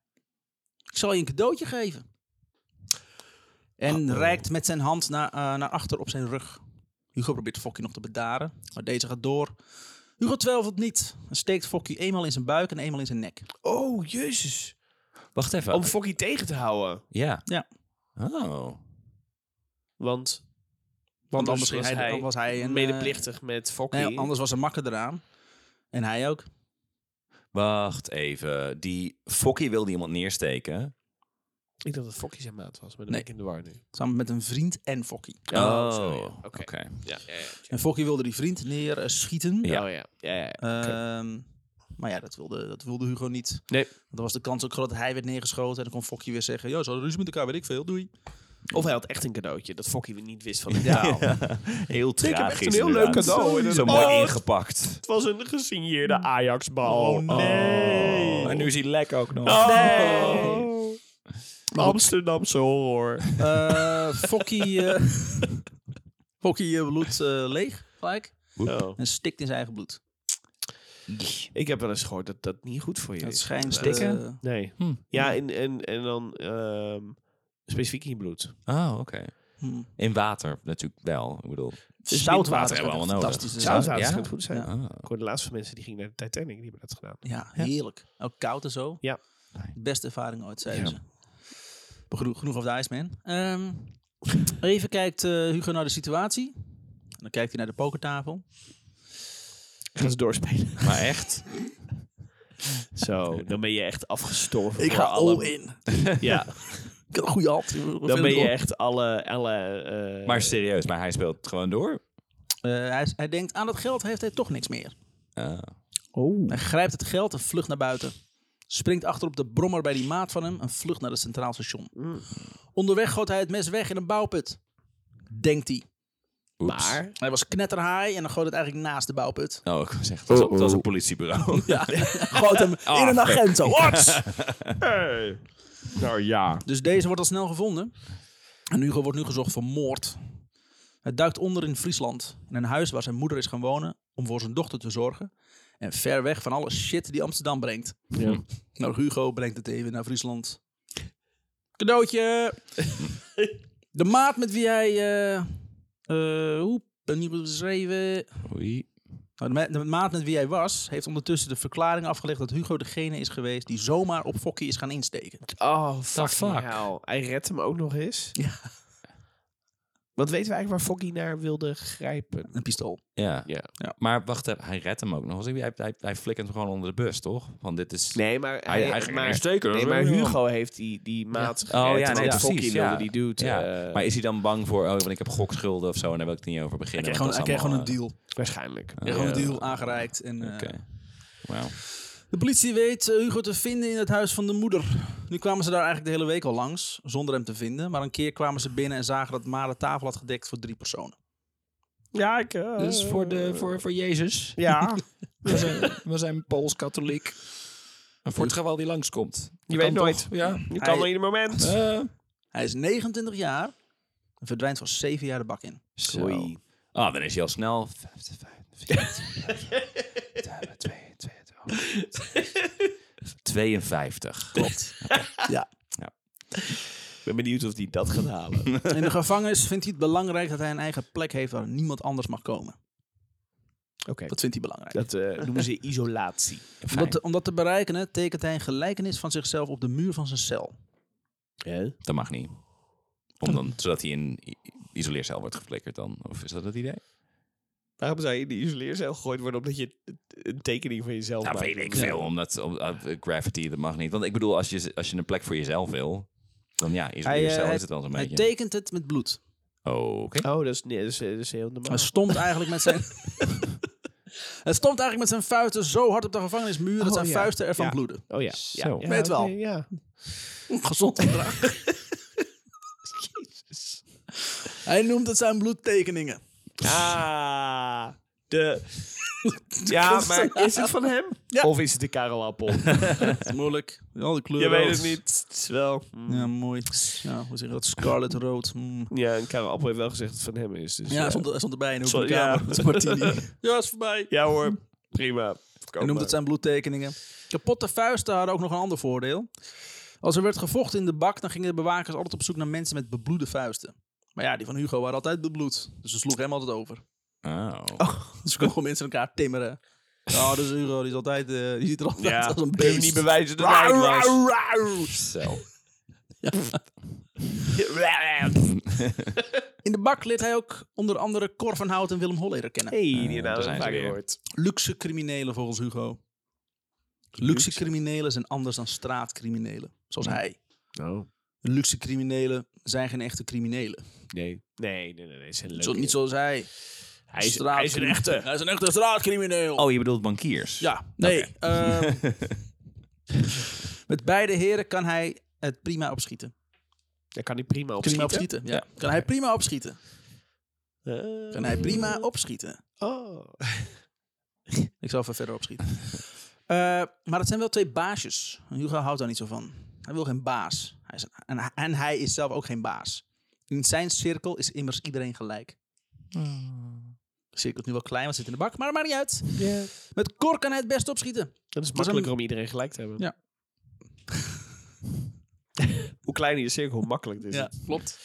Speaker 1: Ik zal je een cadeautje geven. En reikt met zijn hand naar, eh, naar achter op zijn rug. Hugo probeert Fokkie nog te bedaren, maar deze gaat door. Hugo twijfelt niet en steekt Fokkie eenmaal in zijn buik en eenmaal in zijn nek.
Speaker 2: Oh, jezus.
Speaker 3: Wacht even.
Speaker 2: Om Fokkie tegen te houden.
Speaker 3: ja.
Speaker 1: Ja.
Speaker 3: Oh.
Speaker 2: Want
Speaker 1: Want anders,
Speaker 2: was
Speaker 1: was, hij, dan was hij een
Speaker 2: medeplichtig met
Speaker 1: eh,
Speaker 2: Fokkie.
Speaker 1: nee, anders was een makker eraan. En hij ook.
Speaker 3: Wacht even. Die Fokkie wilde iemand neersteken.
Speaker 2: Ik dacht dat Fokkie zijn maat was, maar dan
Speaker 1: Nee.
Speaker 2: ben ik in de war nu.
Speaker 1: Samen met een vriend en Fokkie.
Speaker 2: Oh, zo, ja.
Speaker 3: Oké.
Speaker 2: Oké. Ja, ja, ja.
Speaker 1: En Fokkie wilde die vriend neerschieten. schieten.
Speaker 3: Ja.
Speaker 2: Oh, ja. ja, ja.
Speaker 1: Ehm, maar ja, dat wilde, dat wilde Hugo niet.
Speaker 2: Nee.
Speaker 1: Want dan was de kans ook groot dat hij werd neergeschoten. En dan kon Fokkie weer zeggen, ja, zo ruzie met elkaar, weet ik veel, doei.
Speaker 2: Of hij had echt een cadeautje dat Fokkie niet wist van de taal.
Speaker 3: Heel tragisch
Speaker 2: heb echt een heel leuk
Speaker 3: inderdaad.
Speaker 2: cadeau. En dan-
Speaker 3: Zo mooi
Speaker 2: Oh.
Speaker 3: ingepakt.
Speaker 2: Het was een gesigneerde Ajax-bal. Oh.
Speaker 1: Oh, nee.
Speaker 3: En nu is hij lek ook nog.
Speaker 2: Nee. Amsterdamse horror.
Speaker 1: Eh Fokkie, eh, Fokkie eh, bloed eh, leeg, gelijk.
Speaker 2: Oh.
Speaker 1: En stikt in zijn eigen bloed.
Speaker 2: Ik heb wel eens gehoord dat dat niet goed voor je
Speaker 1: Dat
Speaker 2: is.
Speaker 1: schijnt...
Speaker 3: Stikken?
Speaker 1: eh,
Speaker 2: Nee.
Speaker 3: Hm.
Speaker 2: Ja, en, en, en dan ehm, specifiek in je bloed.
Speaker 3: Oh, oké.
Speaker 1: hm,
Speaker 3: In water natuurlijk wel. Ik bedoel.
Speaker 1: zoutwater
Speaker 3: hebben we allemaal nodig.
Speaker 1: Fantastische zout.
Speaker 2: Zoutwater
Speaker 3: ja?
Speaker 2: kan goed zijn.
Speaker 1: Ja.
Speaker 3: Ah.
Speaker 2: Ik hoorde laatst van mensen die gingen naar de Titanic, die hebben dat gedaan.
Speaker 1: Ja, heerlijk. Ook koud en zo.
Speaker 2: Ja.
Speaker 1: Beste ervaring ooit, zeiden
Speaker 2: Ja.
Speaker 1: ze. Maar genoeg, genoeg of de Iceman. Ehm, even kijkt eh, Hugo naar de situatie. En dan kijkt hij naar de pokertafel.
Speaker 2: Ik ga ze doorspelen.
Speaker 3: Maar echt?
Speaker 2: Zo, dan ben je echt afgestorven. voor
Speaker 1: al
Speaker 2: alle,
Speaker 1: in.
Speaker 2: Ja,
Speaker 1: Ik heb een goede hand.
Speaker 2: dan ben je echt alle... alle eh,
Speaker 3: Maar serieus, maar hij speelt gewoon door.
Speaker 1: Eh, hij, hij denkt, aan dat geld heeft hij toch niks meer.
Speaker 3: Ah.
Speaker 2: Oh.
Speaker 1: Hij grijpt het geld en vlucht naar buiten. Springt achter op de brommer bij die maat van hem en vlucht naar het centraal station. Onderweg gooit hij het mes weg in een bouwput. Denkt hij.
Speaker 3: Oeps.
Speaker 2: Maar...
Speaker 1: Hij was knetterhaai en dan gooit het eigenlijk naast de bouwput.
Speaker 3: Oh, ik was echt. Dat was, dat was een politiebureau.
Speaker 1: Ja, Ah, gooit hem in een agent zo. Wat?
Speaker 2: Hey. Nou ja.
Speaker 1: Dus deze wordt al snel gevonden. En Hugo wordt nu gezocht voor moord. Hij duikt onder in Friesland. In een huis waar zijn moeder is gaan wonen om voor zijn dochter te zorgen. En ver weg van alle shit die Amsterdam brengt.
Speaker 2: Ja.
Speaker 1: Nou, Hugo brengt het even naar Friesland. Cadeautje! De maat met wie hij... eh eh hoe ben je beschreven?
Speaker 3: Oei.
Speaker 1: Nou, de, ma- de maat met wie hij was, heeft ondertussen de verklaring afgelegd dat Hugo degene is geweest die zomaar op Fokkie is gaan insteken.
Speaker 2: Oh, fuck.
Speaker 3: fuck?
Speaker 2: Hij redt hem ook nog eens.
Speaker 1: Ja.
Speaker 2: Wat weten we eigenlijk waar Foggy naar wilde grijpen?
Speaker 1: Een pistool.
Speaker 3: Ja.
Speaker 2: Ja.
Speaker 1: Ja.
Speaker 3: Maar wacht even, hij redt hem ook nog. Hij, hij, hij, hij flikkert hem gewoon onder de bus, toch? Want dit is...
Speaker 2: Nee, maar,
Speaker 3: Hij, hij ging
Speaker 2: maar,
Speaker 3: maar, steken.
Speaker 2: nee, maar Hugo heeft die, die maat gered,
Speaker 3: Oh ja, nee,
Speaker 2: terwijl
Speaker 3: precies.
Speaker 2: Foggy
Speaker 3: ja.
Speaker 2: wilde die dude.
Speaker 3: Ja.
Speaker 2: eh,
Speaker 3: maar is hij dan bang voor, oh, want ik heb gokschulden of zo en daar wil ik niet over beginnen.
Speaker 1: Hij kreeg
Speaker 3: want
Speaker 1: gewoon, hij kreeg
Speaker 3: dat is
Speaker 1: gewoon een
Speaker 3: allemaal,
Speaker 1: deal.
Speaker 2: waarschijnlijk.
Speaker 1: Hij kreeg gewoon een deal aangereikt. En, eh,
Speaker 3: eh, Oké. Wauw.
Speaker 1: De politie weet eh, Hugo te vinden in het huis van de moeder. Nu kwamen ze daar eigenlijk de hele week al langs, zonder hem te vinden. Maar een keer kwamen ze binnen en zagen dat Ma de tafel had gedekt voor drie personen.
Speaker 2: Ja, ik... eh,
Speaker 5: Dus voor, de, voor, voor Jezus.
Speaker 2: Ja,
Speaker 5: We zijn, we zijn Pools-katholiek. En voor het geval die langskomt.
Speaker 2: je
Speaker 5: Kan
Speaker 2: weet nooit.
Speaker 5: toch? Ja.
Speaker 2: Je
Speaker 1: Hij-
Speaker 2: kan er ieder moment.
Speaker 5: Eh,
Speaker 1: Hij is 29 jaar en verdwijnt van 7 jaar de bak in.
Speaker 5: zo.
Speaker 2: Oei.
Speaker 3: Ah, dan is hij al snel. 50, 52. Klopt.
Speaker 2: Ik ben benieuwd of die dat gaat halen.
Speaker 1: In de gevangenis vindt hij het belangrijk dat hij een eigen plek heeft waar niemand anders mag komen.
Speaker 2: Oké.
Speaker 1: Dat vindt hij belangrijk.
Speaker 2: Dat eh, noemen ze isolatie.
Speaker 1: Om dat, te- om dat te bereiken hè, tekent hij een gelijkenis van zichzelf op de muur van zijn cel.
Speaker 3: Dat mag niet. Om dan, zodat hij in i- isoleercel wordt geflikkerd dan. Of is dat het idee?
Speaker 2: Waarom zou je in de isoleercel gegooid worden omdat je t- een tekening van jezelf
Speaker 3: Nou,
Speaker 2: maakt?
Speaker 3: weet ik veel. Omdat om- uh, gravity, dat mag niet. Want ik bedoel, als je, als je een plek voor jezelf wil, dan ja,
Speaker 1: Hij, eh,
Speaker 3: isoleercel is het wel zo'n
Speaker 1: Hij
Speaker 3: beetje.
Speaker 1: tekent het met bloed.
Speaker 3: Oh, Oké.
Speaker 2: Oh, dat is, nee, dat is, dat is heel
Speaker 3: Ah,
Speaker 2: normaal.
Speaker 1: Hij stompt eigenlijk met zijn... Hij stompt eigenlijk met zijn vuisten zo hard op de gevangenismuur dat
Speaker 2: Oh,
Speaker 1: zijn
Speaker 2: ja.
Speaker 1: vuisten ervan
Speaker 2: Ja.
Speaker 1: bloeden.
Speaker 2: Oh ja.
Speaker 3: Zo.
Speaker 2: ja, ja,
Speaker 1: Weet wel.
Speaker 2: oké, ja.
Speaker 1: Gezond gedrag. Hij noemt het zijn bloedtekeningen.
Speaker 2: Ah, de... Ja, maar is het van hem?
Speaker 1: Ja.
Speaker 2: Of is het de karelappel?
Speaker 1: Dat is moeilijk. Al die
Speaker 2: je
Speaker 1: kleuren
Speaker 2: weet
Speaker 1: rood.
Speaker 2: het niet. Het is wel... mm.
Speaker 1: Ja, mooi. Ja, hoe zeg je dat? Scarlet rood. Mm.
Speaker 2: Ja, en karelappel heeft wel gezegd dat het van hem is. Dus,
Speaker 1: Ja,
Speaker 2: eh,
Speaker 1: hij stond, hij stond erbij in de hoek van
Speaker 2: Sorry,
Speaker 1: de kamer.
Speaker 2: ja.
Speaker 1: Dat is Martini. ja, is voorbij.
Speaker 2: ja hoor, prima.
Speaker 1: Hij noemde het zijn bloedtekeningen. Kapotte vuisten hadden ook nog een ander voordeel. Als er werd gevochten in de bak, dan gingen de bewakers altijd op zoek naar mensen met bebloede vuisten. Maar ja, die van Hugo waren altijd bebloed. Dus ze sloegen hem altijd over.
Speaker 3: Oh.
Speaker 1: Dus ze konden gewoon mensen elkaar timmeren. Oh, dat is Hugo, die is altijd... eh, die ziet er altijd
Speaker 2: Ja,
Speaker 1: uit als een
Speaker 2: Kun je
Speaker 1: beest.
Speaker 2: niet bewijzen dat hij het was?
Speaker 3: Zo.
Speaker 1: in de bak leert hij ook onder andere Cor van Hout en Willem Holleder kennen.
Speaker 2: hey, die naam
Speaker 3: daar
Speaker 2: is
Speaker 3: zijn ze
Speaker 2: vaak
Speaker 3: weer.
Speaker 2: gehoord.
Speaker 1: Luxe criminelen volgens Hugo. Luxe criminelen zijn anders dan straatcriminelen. Zoals hij.
Speaker 2: Oh.
Speaker 1: Luxe criminelen zijn geen echte criminelen.
Speaker 2: Nee. Nee, nee, nee. nee. Zijn
Speaker 1: Zo, niet zoals hij.
Speaker 2: hij, is, hij is een
Speaker 1: Straatcrimineel.
Speaker 2: echte.
Speaker 1: Hij is een echte straatcrimineel.
Speaker 3: Oh, je bedoelt bankiers?
Speaker 1: Ja, nee. ehm, met beide heren kan hij het prima opschieten.
Speaker 2: Daar kan hij prima op
Speaker 1: Prima
Speaker 2: schieten.
Speaker 1: opschieten. Ja. Kan hij prima opschieten.
Speaker 2: Eh,
Speaker 1: Kan hij prima opschieten.
Speaker 2: Oh.
Speaker 1: Ik zal even verder opschieten. Eh, maar het zijn wel twee baasjes. Hugo houdt daar niet zo van. Hij wil geen baas. Hij is en, en hij is zelf ook geen baas. In zijn cirkel is immers iedereen gelijk. De cirkel is nu wel klein, want het zit in de bak. Maar dat maakt niet uit.
Speaker 2: Ja.
Speaker 1: Met Cor kan hij het best opschieten.
Speaker 2: Dat is
Speaker 1: is
Speaker 2: makkelijker
Speaker 1: een-
Speaker 2: om iedereen gelijk te hebben.
Speaker 1: Ja.
Speaker 2: hoe kleiner je cirkel, hoe makkelijk dit is. het.
Speaker 1: klopt.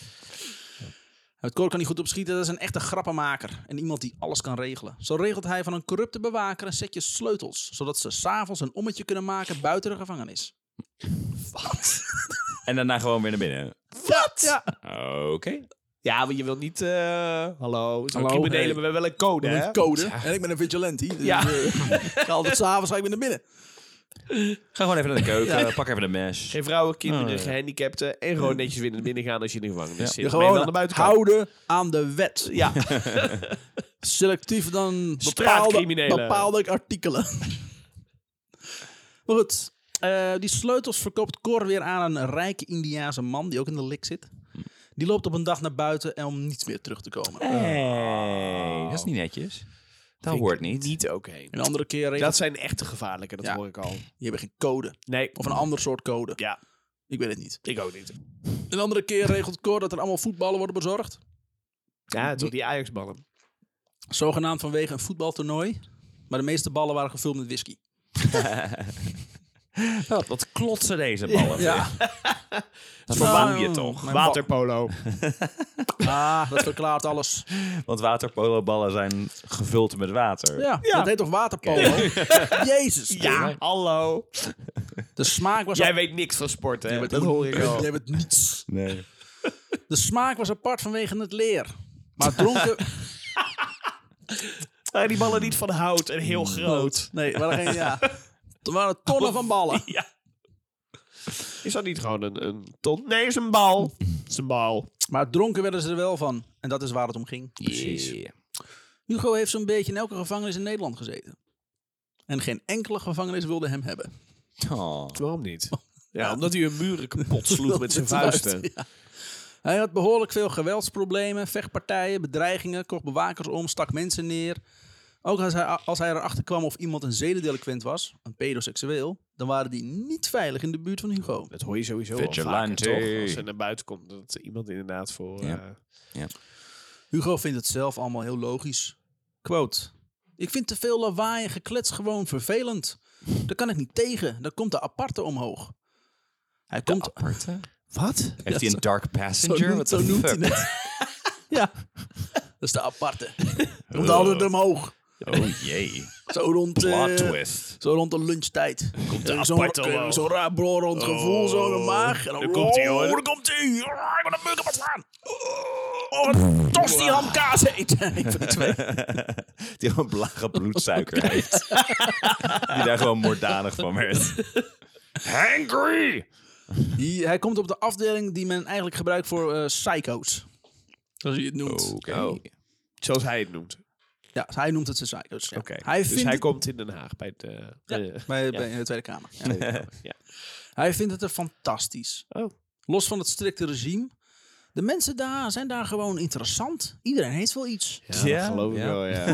Speaker 1: Het koor kan niet goed opschieten, dat is een echte grappenmaker. En iemand die alles kan regelen. Zo regelt hij van een corrupte bewaker een setje sleutels. Zodat ze s'avonds een ommetje kunnen maken buiten de gevangenis.
Speaker 3: En daarna gewoon weer naar binnen.
Speaker 2: Wat? Ja.
Speaker 3: Oké.
Speaker 2: ja, maar je wilt niet... eh, hallo, het is wel
Speaker 1: Hallo,
Speaker 2: criminelen,
Speaker 1: hey.
Speaker 2: maar we hebben wel een code, hè?
Speaker 1: code. En ik ben een vigilante. Dus
Speaker 2: Ja.
Speaker 1: eh, altijd s'avonds ga ik weer naar binnen.
Speaker 3: Ga gewoon even naar de keuken. Pak even de mes.
Speaker 2: Geen vrouwen, kinderen, gehandicapten en gewoon netjes weer naar binnen gaan als je in de gevangenis zit. Maar je wel naar
Speaker 1: Gewoon
Speaker 2: buiten kan.
Speaker 1: houden aan de wet.
Speaker 2: Ja,
Speaker 1: Selectief dan bepaalde,
Speaker 2: Straatcriminelen.
Speaker 1: bepaalde artikelen. maar goed, eh, die sleutels verkoopt Cor weer aan een rijke Indiaanse man die ook in de lik zit. Die loopt op een dag naar buiten en om niets meer terug te komen.
Speaker 3: Hey, dat is niet netjes. Dat hoort Oh. niet.
Speaker 2: niet oké.
Speaker 1: Een andere keer regelt
Speaker 2: Dat zijn echte gevaarlijke, dat
Speaker 1: Ja.
Speaker 2: hoor ik al.
Speaker 1: je hebt geen code.
Speaker 2: Nee,
Speaker 1: Of een ander soort code.
Speaker 2: ja,
Speaker 1: Ik weet het niet.
Speaker 2: ik ook niet.
Speaker 1: Een andere keer regelt Cor dat er allemaal voetballen worden bezorgd.
Speaker 2: Ja, toch die Ajax-ballen.
Speaker 1: Zogenaamd vanwege een voetbaltoernooi. Maar de meeste ballen waren gevuld met whisky.
Speaker 3: Wat, wat klotsen deze ballen.
Speaker 1: Ja.
Speaker 3: Dat
Speaker 1: Nou,
Speaker 3: verwang je toch?
Speaker 1: mijn
Speaker 2: Waterpolo.
Speaker 1: Ah, dat verklaart alles.
Speaker 3: Want waterpoloballen zijn gevuld met water.
Speaker 1: Ja, dat heet toch waterpolo? Jezus.
Speaker 2: Ja, hallo.
Speaker 1: De smaak was
Speaker 2: Jij weet niks van sport, hè?
Speaker 1: bent
Speaker 2: dat hoor ik al.
Speaker 1: Jij bent niets.
Speaker 3: Nee.
Speaker 1: De smaak was apart vanwege het leer. Maar dronken...
Speaker 2: Ah, die ballen niet van hout en heel groot.
Speaker 1: Nee, er waren geen... Ja. Er waren tonnen van ballen.
Speaker 2: Is dat niet gewoon een, een ton? Nee, is een bal. is een bal.
Speaker 1: Maar dronken werden ze er wel van. En dat is waar het om ging.
Speaker 3: Precies.
Speaker 1: Hugo heeft zo'n beetje in elke gevangenis in Nederland gezeten. En geen enkele gevangenis wilde hem hebben.
Speaker 3: Oh.
Speaker 2: Waarom niet? Ja, omdat hij een muren kapot sloeg met zijn
Speaker 1: Met zijn
Speaker 2: vuisten.
Speaker 1: vuisten, ja. Hij had behoorlijk veel geweldsproblemen, vechtpartijen, bedreigingen, kocht bewakers om, stak mensen neer. Ook als hij, als hij erachter kwam of iemand een zedendelinquent was, een pedoseksueel, dan waren die niet veilig in de buurt van Hugo.
Speaker 2: Dat hoor je sowieso wel vaker,
Speaker 3: Vigilante.
Speaker 2: toch? Als er naar buiten komt, dat iemand inderdaad voor...
Speaker 3: Ja.
Speaker 2: eh,
Speaker 1: Hugo vindt het zelf allemaal heel logisch. Quote. Ik vind te veel lawaai en geklets gewoon vervelend. Daar kan ik niet tegen. Dan komt de aparte omhoog. Hij komt...
Speaker 2: wat?
Speaker 3: Heeft hij een dark
Speaker 1: Zo
Speaker 3: passenger?
Speaker 1: noemt,
Speaker 3: Wat
Speaker 1: zo noemt hij het. ja. Dat is de aparte. Komt de andere omhoog.
Speaker 3: Oh jee.
Speaker 1: Zo rond,
Speaker 3: Plot
Speaker 1: eh,
Speaker 3: twist.
Speaker 1: zo rond de lunchtijd. Komt de zo'n, eh,
Speaker 2: aparte omhoog.
Speaker 1: Zo'n raar blorrend gevoel, zo in de maag. En dan,
Speaker 2: daar komt hij, hoor.
Speaker 1: Oh, daar komt hij. Ah, Ik ben een mug op het slaan. Oh, een tosti hamkaas eten. Een van de twee.
Speaker 3: Die gewoon lage bloedsuiker heeft. Die daar gewoon moorddadig van werd. Hangry!
Speaker 1: Die- hij komt op de afdeling die men eigenlijk gebruikt voor eh, psycho's. Zoals hij het noemt.
Speaker 2: Oh. Zoals hij het noemt. Oké.
Speaker 1: Ja, hij noemt het zijn psycho's. Ja. Hij
Speaker 2: dus
Speaker 1: vindt
Speaker 2: hij
Speaker 1: het-
Speaker 2: komt in Den Haag bij de... eh,
Speaker 1: bij, bij- in de Tweede Kamer. Ja.
Speaker 2: ja.
Speaker 1: Hij vindt het er fantastisch.
Speaker 2: Oh.
Speaker 1: Los van het strikte regime. De mensen daar zijn daar gewoon interessant. Iedereen heeft wel iets.
Speaker 2: Ja, dat
Speaker 3: Ja,
Speaker 2: geloof ik
Speaker 3: ja.
Speaker 2: wel, ja.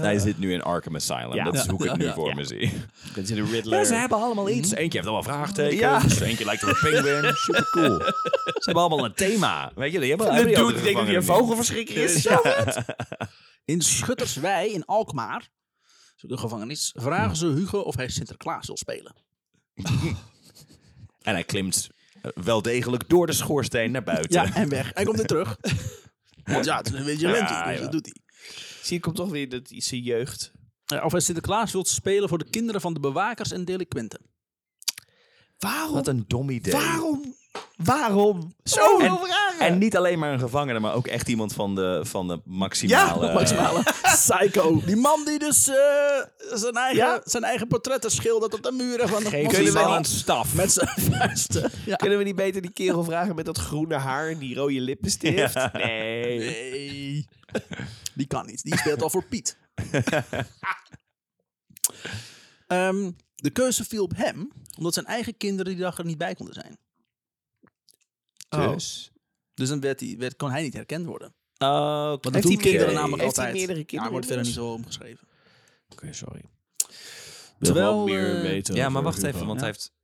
Speaker 3: Hij zit nu in Arkham Asylum.
Speaker 2: Ja.
Speaker 3: Dat is hoe ik het nu voor me zie.
Speaker 2: Dat is de Riddler.
Speaker 3: hebben allemaal iets. Eentje heeft allemaal vraagtekens. Eentje lijkt op een penguin. Supercool. Ze hebben allemaal een thema. Weet je, die hebben hebben
Speaker 2: De
Speaker 3: die ook
Speaker 2: dude
Speaker 3: de
Speaker 2: die denkt dat hij een
Speaker 3: gevangenis niet.
Speaker 2: vogelverschrikker is.
Speaker 1: In Schutterswei in Alkmaar, de gevangenis, vragen ze Hugo of hij Sinterklaas wil spelen.
Speaker 3: En hij klimt eh, wel degelijk door de schoorsteen naar buiten.
Speaker 1: Ja, en weg. Hij komt weer terug. Want ja, het is een vigilante,
Speaker 3: Ja,
Speaker 1: dus
Speaker 3: ja.
Speaker 1: dat doet hij.
Speaker 2: Zie je, komt toch weer dat iets zijn jeugd.
Speaker 1: Eh, Of hij Sinterklaas wilt spelen voor de kinderen van de bewakers en delinquenten.
Speaker 2: Waarom?
Speaker 3: Wat een dom idee.
Speaker 2: Waarom? Waarom?
Speaker 3: Zo
Speaker 2: Zo
Speaker 3: en, en niet alleen maar een gevangene, maar ook echt iemand van de, van de maximale...
Speaker 1: Ja, maximale psycho. Die man die dus eh, zijn, eigen,
Speaker 2: Ja.
Speaker 1: zijn eigen portretten schildert op de muren van de
Speaker 3: Geen
Speaker 1: Mossel-
Speaker 2: kunnen we
Speaker 3: maximale
Speaker 2: niet-
Speaker 3: staf.
Speaker 1: Met zijn vuisten. Ja.
Speaker 2: Kunnen we niet beter die kerel vragen met dat groene haar en die rode lippenstift? Nee.
Speaker 1: Nee. Die kan niet. Die speelt al voor Piet. Ehm, de keuze viel op hem, omdat zijn eigen kinderen die dag er niet bij konden zijn.
Speaker 3: Dus.
Speaker 1: Dus dan werd hij, werd, kon hij niet herkend worden.
Speaker 3: Oh,
Speaker 1: Want dat
Speaker 2: Heeft
Speaker 1: doen
Speaker 2: hij meerdere-
Speaker 1: kinderen namelijk
Speaker 2: heeft hij
Speaker 1: altijd.
Speaker 2: meerdere
Speaker 1: ja,
Speaker 2: kinderen
Speaker 1: wordt verder niet
Speaker 2: dus?
Speaker 1: zo omgeschreven.
Speaker 2: Oké, sorry.
Speaker 1: Terwijl, eh,
Speaker 3: Ja, maar wacht even, want hij heeft...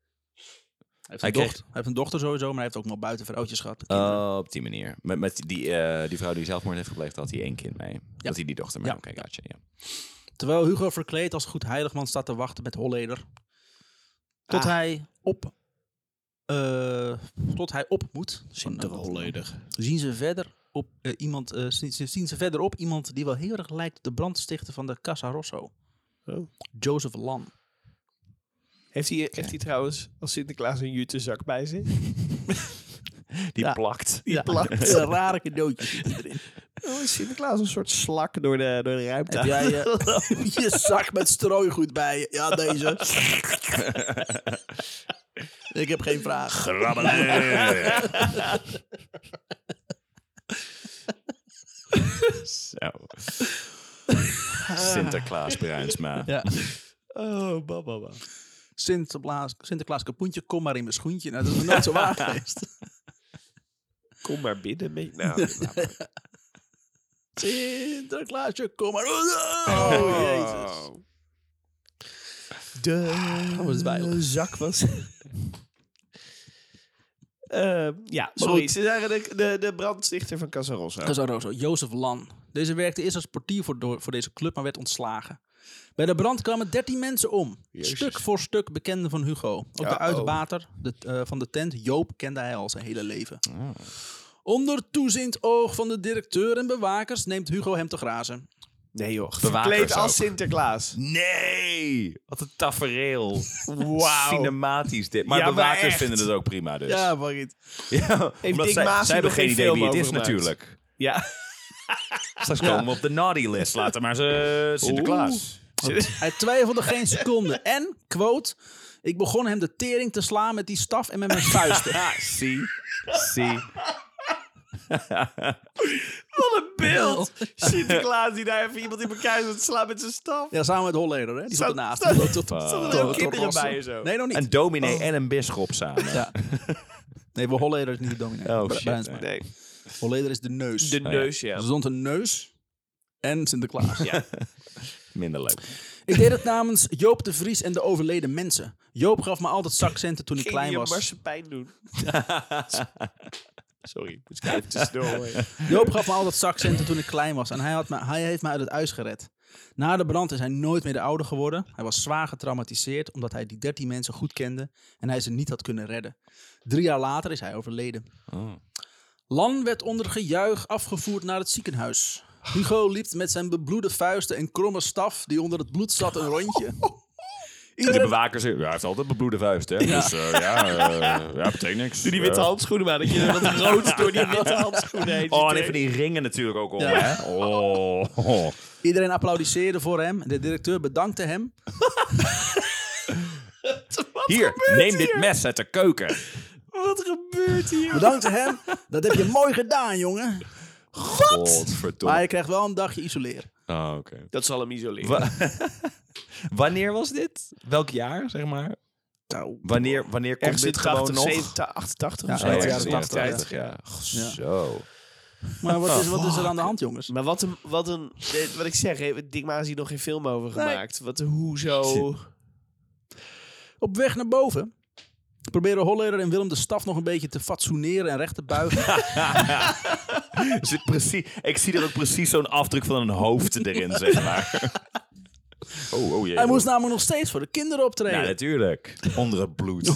Speaker 1: Hij heeft,
Speaker 3: Hij
Speaker 1: een
Speaker 3: kreeg-
Speaker 1: dochter, hij heeft een dochter sowieso, maar hij heeft ook nog buitenvrouwtjes gehad. kinderen.
Speaker 3: Oh, op die manier. Met, met die, eh, die vrouw die zelfmoord heeft gepleegd, had hij één kind mee. Dat hij die dochter mee.
Speaker 1: Ja.
Speaker 3: Oké, gotcha, ja.
Speaker 1: Terwijl Hugo verkleed als goed heiligman staat te wachten met Holleder. Tot
Speaker 2: Ah.
Speaker 1: hij op... eh, tot hij op moet. eh, Zien ze verder op eh, iemand... eh, zien, ze- zien ze verder op iemand die wel heel erg lijkt op de brandstichter van de Casa Rosso.
Speaker 2: Oh.
Speaker 1: Joseph Lam.
Speaker 2: Heeft hij, heeft hij trouwens als Sinterklaas een jute zak bij zich?
Speaker 3: Die plakt.
Speaker 1: Ja, een rare cadeautjes zitten erin.
Speaker 2: Oh, is Sinterklaas een soort slak door de, door de ruimte?
Speaker 1: Heb jij eh, je zak met strooigoed bij je? Ja, deze. Ik heb geen vraag.
Speaker 3: Zo. Sinterklaas Bruinsma.
Speaker 1: Ja.
Speaker 2: Oh, baba. baba.
Speaker 1: Sinterklaas, Sinterklaas Kapoentje, kom maar in mijn schoentje. Nou, dat is nog nooit zo waar geweest.
Speaker 2: Kom maar binnen. Mee. Nou, laat maar.
Speaker 1: Sinterklaasje, kom maar.
Speaker 2: Oh,
Speaker 1: Oh, jezus.
Speaker 2: De
Speaker 1: Oh, wat is het weinig.
Speaker 2: zak was. Ehm, ja, sorry.
Speaker 1: goed.
Speaker 2: Ze zagen de, de, de brandstichter van Casarossa.
Speaker 1: Dat is Rosso, Jozef Lan. Deze werkte eerst als portier voor, door- voor deze club, maar werd ontslagen. Bij de brand kwamen 13 mensen om. Stuk voor stuk bekenden van Hugo. Ook de
Speaker 2: Ja,
Speaker 1: uitbater de, eh, van de tent, Joop, kende hij al zijn hele leven. Onder toeziend oog van de directeur en bewakers neemt Hugo hem te grazen.
Speaker 2: Nee joh,
Speaker 3: Bewakers
Speaker 2: verkleed als
Speaker 3: ook.
Speaker 2: Sinterklaas.
Speaker 3: Nee! Wat een tafereel.
Speaker 2: Wauw.
Speaker 3: Cinematisch dit. Maar
Speaker 2: Ja, maar
Speaker 3: bewakers
Speaker 2: echt.
Speaker 3: vinden het ook prima dus.
Speaker 1: Ja, Barrit.
Speaker 3: Ja, omdat
Speaker 2: Dick
Speaker 3: zij,
Speaker 2: Maas
Speaker 3: zij hebben
Speaker 2: hier
Speaker 3: geen
Speaker 2: nog geen
Speaker 3: idee wie
Speaker 2: film
Speaker 3: het is
Speaker 2: over gemaakt?
Speaker 3: natuurlijk.
Speaker 2: Ja.
Speaker 3: Straks komen we op de naughty list. Laten maar ze Sinterklaas.
Speaker 1: Hij twijfelde geen seconde. En, quote, ik begon hem de tering te slaan met die staf en met mijn vuisten.
Speaker 3: Ah, zie. Zie.
Speaker 2: Wat een beeld. Sinterklaas die daar even iemand in elkaar zit te slaan met zijn staf.
Speaker 1: Ja, samen met Holleder, hè? Die zat
Speaker 2: Staat-
Speaker 1: ernaast.
Speaker 2: staat-
Speaker 1: Tot- tot-
Speaker 2: Er
Speaker 1: tot-
Speaker 2: Stonden er ook
Speaker 1: tot-
Speaker 2: kinderen
Speaker 1: tot-
Speaker 2: bij en zo.
Speaker 3: Oh.
Speaker 1: Nee, nog niet.
Speaker 3: Een dominee en een bisschop samen.
Speaker 1: Ja. Nee, we Holleder is niet de dominee.
Speaker 3: Oh,
Speaker 1: Bra-
Speaker 3: shit,
Speaker 1: Bruinsma.
Speaker 2: Nee,
Speaker 1: Holleder is de neus. Dus
Speaker 2: de
Speaker 1: Er
Speaker 3: Oh ja.
Speaker 2: neus, ja.
Speaker 1: stond een neus en Sinterklaas.
Speaker 3: Minder leuk.
Speaker 1: Ik deed het namens Joop de Vries en de overleden mensen. Joop gaf me altijd zakcenten toen ik
Speaker 2: Ging
Speaker 1: klein
Speaker 2: je
Speaker 1: was.
Speaker 2: marsepein doen? Sorry, moet ik even tussendoor hoor.
Speaker 1: Joop gaf me altijd zakcenten toen ik klein was en hij, had me, hij heeft me uit het huis gered. Na de brand is hij nooit meer de oude geworden. Hij was zwaar getraumatiseerd omdat hij die 13 mensen goed kende en hij ze niet had kunnen redden. Drie jaar later is hij overleden. Lan werd onder gejuich afgevoerd naar het ziekenhuis. Hugo liep met zijn bebloede vuisten en kromme staf die onder het bloed zat een rondje.
Speaker 3: De
Speaker 1: Iedereen,
Speaker 3: bewakers, ja, hij heeft altijd bebloede vuist, hè? Dus eh, ja, eh, ja, betekent niks.
Speaker 2: Doe die witte
Speaker 3: Ja.
Speaker 2: handschoenen maar, dat je wat rood door die witte handschoenen heen
Speaker 3: Oh,
Speaker 2: ziet,
Speaker 3: en
Speaker 2: hè?
Speaker 3: even die ringen natuurlijk ook om,
Speaker 1: Ja.
Speaker 3: hè? Oh.
Speaker 1: iedereen applaudisseerde voor hem. De directeur bedankte hem.
Speaker 3: Hier, neem dit mes uit de keuken.
Speaker 2: Wat gebeurt hier?
Speaker 1: Bedankte hem. Dat heb je mooi gedaan, jongen. Maar
Speaker 3: Godverdomme.
Speaker 1: je krijgt wel een dagje isoleren.
Speaker 3: Oh, oké.
Speaker 2: Dat zal hem isoleren.
Speaker 3: Wa- Wanneer was dit? Welk jaar, zeg maar?
Speaker 1: Nou,
Speaker 3: Wanneer, wanneer komt
Speaker 2: Ergens in
Speaker 3: dit gewoon
Speaker 2: 80,
Speaker 3: nog? Oh,
Speaker 2: 87, 88
Speaker 1: Ja,
Speaker 2: of zo.
Speaker 1: eind
Speaker 2: ergens
Speaker 1: jaren
Speaker 2: in die
Speaker 1: 80,
Speaker 2: tijd.
Speaker 3: ja. Zo.
Speaker 1: maar wat is, wat is er aan de hand, jongens?
Speaker 2: Maar wat een, wat een, eh, wat ik zeg, hè, Dick Maas hier nog geen film over gemaakt. Wat, hoezo?
Speaker 1: Op weg naar boven proberen Holleder en Willem de staf nog een beetje te fatsoeneren en recht te buigen.
Speaker 3: Er Zit precies, ik zie er ook precies zo'n afdruk van een hoofd erin, zeg maar. Oh, oh jee.
Speaker 1: Hij moest namelijk nog steeds voor de kinderen optreden.
Speaker 3: Ja, natuurlijk. Onder het bloed.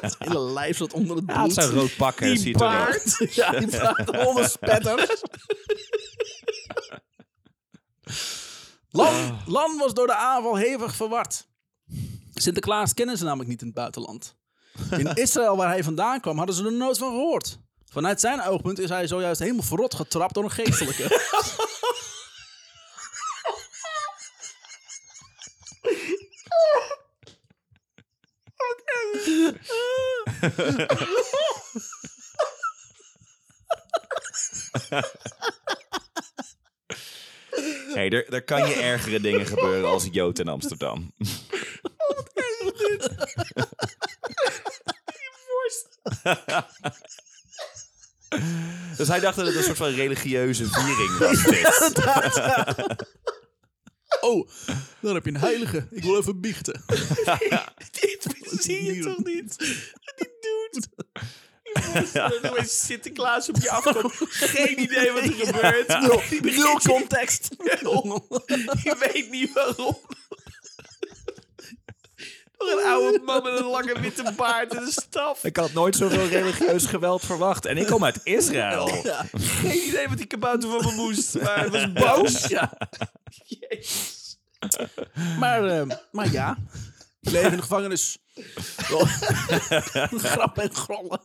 Speaker 1: Het hele lijf zat onder het bloed.
Speaker 3: Ja, het zijn rood pakken.
Speaker 2: Die
Speaker 3: ziet er wel-
Speaker 2: baard.
Speaker 1: Ja, die praat onder spetters. Lan,
Speaker 2: Ah.
Speaker 1: Lan was door de aanval hevig verward. Sinterklaas kennen ze namelijk niet in het buitenland. In Israël, waar hij vandaan kwam, hadden ze er nooit van gehoord. Vanuit zijn oogpunt is hij zojuist helemaal verrot getrapt door een geestelijke.
Speaker 3: Hey, er, er kan je ergere dingen gebeuren als Jood in Amsterdam. Dus hij dacht dat het een soort van religieuze viering was. Dit.
Speaker 1: Oh, daar heb je een heilige. Ik wil even biechten.
Speaker 2: Dit zie je toch niet? Die dude. Je moet er Sinterklaas op je afkomt. Geen idee wat er gebeurt. Die begint-
Speaker 1: Nul context.
Speaker 2: Je weet niet waarom. Nog een oude man met een lange witte baard en een staf.
Speaker 3: Ik had nooit zoveel religieus geweld verwacht. En ik kom uit Israël.
Speaker 1: Ja.
Speaker 2: Geen idee wat die kabouter van me moest. Maar hij was boos. Jezus.
Speaker 1: Maar, eh, maar ja, ik leef in de gevangenis. Wel- Grap en grollen.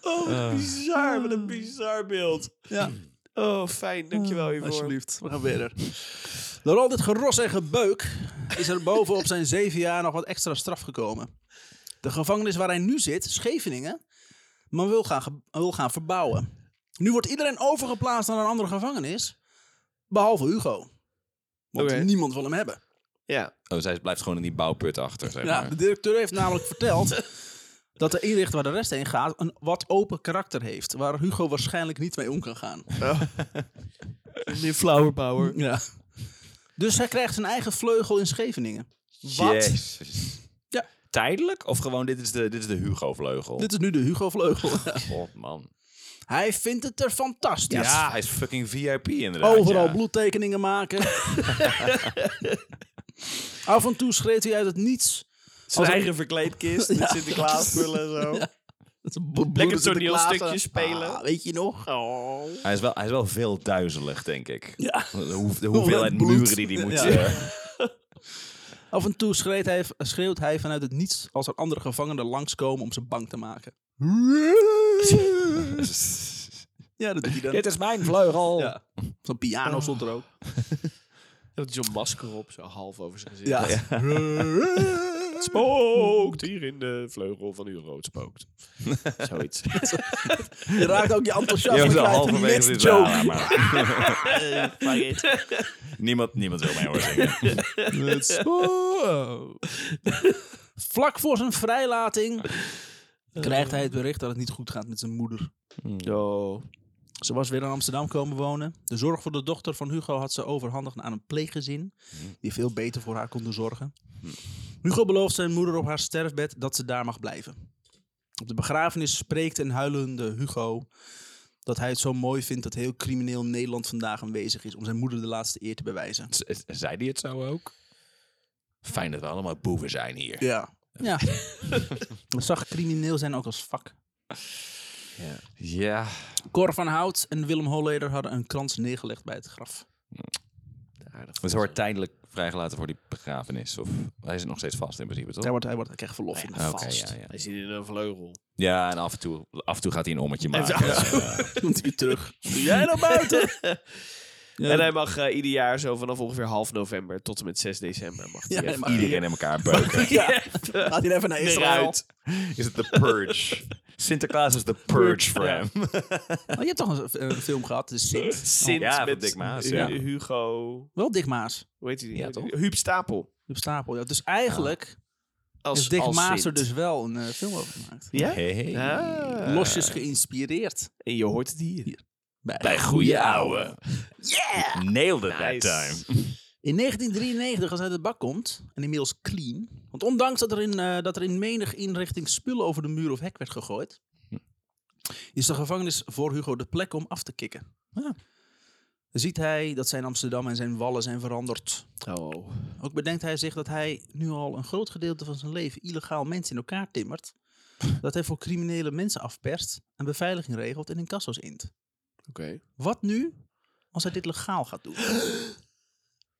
Speaker 2: Oh, wat bizar. Wat een
Speaker 5: Ah.
Speaker 2: bizar beeld.
Speaker 1: Ja,
Speaker 2: Oh, fijn.
Speaker 5: Ah.
Speaker 2: Dankjewel hiervoor.
Speaker 1: alsjeblieft. We gaan verder. Door al dit geros en gebeuk is er bovenop zijn zeven jaar nog wat extra straf gekomen. De gevangenis waar hij nu zit, Scheveningen, maar wil gaan, ge- wil gaan verbouwen. Nu wordt iedereen overgeplaatst naar een andere gevangenis, behalve Hugo. Want
Speaker 2: Oké.
Speaker 1: niemand wil hem hebben.
Speaker 2: Ja.
Speaker 3: Oh, zij blijft gewoon in die bouwput achter, zeg
Speaker 1: Ja,
Speaker 3: maar.
Speaker 1: de directeur heeft namelijk verteld dat de inrichting waar de rest heen gaat een wat open karakter heeft. Waar Hugo waarschijnlijk niet mee om kan gaan.
Speaker 2: Meneer Flower Power.
Speaker 1: Ja. Dus hij krijgt zijn eigen vleugel in Scheveningen.
Speaker 3: Jezus.
Speaker 1: Ja.
Speaker 3: Tijdelijk? Of gewoon, dit is de, dit is de Hugo-vleugel?
Speaker 1: Dit is nu de Hugo-vleugel.
Speaker 3: God, man.
Speaker 1: Hij vindt het er fantastisch.
Speaker 3: Ja, hij is fucking VIP inderdaad.
Speaker 1: Overal
Speaker 3: ja.
Speaker 1: bloedtekeningen maken. Af en toe schreeuwt hij uit het niets.
Speaker 2: Zijn eigen verkleedkist met Sinterklaas spullen en zo.
Speaker 1: Bloedende
Speaker 2: toneelstukje
Speaker 1: Sinterklaas.
Speaker 2: spelen.
Speaker 1: Ah, weet je nog?
Speaker 2: Oh.
Speaker 3: Hij is, wel, hij is wel veel duizelig, denk ik.
Speaker 1: Ja.
Speaker 3: De, hoe- de hoeveelheid
Speaker 1: bloed.
Speaker 3: muren die hij moet...
Speaker 1: Ja.
Speaker 3: eh,
Speaker 1: Af en toe schreeuwt hij, schreeuwt hij vanuit het niets als er andere gevangenen langskomen om ze bang te maken. Ja, dat doet hij dan.
Speaker 5: Dit is mijn vleugel.
Speaker 1: Ja. Zo'n piano stond er ook.
Speaker 2: Hij had zo'n masker op, zo half over zijn gezicht.
Speaker 1: Ja.
Speaker 2: Het spookt hier in de vleugel van uw rood spookt. Zoiets.
Speaker 1: Je raakt ook je
Speaker 3: Je
Speaker 1: enthousiasme
Speaker 3: was al
Speaker 1: kwijt.
Speaker 3: halverwege
Speaker 1: Next
Speaker 3: dit
Speaker 1: joke.
Speaker 3: verhaal, maar
Speaker 2: Fuck it.
Speaker 3: niemand, niemand wil mij horen zingen.
Speaker 1: Vlak voor zijn vrijlating krijgt hij het bericht dat het niet goed gaat met zijn moeder.
Speaker 5: Oh.
Speaker 1: Ze was weer in Amsterdam komen wonen. De zorg voor de dochter van Hugo had ze overhandigd aan een pleeggezin. Die veel beter voor haar konden zorgen. Hugo belooft zijn moeder op haar sterfbed dat ze daar mag blijven. Op de begrafenis spreekt een huilende Hugo dat hij het zo mooi vindt dat heel crimineel Nederland vandaag aanwezig is om zijn moeder de laatste eer te bewijzen.
Speaker 3: Z- Zei die het zo ook? Fijn dat we allemaal boeven zijn hier.
Speaker 1: Ja. Ja. Ik zag crimineel zijn ook als vak.
Speaker 3: Ja.
Speaker 1: Cor van Hout en Willem Holleder hadden een krans neergelegd bij het graf.
Speaker 3: Dus hij wordt tijdelijk vrijgelaten voor die begrafenis. Of hij zit nog steeds vast in principe, toch? Ah,
Speaker 1: Hij, wordt, hij, wordt, hij krijgt verlof in de
Speaker 3: Oké,
Speaker 1: vast.
Speaker 3: ja, ja.
Speaker 2: Hij zit in een vleugel.
Speaker 3: ja, en af en, toe, af en toe gaat hij een ommetje
Speaker 2: En zo-
Speaker 3: maken.
Speaker 1: Komt hij terug.
Speaker 2: Jij naar buiten!
Speaker 1: Ja.
Speaker 2: En hij mag eh, ieder jaar zo vanaf ongeveer half november tot en met 6 december. Mag hij
Speaker 1: Ja,
Speaker 2: even-
Speaker 1: hij mag-
Speaker 3: Dus Iedereen in elkaar beuken.
Speaker 1: Ja. Laat hij even naar Israël.
Speaker 2: Eruit.
Speaker 3: Is het de purge? Sinterklaas is de purge voor hem.
Speaker 1: Maar Oh, je hebt toch een, een film gehad, de Sint.
Speaker 2: Sint
Speaker 3: Ja, van
Speaker 2: met
Speaker 3: Dick Maas,
Speaker 2: Hu-
Speaker 3: ja.
Speaker 2: Hugo.
Speaker 1: Wel Dick Maas.
Speaker 2: Hoe heet hij?
Speaker 3: Ja, toch?
Speaker 2: Huub Stapel.
Speaker 1: Op stapel. Ja. Dus eigenlijk
Speaker 2: Als,
Speaker 1: is Dick
Speaker 2: als
Speaker 1: Maas er
Speaker 2: Sint.
Speaker 1: dus wel een eh, film over gemaakt.
Speaker 2: Ja?
Speaker 3: Hey, hey.
Speaker 2: Ah.
Speaker 1: Losjes geïnspireerd.
Speaker 2: En je hoort het hier.
Speaker 3: Bij goede ouwe. Yeah! Nailed it
Speaker 2: Nice.
Speaker 3: that time.
Speaker 1: In 1993, als hij uit de bak komt, en inmiddels clean. Want ondanks dat er in, eh, dat er in menig inrichting spullen over de muur of hek werd gegooid, is de gevangenis voor Hugo de plek om af te kicken. Dan ziet hij dat zijn Amsterdam en zijn wallen zijn veranderd.
Speaker 2: Oh.
Speaker 1: Ook bedenkt hij zich dat hij nu al een groot gedeelte van zijn leven illegaal mensen in elkaar timmert. Dat hij voor criminele mensen afperst en beveiliging regelt en incasso's int.
Speaker 2: Oké.
Speaker 1: Wat nu als hij dit legaal gaat doen?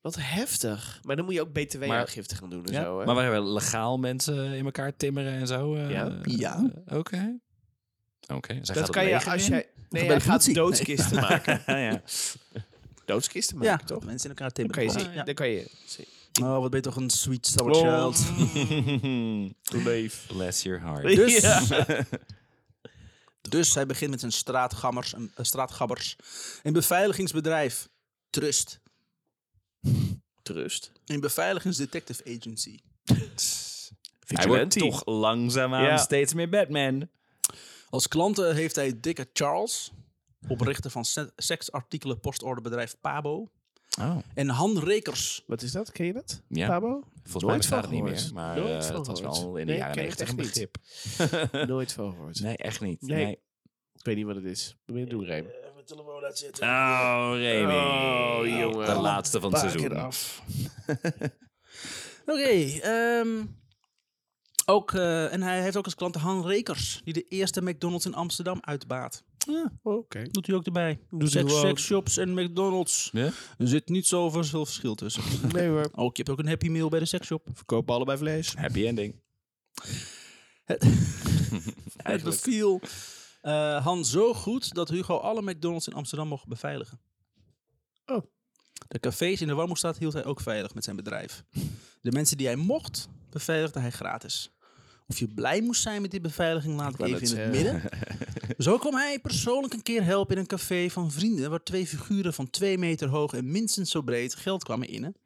Speaker 2: Wat heftig. Maar dan moet je ook btw-aangifte gaan doen en
Speaker 1: Ja,
Speaker 2: zo, hè?
Speaker 3: Maar we hebben legaal mensen.
Speaker 5: Mensen in elkaar timmeren en zo. eh,
Speaker 2: Ja.
Speaker 1: Ja.
Speaker 5: eh, Oké.
Speaker 3: Oké, zij gaat
Speaker 2: dat
Speaker 3: het
Speaker 2: kan je
Speaker 3: leger
Speaker 2: als
Speaker 3: in.
Speaker 2: jij... Nee,
Speaker 1: bij
Speaker 2: je
Speaker 1: de
Speaker 2: gaat
Speaker 1: politie.
Speaker 2: doodskisten maken.
Speaker 3: ja.
Speaker 2: Doodskisten
Speaker 1: ja,
Speaker 2: maken, toch?
Speaker 1: mensen in elkaar
Speaker 2: Dan kan je
Speaker 1: timmeren.
Speaker 2: zien.
Speaker 1: Ja.
Speaker 2: Dan kan je zien.
Speaker 1: Oh, wat ben je toch een sweet sour child.
Speaker 2: Leef.
Speaker 3: Bless your heart.
Speaker 1: Dus, dus hij begint met zijn straatgammers en, eh, straatgabbers. Een beveiligingsbedrijf, Trust.
Speaker 2: Trust.
Speaker 1: Een beveiligingsdetective agency.
Speaker 3: Hij wordt toch langzaamaan
Speaker 2: Ja.
Speaker 3: steeds meer Batman.
Speaker 1: Als klanten heeft hij dikke Charles, oprichter van se- seksartikelen postorderbedrijf Pabo.
Speaker 3: Oh.
Speaker 1: En Han Rekers.
Speaker 2: Wat is dat? Ken je dat?
Speaker 3: Ja.
Speaker 2: Pabo?
Speaker 3: Volgens mij
Speaker 2: Nooit van
Speaker 3: bestaat het niet
Speaker 2: gehoord.
Speaker 3: meer. Maar
Speaker 2: Nooit
Speaker 3: eh,
Speaker 2: van
Speaker 3: dat was
Speaker 2: gehoord.
Speaker 3: wel in de
Speaker 2: Nee,
Speaker 3: jaren
Speaker 2: ken ik
Speaker 3: negentig een
Speaker 2: echt niet.
Speaker 3: begrip.
Speaker 2: Nooit van gehoord.
Speaker 3: Nee, echt niet.
Speaker 2: Nee.
Speaker 3: Nee.
Speaker 2: Ik weet niet wat het is. Wat ben je aan het doen, Reem?
Speaker 3: Oh, Remy.
Speaker 2: Oh, jongen.
Speaker 3: De laatste van het seizoen.
Speaker 1: Oké, ehm, ook, eh, en hij heeft ook als klant Han Rekers, die de eerste McDonald's in Amsterdam uitbaat.
Speaker 2: Oh, Oké.
Speaker 1: Doet hij ook erbij.
Speaker 2: Doet hij
Speaker 1: Sex,
Speaker 2: gewoon.
Speaker 1: shops en McDonald's.
Speaker 3: Ja?
Speaker 1: Er zit niet zoveel verschil tussen.
Speaker 2: Nee hoor.
Speaker 1: Ook je hebt ook een Happy Meal bij de sexshop.
Speaker 2: Verkopen allebei vlees.
Speaker 3: Happy ending.
Speaker 1: Het beviel eh Han zo goed dat Hugo alle McDonald's in Amsterdam mocht beveiligen.
Speaker 2: Oh.
Speaker 1: De cafés in de Warmoestraat hield hij ook veilig met zijn bedrijf. De mensen die hij mocht, beveiligde hij gratis. Of je blij moest zijn met die beveiliging, laat ik,
Speaker 2: wou
Speaker 1: even in
Speaker 2: net
Speaker 1: het midden. Zo kwam hij persoonlijk een keer helpen in een café van vrienden... waar twee figuren van twee meter hoog en minstens zo breed geld kwamen innen.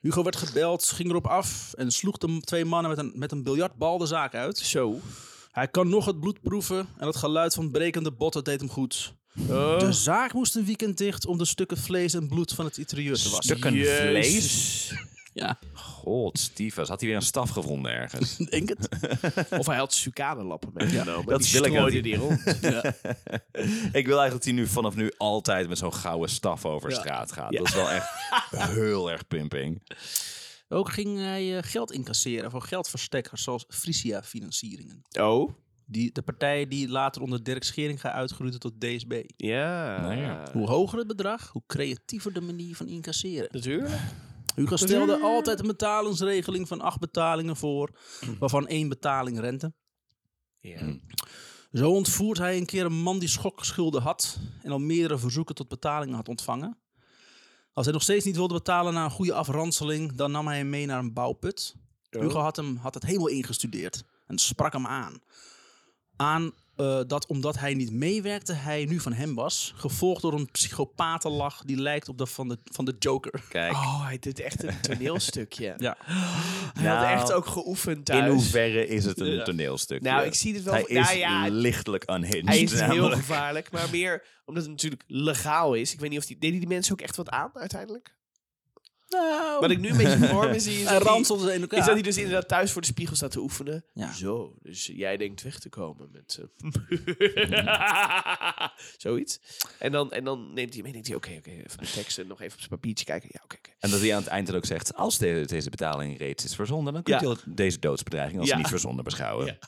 Speaker 1: Hugo werd gebeld, ging erop af en sloeg de twee mannen met een, met een biljartbal de zaak uit.
Speaker 2: Zo.
Speaker 1: Hij kan nog het bloed proeven en het geluid van brekende botten deed hem goed.
Speaker 2: Oh.
Speaker 1: De zaak moest een weekend dicht om de stukken vlees en bloed van het interieur te wassen.
Speaker 3: Stukken vlees.
Speaker 1: Ja,
Speaker 3: God, Stevens. Had hij weer een staf gevonden ergens?
Speaker 1: denk het.
Speaker 2: Of hij had sucadelappen meegenomen.
Speaker 3: dat
Speaker 2: die
Speaker 3: wil ik
Speaker 2: strooide
Speaker 3: ook.
Speaker 2: die rond.
Speaker 3: ik wil eigenlijk dat hij nu vanaf nu altijd met zo'n gouden staf over
Speaker 1: Ja.
Speaker 3: straat gaat. Dat is wel echt heel erg pimping.
Speaker 1: Ook ging hij eh, geld incasseren voor geldverstekkers zoals Frisia-financieringen.
Speaker 2: Oh.
Speaker 1: Die, de partij die later onder Dirk Scheringa uitgroeide tot DSB.
Speaker 2: Ja.
Speaker 3: Nou ja.
Speaker 1: Hoe hoger het bedrag, hoe creatiever de manier van incasseren.
Speaker 2: Natuurlijk.
Speaker 1: Hugo stelde altijd een betalingsregeling van acht betalingen voor, waarvan één betaling rente.
Speaker 3: Hm.
Speaker 2: Ja.
Speaker 1: Zo ontvoert hij een keer een man die schokschulden had en al meerdere verzoeken tot betalingen had ontvangen. Als hij nog steeds niet wilde betalen na een goede afranseling, dan nam hij hem mee naar een bouwput. Hugo had, hem, had het helemaal ingestudeerd en sprak hem aan. Aan eh, dat omdat hij niet meewerkte, hij nu van hem was. Gevolgd door een psychopatenlach die lijkt op dat van de, van de Joker.
Speaker 3: Kijk,
Speaker 2: Oh, hij deed echt een toneelstukje.
Speaker 1: Ja.
Speaker 2: Hij
Speaker 3: Nou,
Speaker 2: had echt ook geoefend
Speaker 3: in
Speaker 2: thuis.
Speaker 3: hoeverre is het een toneelstuk?
Speaker 2: Nou, ik zie het wel.
Speaker 3: Hij
Speaker 2: nou
Speaker 3: is
Speaker 2: ja,
Speaker 3: lichtelijk unhinged.
Speaker 2: hij is heel
Speaker 3: namelijk.
Speaker 2: gevaarlijk. Maar meer omdat het natuurlijk legaal is. Ik weet niet of die... Deden die mensen ook echt wat aan uiteindelijk?
Speaker 1: Nou.
Speaker 2: Wat ik nu een beetje voor me zie is
Speaker 1: Hij
Speaker 2: dat, die,
Speaker 1: ranselde ze in elkaar.
Speaker 2: is dat hij dus inderdaad thuis voor de spiegel staat te oefenen.
Speaker 1: Ja.
Speaker 2: Zo, dus jij denkt weg te komen met... eh, Zoiets. En dan, en dan neemt hij mee denkt hij, oké, oké, even de teksten nog even op zijn papiertje kijken. Ja, oké, oké.
Speaker 3: En dat hij aan het eind dan ook zegt, als de- deze betaling reeds is verzonden, dan kunt
Speaker 2: Ja.
Speaker 3: u al deze doodsbedreiging als
Speaker 2: Ja.
Speaker 3: niet verzonden beschouwen.
Speaker 2: Ja.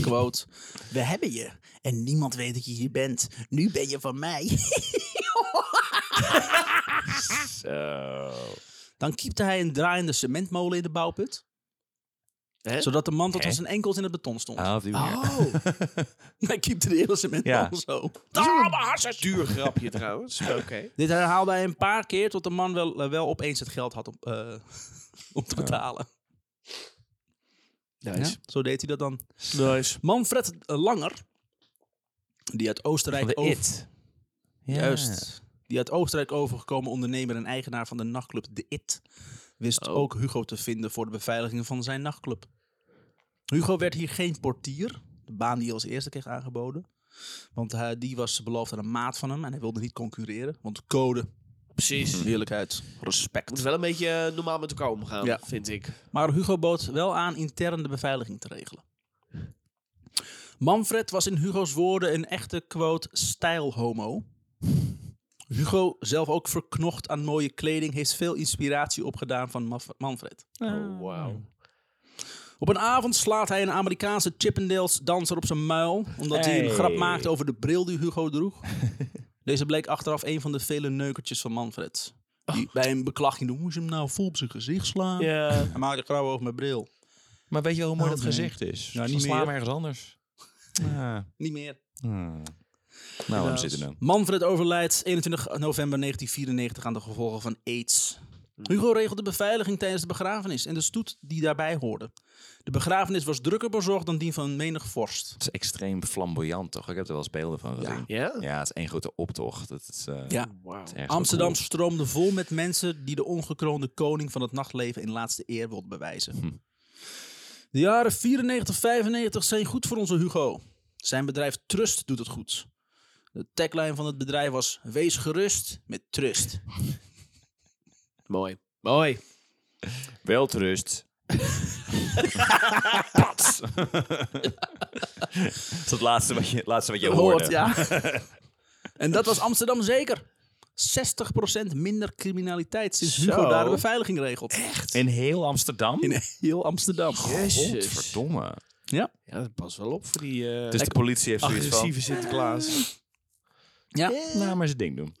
Speaker 1: Quote. We hebben je en niemand weet dat je hier bent. Nu ben je van mij.
Speaker 3: Zo.
Speaker 1: Dan kiepte hij een draaiende cementmolen in de bouwput.
Speaker 2: Hè?
Speaker 1: Zodat de man tot
Speaker 3: Hè?
Speaker 1: aan zijn enkels in het beton stond.
Speaker 3: Ah, op die manier.
Speaker 2: Oh,
Speaker 1: Hij kiepte de hele cementmolen zo.
Speaker 2: duur grapje trouwens. maar Oké.
Speaker 1: Dit herhaalde hij een paar keer tot de man wel, eh, wel opeens het geld had om, eh, om te betalen. Ja,
Speaker 2: Nice.
Speaker 1: Zo deed hij dat dan.
Speaker 2: Nice.
Speaker 1: Manfred eh, Langer, die uit Oostenrijk...
Speaker 3: Van de
Speaker 1: over-
Speaker 3: It. Ja.
Speaker 1: Juist. Die uit Oostenrijk overgekomen ondernemer en eigenaar van de nachtclub De It wist
Speaker 2: Oh.
Speaker 1: ook Hugo te vinden voor de beveiliging van zijn nachtclub. Hugo werd hier geen portier, de baan die hij als eerste kreeg aangeboden. Want hij, die was beloofd aan een maat van hem en hij wilde niet concurreren. Want code,
Speaker 2: Precies.
Speaker 1: eerlijkheid,
Speaker 2: Moet
Speaker 1: respect.
Speaker 2: wel een beetje eh, normaal met elkaar omgaan,
Speaker 1: Ja.
Speaker 2: vind ik.
Speaker 1: Maar Hugo bood wel aan intern de beveiliging te regelen. Manfred was in Hugo's woorden een echte quote stijlhomo. Hugo, zelf ook verknocht aan mooie kleding, heeft veel inspiratie opgedaan van Maf- Manfred.
Speaker 2: Oh, wauw.
Speaker 1: Op een avond slaat hij een Amerikaanse Chippendales danser op zijn muil, omdat hij een
Speaker 3: Hey.
Speaker 1: grap maakte over de bril die Hugo droeg. Deze bleek achteraf een van de vele neukertjes van Manfred. Die bij een beklaging doen, moest je hem nou vol op zijn gezicht slaan?
Speaker 2: Ja.
Speaker 1: Hij maakte grauw over mijn bril.
Speaker 3: Maar weet je wel hoe
Speaker 1: Oh, nee.
Speaker 3: is?
Speaker 1: Nou,
Speaker 3: Dan
Speaker 1: niet
Speaker 3: slaan
Speaker 1: meer.
Speaker 3: we ergens anders. Ja.
Speaker 1: Niet meer.
Speaker 3: Hmm. Nou, we zitten dan.
Speaker 1: Manfred overlijdt 21 november 1994 aan de gevolgen van AIDS. Hugo regelde beveiliging tijdens de begrafenis en de stoet die daarbij hoorde. De begrafenis was drukker bezorgd dan die van menig vorst.
Speaker 3: Het is extreem flamboyant, toch? Ik heb er wel eens beelden van gezien. Ja,
Speaker 2: Ja?
Speaker 3: het is één grote optocht. Het is, eh,
Speaker 1: Ja.
Speaker 2: Wauw.
Speaker 3: het is erg
Speaker 1: Amsterdam stroomde vol met mensen die de ongekroonde koning van het nachtleven in laatste eer wilden bewijzen. De jaren 94-95 zijn goed voor onze Hugo. Zijn bedrijf Trust doet het goed. De tagline van het bedrijf was: Wees gerust met Trust.
Speaker 2: Mooi. Mooi.
Speaker 3: cool. Welterust. Pats. dat is het laatste wat je, laatste wat je hoorde.
Speaker 1: hoort, ja. en dat was Amsterdam zeker. 60% minder criminaliteit sinds Hugo
Speaker 2: Zo.
Speaker 1: daar de beveiliging regelt. Echt?
Speaker 3: In heel Amsterdam?
Speaker 1: In heel Amsterdam.
Speaker 2: Jezus.
Speaker 3: Verdomme.
Speaker 1: Ja.
Speaker 2: Ja, dat past wel op voor die eh
Speaker 3: Dus de politie heeft zoiets van... "Eh,
Speaker 2: agressieve Sinterklaas.
Speaker 1: ja.
Speaker 3: Laat maar zijn ding doen.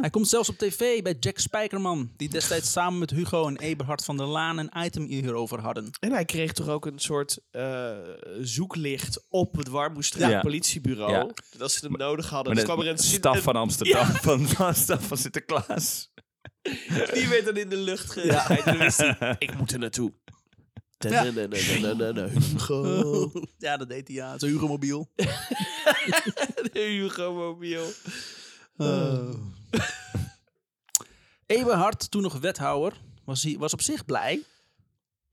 Speaker 1: Hij komt zelfs op tv bij Jack Spijkerman, die destijds samen met Hugo en Eberhard van der Laan een item hierover hadden.
Speaker 2: En hij kreeg toch ook een soort eh, zoeklicht op het Warmoestraat
Speaker 3: Ja.
Speaker 2: politiebureau.
Speaker 3: Ja.
Speaker 2: Dat als ze hem nodig hadden.
Speaker 3: Maar
Speaker 2: Dus
Speaker 3: de
Speaker 2: kwam er een
Speaker 3: staf
Speaker 2: een-
Speaker 3: van Amsterdam, van, van staf van Sinterklaas.
Speaker 2: Die werd dan in de lucht ge- En dan wist hij, ik moet er naartoe. Da-da-da-da-da-da-da. Hugo.
Speaker 1: Ja, dat deed hij ja. Zo Hugo Mobiel.
Speaker 2: Hugo Mobiel.
Speaker 1: Eberhard, toen nog wethouder, was, hij, was op zich blij.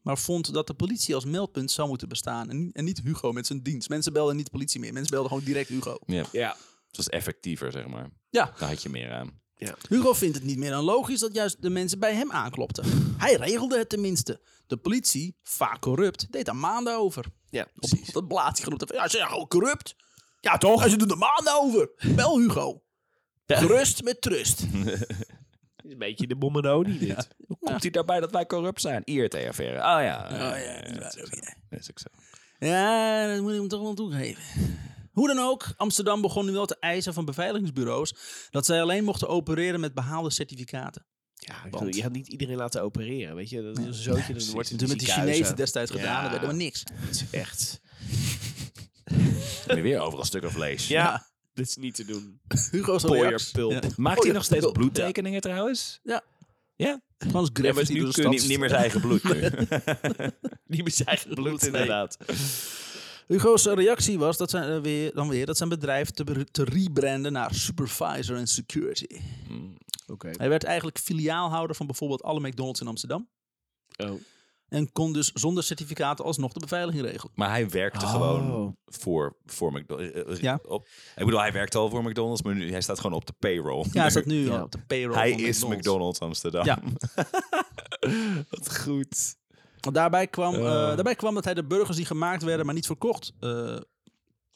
Speaker 1: Maar vond dat de politie als meldpunt zou moeten bestaan. En, en niet Hugo met zijn dienst. Mensen belden niet de politie meer. Mensen belden gewoon direct Hugo.
Speaker 3: Ja, het
Speaker 2: Ja.
Speaker 3: was effectiever, zeg maar.
Speaker 1: Ja.
Speaker 3: Daar had je meer aan.
Speaker 1: Hugo vindt het niet meer dan logisch dat juist de mensen bij hem aanklopten. Hij regelde het tenminste. De politie, vaak corrupt, deed daar maanden over.
Speaker 2: Ja,
Speaker 1: Op
Speaker 2: precies.
Speaker 1: dat blaadje genoemd. Ja, ze zijn gewoon corrupt. Ja, toch? En ze doen er maanden over. Bel Hugo. Gerust met trust.
Speaker 2: Een beetje de Bommenoni dit.
Speaker 3: Komt hij daarbij dat wij corrupt zijn? Iert TFR. Oh ja.
Speaker 1: Oh ja, die waren ook, ja.
Speaker 3: Dat is ook zo.
Speaker 1: Ja, dat moet ik hem toch wel toegeven. Hoe dan ook, Amsterdam begon nu wel te eisen van beveiligingsbureaus dat zij alleen mochten opereren met behaalde certificaten.
Speaker 2: Ja, ik
Speaker 1: Want-
Speaker 2: bedoel, je gaat niet iedereen laten opereren, weet je. Dat is een zootje, dat wordt in
Speaker 1: Toen met die Chinezen destijds
Speaker 2: Ja.
Speaker 1: gedaan, dat werd helemaal niks.
Speaker 2: Echt.
Speaker 3: Heb je weer overal stukken vlees.
Speaker 2: Ja, dit is niet te doen.
Speaker 1: Hugo's
Speaker 2: Pooierpulp.
Speaker 1: Ja.
Speaker 3: Maakt
Speaker 1: Oh,
Speaker 3: hij
Speaker 1: ja,
Speaker 3: nog steeds
Speaker 1: wel.
Speaker 3: bloedtekeningen trouwens?
Speaker 1: Ja.
Speaker 3: Ja?
Speaker 1: Gewoon als
Speaker 3: maar
Speaker 1: graffiti
Speaker 3: nu
Speaker 1: door de
Speaker 3: kun je
Speaker 1: stad.
Speaker 3: niet, niet meer zijn eigen bloed nu.
Speaker 2: Niet met zijn eigen bloed,
Speaker 1: Bloed, nee.
Speaker 2: inderdaad.
Speaker 1: Hugo's reactie was dat zijn, eh, weer, dan weer dat zijn bedrijf te, be- te rebranden naar Supervisor and Security.
Speaker 2: Oké.
Speaker 1: Hij werd eigenlijk filiaalhouder van bijvoorbeeld alle McDonald's in Amsterdam.
Speaker 2: Oh.
Speaker 1: En kon dus zonder certificaten alsnog de beveiliging regelen.
Speaker 3: Maar hij werkte
Speaker 2: Oh.
Speaker 3: gewoon voor, voor McDonald's. Eh,
Speaker 1: Ja.
Speaker 3: Op, ik bedoel, hij werkte al voor McDonald's, maar nu, hij staat gewoon op de payroll.
Speaker 1: Ja, hij staat nu al op de payroll
Speaker 3: Hij
Speaker 1: van
Speaker 3: is
Speaker 1: McDonald's.
Speaker 3: McDonald's Amsterdam.
Speaker 1: Ja.
Speaker 3: Wat goed.
Speaker 1: Want daarbij kwam, eh, daarbij kwam dat hij de burgers die gemaakt werden, maar niet verkocht... eh,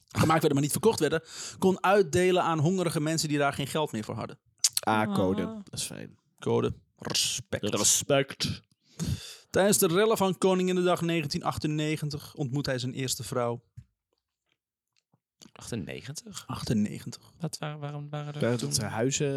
Speaker 1: gemaakt werden, maar niet verkocht werden... kon uitdelen aan hongerige mensen die daar geen geld meer voor hadden.
Speaker 2: A-code.
Speaker 1: Oh.
Speaker 2: Dat is fijn.
Speaker 1: Code. Respect.
Speaker 2: Respect.
Speaker 1: Tijdens de rellen van Koninginnedag 1998 ontmoet hij zijn eerste vrouw.
Speaker 3: 98?
Speaker 1: 98.
Speaker 5: Wat, waar- waarom waren er toen-
Speaker 2: Dat zijn eh, huizen...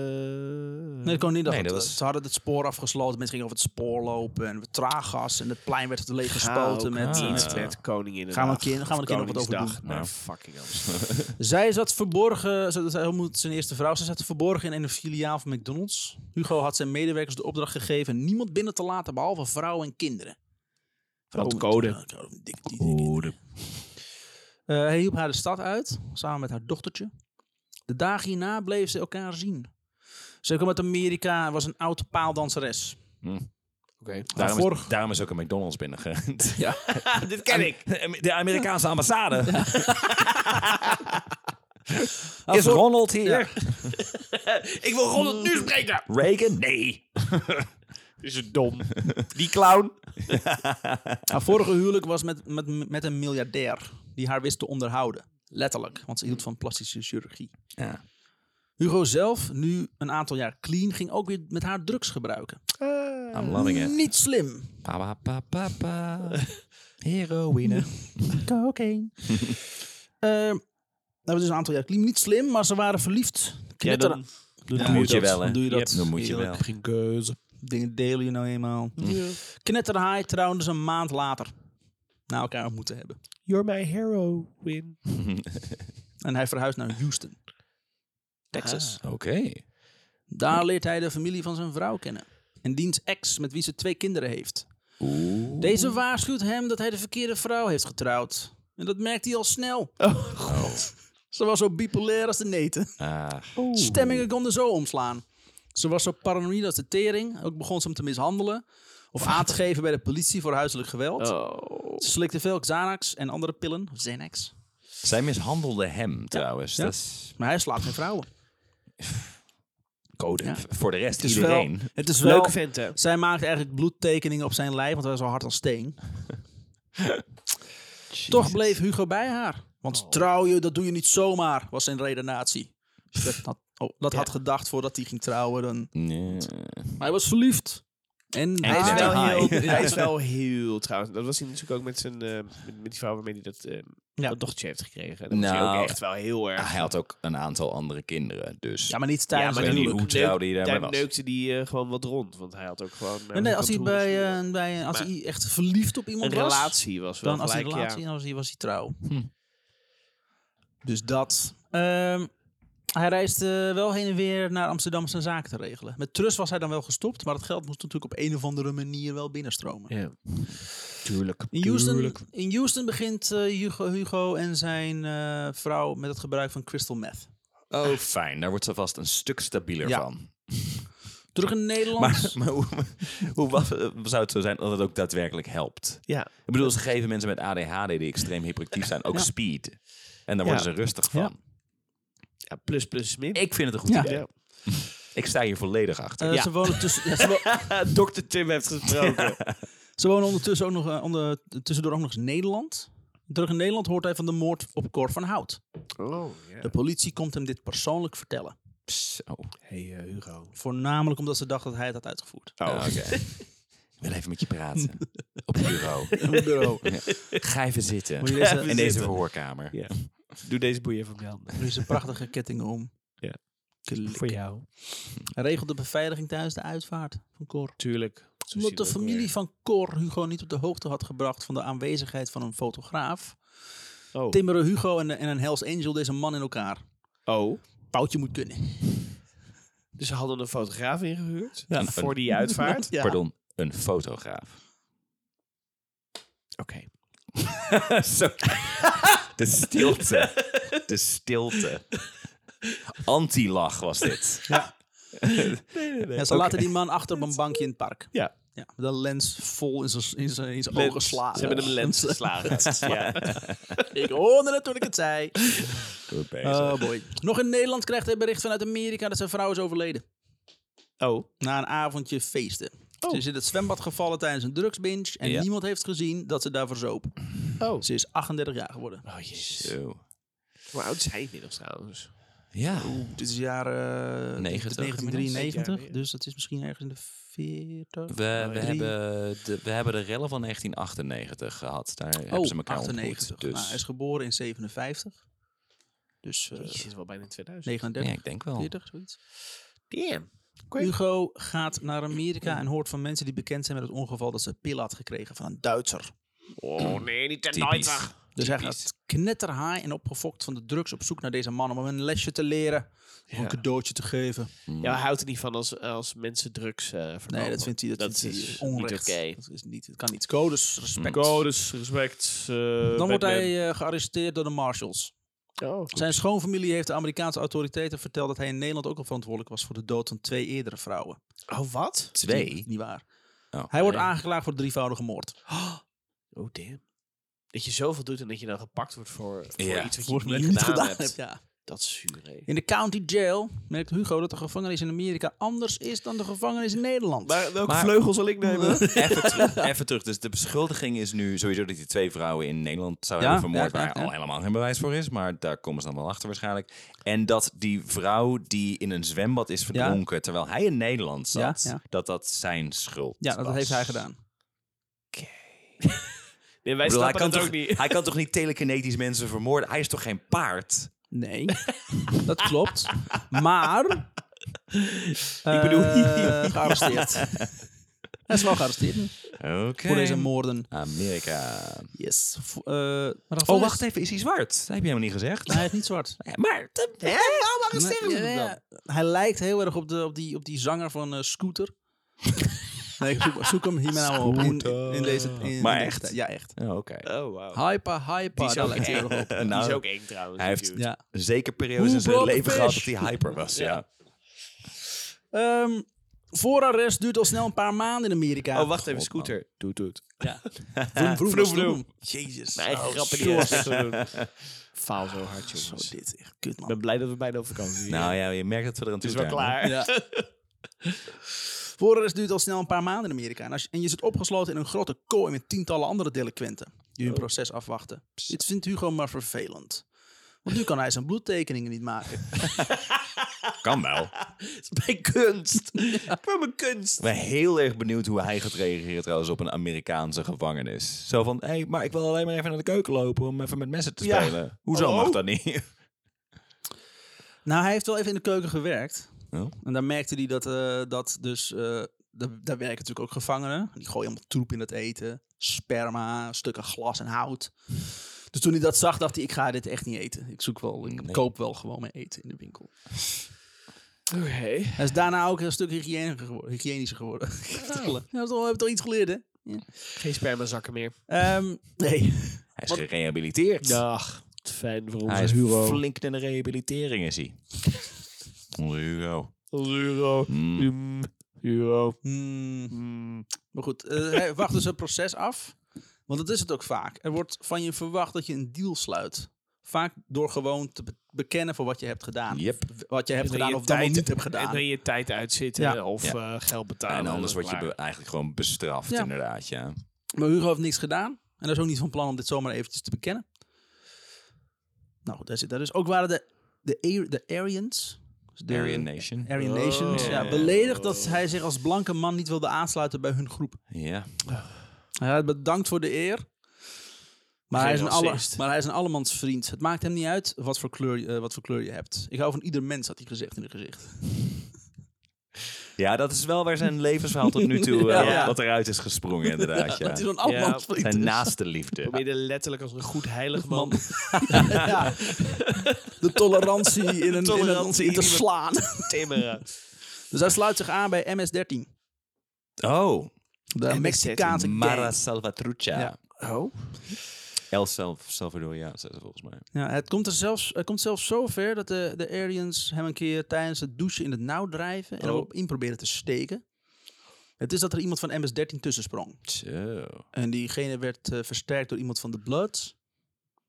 Speaker 1: Nee, de Koninginnedag.
Speaker 3: Nee, dat
Speaker 1: had-
Speaker 3: was-
Speaker 1: Ze hadden het spoor afgesloten. Mensen gingen over het spoor lopen. En traaggas. En het plein werd leeg
Speaker 2: Gespoten
Speaker 1: gespoten. Met,
Speaker 2: iets
Speaker 1: eh,
Speaker 2: met koningin.
Speaker 1: Gaan we een keer- gaan we een keer nog wat over doen.
Speaker 2: Nou,
Speaker 3: Ja.
Speaker 2: fucking Amsterdam.
Speaker 1: Zij zat verborgen, ze- zij ontmoette zijn eerste vrouw, ze zat verborgen in een filiaal van McDonald's. Hugo had zijn medewerkers de opdracht gegeven niemand binnen te laten behalve vrouwen en kinderen.
Speaker 2: Want code.
Speaker 1: Dikke- dikke kinderen. Eh, hij hielp haar de stad uit, samen met haar dochtertje. De dagen hierna bleven ze elkaar zien. Ze kwam uit Amerika en was een oud paaldanseres.
Speaker 2: Oké.
Speaker 3: Daarom,
Speaker 1: vorig-
Speaker 3: is, daarom is ook een McDonald's binnengerend. Ja.
Speaker 2: Dit ken ik.
Speaker 3: De Amerikaanse ambassade.
Speaker 1: Haar
Speaker 3: Is
Speaker 1: vor-
Speaker 3: Ronald hier?
Speaker 2: Ik wil Ronald nu spreken.
Speaker 3: Reagan? Nee.
Speaker 2: Is het dom. Die clown.
Speaker 1: Haar vorige huwelijk was met, met, met een miljardair die haar wist te onderhouden. Letterlijk, want ze hield van plastische chirurgie.
Speaker 3: Ja.
Speaker 1: Hugo zelf, nu een aantal jaar clean, ging ook weer met haar drugs gebruiken.
Speaker 3: I'm loving it.
Speaker 1: Niet slim.
Speaker 3: Pa, pa, pa, pa, pa. Heroïne.
Speaker 1: Cocaine. nou, dat is een aantal jaar clean. Niet slim, maar ze waren verliefd. Knetter.
Speaker 2: dan-
Speaker 1: Doe-
Speaker 3: dan
Speaker 1: doe
Speaker 3: moet je
Speaker 1: dat.
Speaker 3: wel, hè?
Speaker 1: Dan doe je dat.
Speaker 3: Yep, dan moet je
Speaker 1: Heerlijk.
Speaker 3: wel.
Speaker 5: Geen keuze.
Speaker 1: Dingen delen je nou eenmaal. Knetterhaai trouwens een maand later. Na elkaar moeten hebben.
Speaker 2: You're my heroine.
Speaker 1: En hij verhuist naar Houston. Texas.
Speaker 3: Oké.
Speaker 1: Daar leert hij de familie van zijn vrouw kennen. En diens ex, met wie ze twee kinderen heeft. Deze waarschuwt hem dat hij de verkeerde vrouw heeft getrouwd. En dat merkt hij al snel. Ze was zo bipolair als de neten.
Speaker 3: Ah,
Speaker 1: Stemmingen konden zo omslaan. Ze was zo paranoïde als de tering. Ook begon ze hem te mishandelen. Of aan te geven bij de politie voor huiselijk geweld.
Speaker 2: Oh.
Speaker 1: Ze slikte veel Xanax en andere pillen. Of Xanax.
Speaker 3: zij mishandelde hem trouwens. Dat is
Speaker 1: Maar hij slaat geen vrouwen.
Speaker 3: code. Voor de rest,
Speaker 1: Het is
Speaker 3: iedereen.
Speaker 1: wel... Het is wel
Speaker 2: Leuke vent, hè?
Speaker 1: zij maakt eigenlijk bloedtekeningen op zijn lijf, want hij was al hard als steen. Toch bleef Hugo bij haar. Want trouw je, dat doe je niet zomaar, was zijn redenatie. Dus Dat had, oh, dat had gedacht voordat hij ging trouwen. Dan...
Speaker 3: Nee.
Speaker 1: Maar hij was verliefd. En,
Speaker 3: hij is
Speaker 1: hij
Speaker 3: wel
Speaker 2: Hij is, wel
Speaker 3: high.
Speaker 2: heel, hij is wel heel trouwens. Dat was hij natuurlijk ook met, zijn, eh, met, met die vrouw waarmee hij dat, eh,
Speaker 1: Ja.
Speaker 2: dat dochtertje heeft gekregen. Dat was
Speaker 3: Nou.
Speaker 2: hij ook echt wel heel erg.
Speaker 3: Ah, Hij had ook een aantal andere kinderen, dus...
Speaker 1: Ja, maar niet tijdens
Speaker 3: maar
Speaker 1: het
Speaker 3: die-
Speaker 1: huwelijk.
Speaker 3: hoe trouwde hij daarmee
Speaker 2: daar
Speaker 3: was.
Speaker 2: neukte die eh, gewoon wat rond. Want hij had ook gewoon... eh,
Speaker 1: Nee, nee, als hij,
Speaker 2: kantoren
Speaker 1: bij,
Speaker 2: zonder-
Speaker 1: eh, bij, als
Speaker 2: Maar-
Speaker 1: hij echt verliefd op
Speaker 2: een
Speaker 1: iemand was,
Speaker 2: relatie was wel
Speaker 1: dan als hij
Speaker 2: gelijk,
Speaker 1: een relatie
Speaker 2: ja. Hm.
Speaker 1: dan was hij, was hij trouw. Dus dat. Ehm, hij reisde wel heen en weer naar Amsterdam zijn zaken te regelen. Met trust was hij dan wel gestopt, maar het geld moest natuurlijk op een of andere manier wel binnenstromen.
Speaker 2: Tuurlijk.
Speaker 1: In Houston, in Houston begint eh, Hugo, Hugo en zijn eh, vrouw met het gebruik van crystal meth.
Speaker 3: Oh, fijn. Daar wordt ze vast een stuk stabieler
Speaker 1: Ja.
Speaker 3: van.
Speaker 1: Terug in Nederland.
Speaker 3: Maar, maar hoe, hoe was, zou het zo zijn dat het ook daadwerkelijk helpt?
Speaker 2: Ja.
Speaker 3: Ik bedoel, ze geven mensen met ADHD die extreem hyperactief zijn ook speed. En daar worden
Speaker 2: Ja.
Speaker 3: ze rustig van.
Speaker 2: ja, plus plus is min.
Speaker 3: Ik vind het een goed
Speaker 1: Ja.
Speaker 3: idee.
Speaker 2: Ja.
Speaker 3: Ik sta hier volledig achter.
Speaker 1: Eh,
Speaker 2: ja.
Speaker 1: ze, wonen tussen, ja, ze, wo-
Speaker 2: Dr. Tim heeft gesproken.
Speaker 1: Ze wonen ondertussen ook nog, eh, onder, tussendoor ook nog eens Nederland. Terug in Nederland hoort hij van de moord op Cor van Hout.
Speaker 2: oh, ja.
Speaker 1: De politie komt hem dit persoonlijk vertellen.
Speaker 3: Zo.
Speaker 2: Hey eh, Hugo.
Speaker 1: Voornamelijk omdat ze dacht dat hij het had uitgevoerd.
Speaker 3: Oh, oké. Ik wil even met je praten. Op het bureau.
Speaker 1: bureau.
Speaker 3: Ja. Ga even zitten.
Speaker 1: Moet je deze-
Speaker 3: In deze
Speaker 2: zitten.
Speaker 3: verhoorkamer.
Speaker 2: Ja. Doe deze boeien even op je handen.
Speaker 1: Er is een prachtige ketting om.
Speaker 2: Ja.
Speaker 1: Klik.
Speaker 2: Voor jou.
Speaker 1: Hij regelt de beveiliging tijdens de uitvaart van Cor.
Speaker 2: Tuurlijk. Zo zie je
Speaker 1: Omdat de
Speaker 2: dat ook
Speaker 1: familie
Speaker 2: weer.
Speaker 1: van Cor Hugo niet op de hoogte had gebracht van de aanwezigheid van een fotograaf,
Speaker 2: Oh.
Speaker 1: timmeren Hugo en, en een Hells Angel deze man in elkaar.
Speaker 2: oh.
Speaker 1: Poutje moet kunnen.
Speaker 2: Dus ze hadden een fotograaf ingehuurd.
Speaker 3: Ja. nou,
Speaker 2: Voor die uitvaart.
Speaker 1: Ja.
Speaker 3: Pardon, een fotograaf.
Speaker 2: Oké.
Speaker 3: Zo. De stilte. De stilte. Antilach was dit.
Speaker 1: Ja, ze laten die man achter op een bankje in het park.
Speaker 2: Ja.
Speaker 1: Ja, met een lens vol in zijn- in zijn in zijn
Speaker 2: Lens.
Speaker 1: ogen slagen.
Speaker 2: Ze hebben hem lens geslagen. ja.
Speaker 1: Ik hoorde het toen ik het zei.
Speaker 3: Goed bezig.
Speaker 1: Oh boy. Nog in Nederland krijgt hij bericht vanuit Amerika dat zijn vrouw is overleden.
Speaker 2: Oh.
Speaker 1: Na een avondje feesten. Ze is in het zwembad gevallen tijdens een drugsbinge en
Speaker 3: Ja.
Speaker 1: niemand heeft gezien dat ze daarvoor zoop.
Speaker 2: Oh.
Speaker 1: Ze is 38 jaar geworden.
Speaker 2: Oh, jezus.
Speaker 3: Zo.
Speaker 2: Hoe oud is hij inmiddels trouwens?
Speaker 3: Ja.
Speaker 1: Dit is jaar eh,
Speaker 3: 90
Speaker 1: 1993,
Speaker 2: inmiddels.
Speaker 1: dus dat is misschien ergens in de 40.
Speaker 3: We, we,
Speaker 1: Drie.
Speaker 3: hebben de, we hebben de rellen van 1998 gehad. Daar hebben ze
Speaker 1: Oh,
Speaker 3: elkaar
Speaker 1: 98.
Speaker 3: ontmoet. Dus
Speaker 1: Nou, hij is geboren in 57. Dus eh,
Speaker 2: Jezus, wel bijna 2000.
Speaker 1: 39,
Speaker 3: ja, ik denk wel.
Speaker 1: 40, zoiets.
Speaker 2: Damn. Great.
Speaker 1: Hugo gaat naar Amerika en hoort van mensen die bekend zijn met het ongeval dat ze pillen had gekregen van een Duitser.
Speaker 2: Oh nee, niet ten
Speaker 3: Typisch.
Speaker 2: Duitser.
Speaker 1: Dus hij gaat knetterhaai en opgefokt van de drugs op zoek naar deze man om hem een lesje te leren. Om een cadeautje te geven.
Speaker 3: Mm.
Speaker 2: Ja, hij houdt er niet van als, als mensen drugs eh verkopen.
Speaker 1: Nee, dat vindt hij, dat vindt hij
Speaker 2: is
Speaker 1: onrecht.
Speaker 2: niet oké.
Speaker 1: Dat is niet, het kan niet. Codes, respect.
Speaker 2: Codes, respect.
Speaker 1: Dan wordt hij eh, gearresteerd door de marshals.
Speaker 2: Oh.
Speaker 1: Zijn schoonfamilie heeft de Amerikaanse autoriteiten verteld dat hij in Nederland ook al verantwoordelijk was voor de dood van twee eerdere vrouwen.
Speaker 2: Oh, wat?
Speaker 3: Twee.
Speaker 1: Niet waar.
Speaker 3: Oh,
Speaker 1: Hij wordt
Speaker 3: nee.
Speaker 1: aangeklaagd voor drievoudige moord.
Speaker 2: Oh, damn. Dat je zoveel doet en dat je dan gepakt wordt voor, voor
Speaker 3: Ja,
Speaker 2: iets wat
Speaker 3: voor
Speaker 2: je
Speaker 3: wat
Speaker 2: niet
Speaker 3: je
Speaker 2: gedaan,
Speaker 3: niet gedaan
Speaker 2: hebt.
Speaker 3: hebt.
Speaker 1: Ja.
Speaker 2: Dat is zuur, hè.
Speaker 1: In de county jail merkt Hugo dat de gevangenis in Amerika anders is dan de gevangenis in Nederland.
Speaker 2: Maar welke
Speaker 3: Maar-
Speaker 2: vleugel zal ik nemen?
Speaker 3: Even terug, even terug. Dus de beschuldiging is nu sowieso dat die twee vrouwen in Nederland zouden
Speaker 1: Ja,
Speaker 3: hebben vermoord,
Speaker 1: ja, ja,
Speaker 3: waar
Speaker 1: ja.
Speaker 3: al helemaal geen bewijs voor is, maar daar komen ze dan wel achter waarschijnlijk. En dat die vrouw die in een zwembad is verdronken terwijl hij in Nederland
Speaker 1: Ja,
Speaker 3: zat,
Speaker 1: ja.
Speaker 3: dat dat zijn schuld
Speaker 1: ja, dat
Speaker 3: was.
Speaker 1: heeft hij gedaan.
Speaker 2: Nee, wij
Speaker 3: Ik bedoel, hij,
Speaker 2: snappen
Speaker 3: kan
Speaker 2: dat
Speaker 3: toch,
Speaker 2: ook niet.
Speaker 3: hij kan toch niet telekinetisch mensen vermoorden? Hij is toch geen paard?
Speaker 1: Nee, dat klopt. Maar. ik
Speaker 2: bedoel-
Speaker 1: gearresteerd. Hij is wel gearresteerd
Speaker 3: Oké.
Speaker 1: voor deze moorden.
Speaker 3: Amerika.
Speaker 1: Yes. Vo- eh, maar
Speaker 3: Oh, wacht even. Is hij zwart? Dat heb je helemaal niet gezegd.
Speaker 1: Hij is niet zwart.
Speaker 3: Maar...
Speaker 2: Hè? Waarom arresteren ze hem dan?
Speaker 1: Hij lijkt heel erg op, de, op, die, op die zanger van eh, Scooter. nee, zoek, zoek hem hier maar nou op. In, in deze, in, in
Speaker 3: Maar
Speaker 1: deze
Speaker 3: echt?
Speaker 1: tijd. ja, echt.
Speaker 3: Oh, Oké.
Speaker 2: Oh, wow.
Speaker 1: Hyper, hyper.
Speaker 2: is
Speaker 1: Daar
Speaker 2: ook
Speaker 1: lijkt hij heel erg op.
Speaker 2: Die
Speaker 3: Nou,
Speaker 2: is ook eng trouwens.
Speaker 3: hij
Speaker 2: die
Speaker 3: heeft-
Speaker 2: dude.
Speaker 1: Ja.
Speaker 3: een zekere periode
Speaker 1: Hoe
Speaker 3: in zijn
Speaker 1: brood
Speaker 3: leven
Speaker 1: fish?
Speaker 3: gehad dat hij hyper was. Ja.
Speaker 1: Ehm, voorarrest duurt al snel een paar maanden in Amerika.
Speaker 2: Oh, wacht even, scooter. Doet, doet.
Speaker 1: Vroom, vroom,
Speaker 2: Vroom,
Speaker 1: vroom.
Speaker 2: vroom.
Speaker 1: Jezus.
Speaker 2: Mijn eigen
Speaker 1: Oh,
Speaker 2: grappen die
Speaker 1: jongens.
Speaker 2: echt zo doen. Faal zo hard,
Speaker 1: Zo,
Speaker 2: jongens. Ik
Speaker 1: dit is echt kut, man.
Speaker 2: ben blij dat we bijna op vakantie zijn.
Speaker 3: Nou ja, je merkt dat we er aan
Speaker 2: het
Speaker 3: toe
Speaker 2: is wel
Speaker 3: zijn, hè?
Speaker 2: klaar.
Speaker 1: Ja. Voorarrest duurt al snel een paar maanden in Amerika. En, als je, en je zit opgesloten in een grote kooi met tientallen andere delinquenten. Die hun proces afwachten. Dit vindt Hugo maar vervelend. Want nu kan hij zijn bloedtekeningen niet maken.
Speaker 3: Kan wel.
Speaker 2: Bij kunst. Bij mijn kunst.
Speaker 3: Ik ben heel erg benieuwd hoe hij gaat reageren trouwens op een Amerikaanse gevangenis. Zo van, hé, hey, maar ik wil alleen maar even naar de keuken lopen om even met messen te
Speaker 2: Ja. Oh.
Speaker 3: spelen. Hoezo
Speaker 2: Hallo?
Speaker 3: mag dat niet?
Speaker 1: Nou, hij heeft wel even in de keuken gewerkt.
Speaker 3: Oh.
Speaker 1: En daar merkte hij dat, eh, dat dus... eh, da- daar werken natuurlijk ook gevangenen. Die gooien allemaal troep in het eten. Sperma, stukken glas en hout. Dus toen hij dat zag, dacht hij... Ik ga dit echt niet eten. Ik zoek wel... Ik
Speaker 3: Nee.
Speaker 1: koop wel gewoon mijn eten in de winkel.
Speaker 2: Oké.
Speaker 1: Hij is daarna ook een stuk hygiënischer geworden. Hygiënischer geworden.
Speaker 3: Oh.
Speaker 1: Ja, dat is wel- we hebben toch iets geleerd, hè? Ja.
Speaker 2: Geen spermazakken meer.
Speaker 1: Ehm, nee.
Speaker 3: Hij is gerehabiliteerd.
Speaker 2: Dag. Fijn voor
Speaker 3: Hij is
Speaker 2: onze Hugo.
Speaker 3: flink in de rehabilitering, is hij. Onze Hugo.
Speaker 2: Onze Hugo.
Speaker 3: Mm.
Speaker 2: Mm, Hugo.
Speaker 1: Hmm,
Speaker 2: Mm.
Speaker 1: Maar goed, eh, hij wacht dus het proces af. Want dat is het ook vaak. Er wordt van je verwacht dat je een deal sluit. Vaak door gewoon te be- bekennen voor wat je hebt gedaan.
Speaker 3: Yep.
Speaker 1: Wat je hebt
Speaker 2: En dat
Speaker 1: gedaan
Speaker 2: je
Speaker 1: of dan wel
Speaker 2: tijd-
Speaker 1: niet hebt
Speaker 2: En
Speaker 1: gedaan.
Speaker 2: dan je tijd uitzitten
Speaker 1: Ja.
Speaker 2: of
Speaker 3: Ja.
Speaker 2: eh, geld betalen.
Speaker 3: En anders
Speaker 2: dan
Speaker 3: word je
Speaker 2: klaar.
Speaker 3: be- eigenlijk gewoon bestraft,
Speaker 1: Ja.
Speaker 3: inderdaad, ja.
Speaker 1: Maar Hugo heeft niks gedaan. En dat is ook niet van plan om dit zomaar eventjes te bekennen. Nou, goed, daar zit daar dus. Ook waren de, de, Ar- de Aryans. dus de-
Speaker 3: Aryan Nation.
Speaker 1: Aryan Nations.
Speaker 2: Oh,
Speaker 1: Ja, beledigd dat hij zich als blanke man niet wilde aansluiten bij hun groep.
Speaker 3: Ja.
Speaker 1: Hij had bedankt voor de eer. Maar
Speaker 2: Geen
Speaker 1: hij, is een alle,
Speaker 2: racist.
Speaker 1: maar hij is een allemans vriend. Het maakt hem niet uit wat voor, kleur, je- eh, wat voor kleur je hebt. Ik hou van ieder mens, had hij gezegd in het gezicht.
Speaker 3: ja, dat is wel waar zijn levensverhaal tot nu toe, eh,
Speaker 2: Ja.
Speaker 3: wat eruit is gesprongen, inderdaad, ja.
Speaker 1: Dat is een allemans vriend.
Speaker 3: Zijn
Speaker 1: is.
Speaker 3: naaste liefde.
Speaker 2: Probeer er letterlijk als een goed heilig man.
Speaker 1: Man. ja. De tolerantie in een, in een-
Speaker 2: Tolerantie
Speaker 1: in
Speaker 2: in
Speaker 1: te
Speaker 2: iemand.
Speaker 1: slaan.
Speaker 2: Timmer.
Speaker 1: Dus hij sluit zich aan bij MS-13.
Speaker 3: Oh,
Speaker 1: De Mexicaanse gang.
Speaker 3: Salvatrucha.
Speaker 1: Ja.
Speaker 2: Oh.
Speaker 3: El Sal- Salvadoriaans, is het volgens mij.
Speaker 1: Ja, het komt er zelfs, het komt zelfs zo ver dat de, de aliens hem een keer tijdens het douchen in het nauw drijven en
Speaker 3: Oh.
Speaker 1: erop in proberen te steken. Het is dat er iemand van MS-13 tussen sprong.
Speaker 3: Zo.
Speaker 1: En diegene werd eh, versterkt door iemand van de Bloods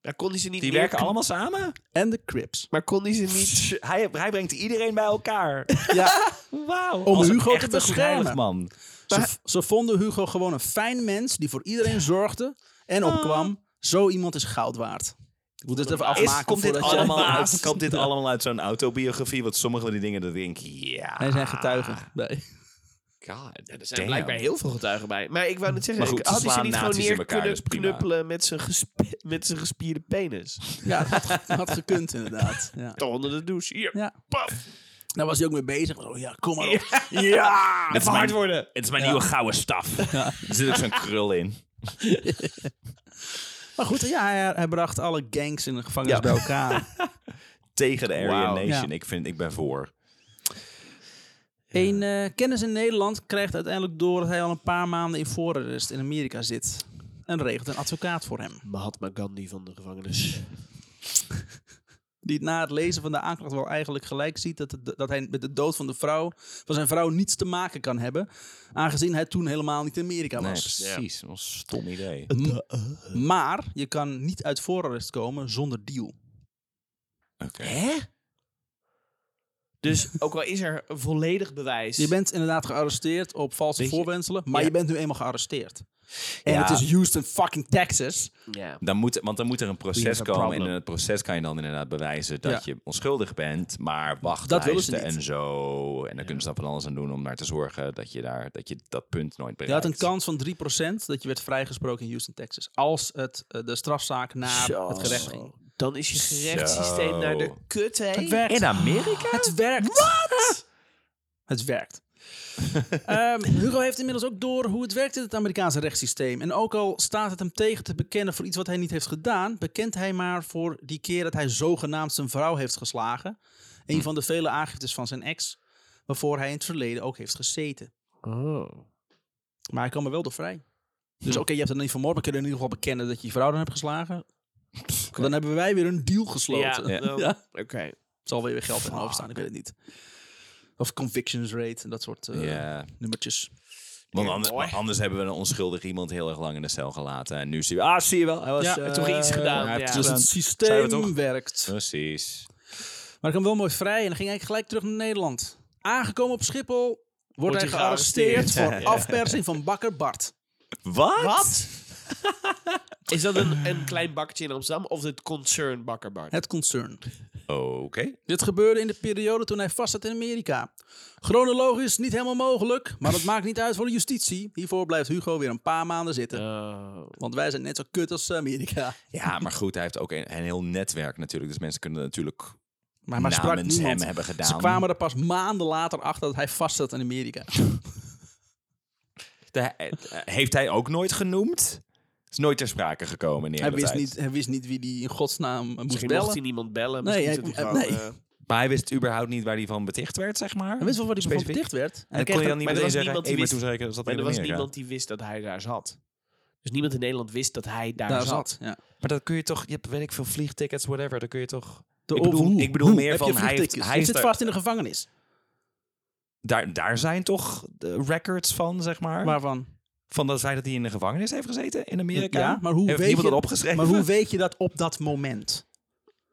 Speaker 2: Ja, kon hij ze niet
Speaker 3: Die
Speaker 2: meer-
Speaker 3: werken allemaal samen?
Speaker 1: en de Crips.
Speaker 2: Maar kon hij ze niet...
Speaker 3: Hij, hij brengt iedereen bij elkaar.
Speaker 1: Ja,
Speaker 3: Wauw.
Speaker 1: Om
Speaker 3: Als een
Speaker 1: Oh, Hugo te
Speaker 3: echte goed
Speaker 1: beschermen.
Speaker 3: heilig man.
Speaker 1: ze, v- ze vonden Hugo gewoon een fijn mens die voor iedereen zorgde en opkwam. Zo iemand is goud waard. Ah. Ik moet het even afmaken.
Speaker 3: Is, komt, dit
Speaker 1: voordat je-
Speaker 3: allemaal uit, komt dit allemaal uit zo'n autobiografie? Want sommige van die dingen, dat denk ik, ja.
Speaker 1: Wij zijn getuigen. Nee.
Speaker 3: God,
Speaker 2: Ja, er zijn blijkbaar heel veel getuigen bij. Maar ik wou net zeggen,
Speaker 3: Maar goed,
Speaker 2: ik- had
Speaker 3: ze
Speaker 2: hij ze
Speaker 3: slaan
Speaker 2: niet gewoon
Speaker 3: nazi's in
Speaker 2: neer
Speaker 3: elkaar,
Speaker 2: kunnen
Speaker 3: dus prima.
Speaker 2: knuppelen met zijn, gesp- met zijn gespierde penis?
Speaker 1: Ja, dat had, had gekund inderdaad. Ja.
Speaker 2: Toch onder de douche. Hier,
Speaker 1: Ja.
Speaker 2: paf.
Speaker 1: Daar was hij ook mee bezig. Oh ja, kom maar op.
Speaker 2: Ja, even
Speaker 3: mijn-
Speaker 2: hard worden.
Speaker 3: Het is mijn nieuwe gouden staf. Er zit ook zo'n krul in.
Speaker 1: Maar goed, ja, hij, hij bracht alle gangs in de gevangenis bij elkaar.
Speaker 3: Tegen de Aryan
Speaker 2: Wauw.
Speaker 3: Nation.
Speaker 1: Ja.
Speaker 3: Ik, vind, ik ben voor.
Speaker 1: Een eh, kennis in Nederland krijgt uiteindelijk door dat hij al een paar maanden in voorarrest in Amerika zit. En regelt een advocaat voor hem.
Speaker 2: Mahatma Gandhi van de gevangenis.
Speaker 1: Die het na het lezen van de aanklacht wel eigenlijk gelijk ziet dat, het- dat hij met de dood van, de vrouw, van zijn vrouw niets te maken kan hebben. Aangezien hij toen helemaal niet in Amerika
Speaker 3: Nee,
Speaker 1: was.
Speaker 3: precies. Wat een stom idee.
Speaker 1: Maar je kan niet uit voorarrest komen zonder deal.
Speaker 2: Hè? Dus ook al is er volledig bewijs.
Speaker 1: Je bent inderdaad gearresteerd op valse
Speaker 2: Weet je-
Speaker 1: voorwendselen, maar
Speaker 2: Ja.
Speaker 1: je bent nu eenmaal gearresteerd. En
Speaker 3: Ja.
Speaker 1: het is Houston fucking Texas.
Speaker 2: Ja.
Speaker 3: Dan moet, want dan moet er een proces
Speaker 2: have a
Speaker 3: komen. En
Speaker 2: problem.
Speaker 3: in het proces kan je dan inderdaad bewijzen dat
Speaker 1: Ja.
Speaker 3: je onschuldig bent. Maar
Speaker 1: willen ze
Speaker 3: wachtlijsten
Speaker 1: niet.
Speaker 3: en zo. En dan kunnen ze daar van alles aan doen om naar te zorgen dat je, daar, dat, je dat punt nooit
Speaker 1: Je
Speaker 3: bereikt.
Speaker 1: had een kans van 3% dat je werd vrijgesproken in Houston, Texas. Als het, eh, de strafzaak naar
Speaker 2: Zo.
Speaker 1: het gerecht ging.
Speaker 2: Dan is je gerechtssysteem
Speaker 3: Zo.
Speaker 2: naar de kut heen.
Speaker 3: In Amerika?
Speaker 1: Het werkt. Wat? Het werkt. Ehm, Hugo heeft inmiddels ook door hoe het werkt in het Amerikaanse rechtssysteem. En ook al staat het hem tegen te bekennen voor iets wat hij niet heeft gedaan, bekent hij maar voor die keer dat hij zogenaamd zijn vrouw heeft geslagen. Een van de vele aangiftes van zijn ex, waarvoor hij in het verleden ook heeft gezeten. Maar hij kwam er wel door vrij. Dus oké, je hebt het niet vermoord, maar kun je in ieder geval bekennen dat je je vrouw dan hebt geslagen. Want Dan hebben wij weer een deal gesloten.
Speaker 2: Ja, nou,
Speaker 1: Ja.
Speaker 2: Oké.
Speaker 1: Het zal weer geld in mijn hoofd staan, ik weet het niet. Of convictions rate en dat soort eh,
Speaker 3: Ja.
Speaker 1: nummertjes.
Speaker 3: Want anders,
Speaker 2: Mooi.
Speaker 3: maar anders hebben we een onschuldig iemand heel erg lang in de cel gelaten. En nu zien we, ah, zie je wel. Hij was,
Speaker 1: Ja,
Speaker 3: eh,
Speaker 1: hij heeft
Speaker 2: toch iets gedaan,
Speaker 3: hij heeft
Speaker 2: ja.
Speaker 1: Dus
Speaker 3: iets
Speaker 2: Dus
Speaker 3: gedaan.
Speaker 1: het
Speaker 3: Zijn
Speaker 1: systeem
Speaker 3: we toch-
Speaker 1: werkt.
Speaker 3: Precies.
Speaker 1: Maar ik kwam wel mooi vrij en dan ging hij gelijk terug naar Nederland. Aangekomen op Schiphol wordt, hij
Speaker 2: hij
Speaker 1: gearresteerd
Speaker 2: gearresteerd.
Speaker 1: voor afpersing van bakker Bart.
Speaker 3: Wat?
Speaker 2: Wat? is dat een,
Speaker 1: Eh.
Speaker 2: een klein bakkertje in Amsterdam of het concern bakkerbart?
Speaker 1: Het concern.
Speaker 3: Oké.
Speaker 1: Dit gebeurde in de periode toen hij vast zat in Amerika. Chronologisch niet helemaal mogelijk, maar dat maakt niet uit voor de justitie. Hiervoor blijft Hugo weer een paar maanden zitten.
Speaker 2: Oh.
Speaker 1: Want wij zijn net zo kut als Amerika.
Speaker 3: Ja, maar goed, hij heeft ook een, een heel netwerk natuurlijk. Dus mensen kunnen natuurlijk
Speaker 1: Maar, maar sprak
Speaker 3: namens
Speaker 1: niemand.
Speaker 3: hem hebben gedaan.
Speaker 1: Ze kwamen er pas maanden later achter dat hij vast zat in Amerika.
Speaker 3: De- eh, heeft hij ook nooit genoemd? Is nooit ter sprake gekomen. in de
Speaker 1: Hij
Speaker 3: hele
Speaker 1: wist,
Speaker 3: tijd.
Speaker 1: niet, hij wist niet wie die in godsnaam moest
Speaker 2: Misschien
Speaker 1: bellen.
Speaker 2: mocht hij niemand bellen.
Speaker 1: Nee,
Speaker 2: Misschien
Speaker 1: hij-
Speaker 2: zat hij gewoon,
Speaker 1: nee.
Speaker 2: eh,
Speaker 3: Maar hij wist überhaupt niet waar hij van beticht werd, zeg maar.
Speaker 1: Hij wist wel wat hij
Speaker 3: Specifiek.
Speaker 1: van dicht werd. En,
Speaker 3: En
Speaker 1: kreeg
Speaker 3: kon je dan niet
Speaker 2: maar
Speaker 3: meteen
Speaker 2: er was
Speaker 3: zeggen,
Speaker 2: niemand
Speaker 3: hey,
Speaker 2: die
Speaker 3: maar
Speaker 2: wist-
Speaker 3: toen zei ik dat zat
Speaker 2: maar
Speaker 3: in
Speaker 2: er was
Speaker 3: Amerika.
Speaker 2: niemand die wist dat hij daar zat. Dus niemand in Nederland wist dat hij daar,
Speaker 1: daar
Speaker 2: zat.
Speaker 1: zat. Ja.
Speaker 3: Maar dat kun je toch, je hebt weet ik veel vliegtickets, whatever, dan kun je toch...
Speaker 1: De
Speaker 3: ik bedoel,
Speaker 1: overhoe.
Speaker 3: ik bedoel
Speaker 1: Hoe?
Speaker 3: meer
Speaker 1: Heb je
Speaker 3: van, hij, heeft,
Speaker 1: vliegtickets?
Speaker 3: hij
Speaker 1: Je
Speaker 3: is
Speaker 1: zit
Speaker 3: daar-
Speaker 1: vast in de gevangenis.
Speaker 3: daar, daar zijn toch de records van, zeg maar.
Speaker 1: Waarvan?
Speaker 3: Van dat zij dat hij in de gevangenis heeft gezeten in Amerika.
Speaker 1: Ja, maar hoe
Speaker 3: heeft
Speaker 1: weet
Speaker 3: niemand
Speaker 1: je-
Speaker 3: dat opgeschreven?
Speaker 1: Maar hoe weet je dat op dat moment?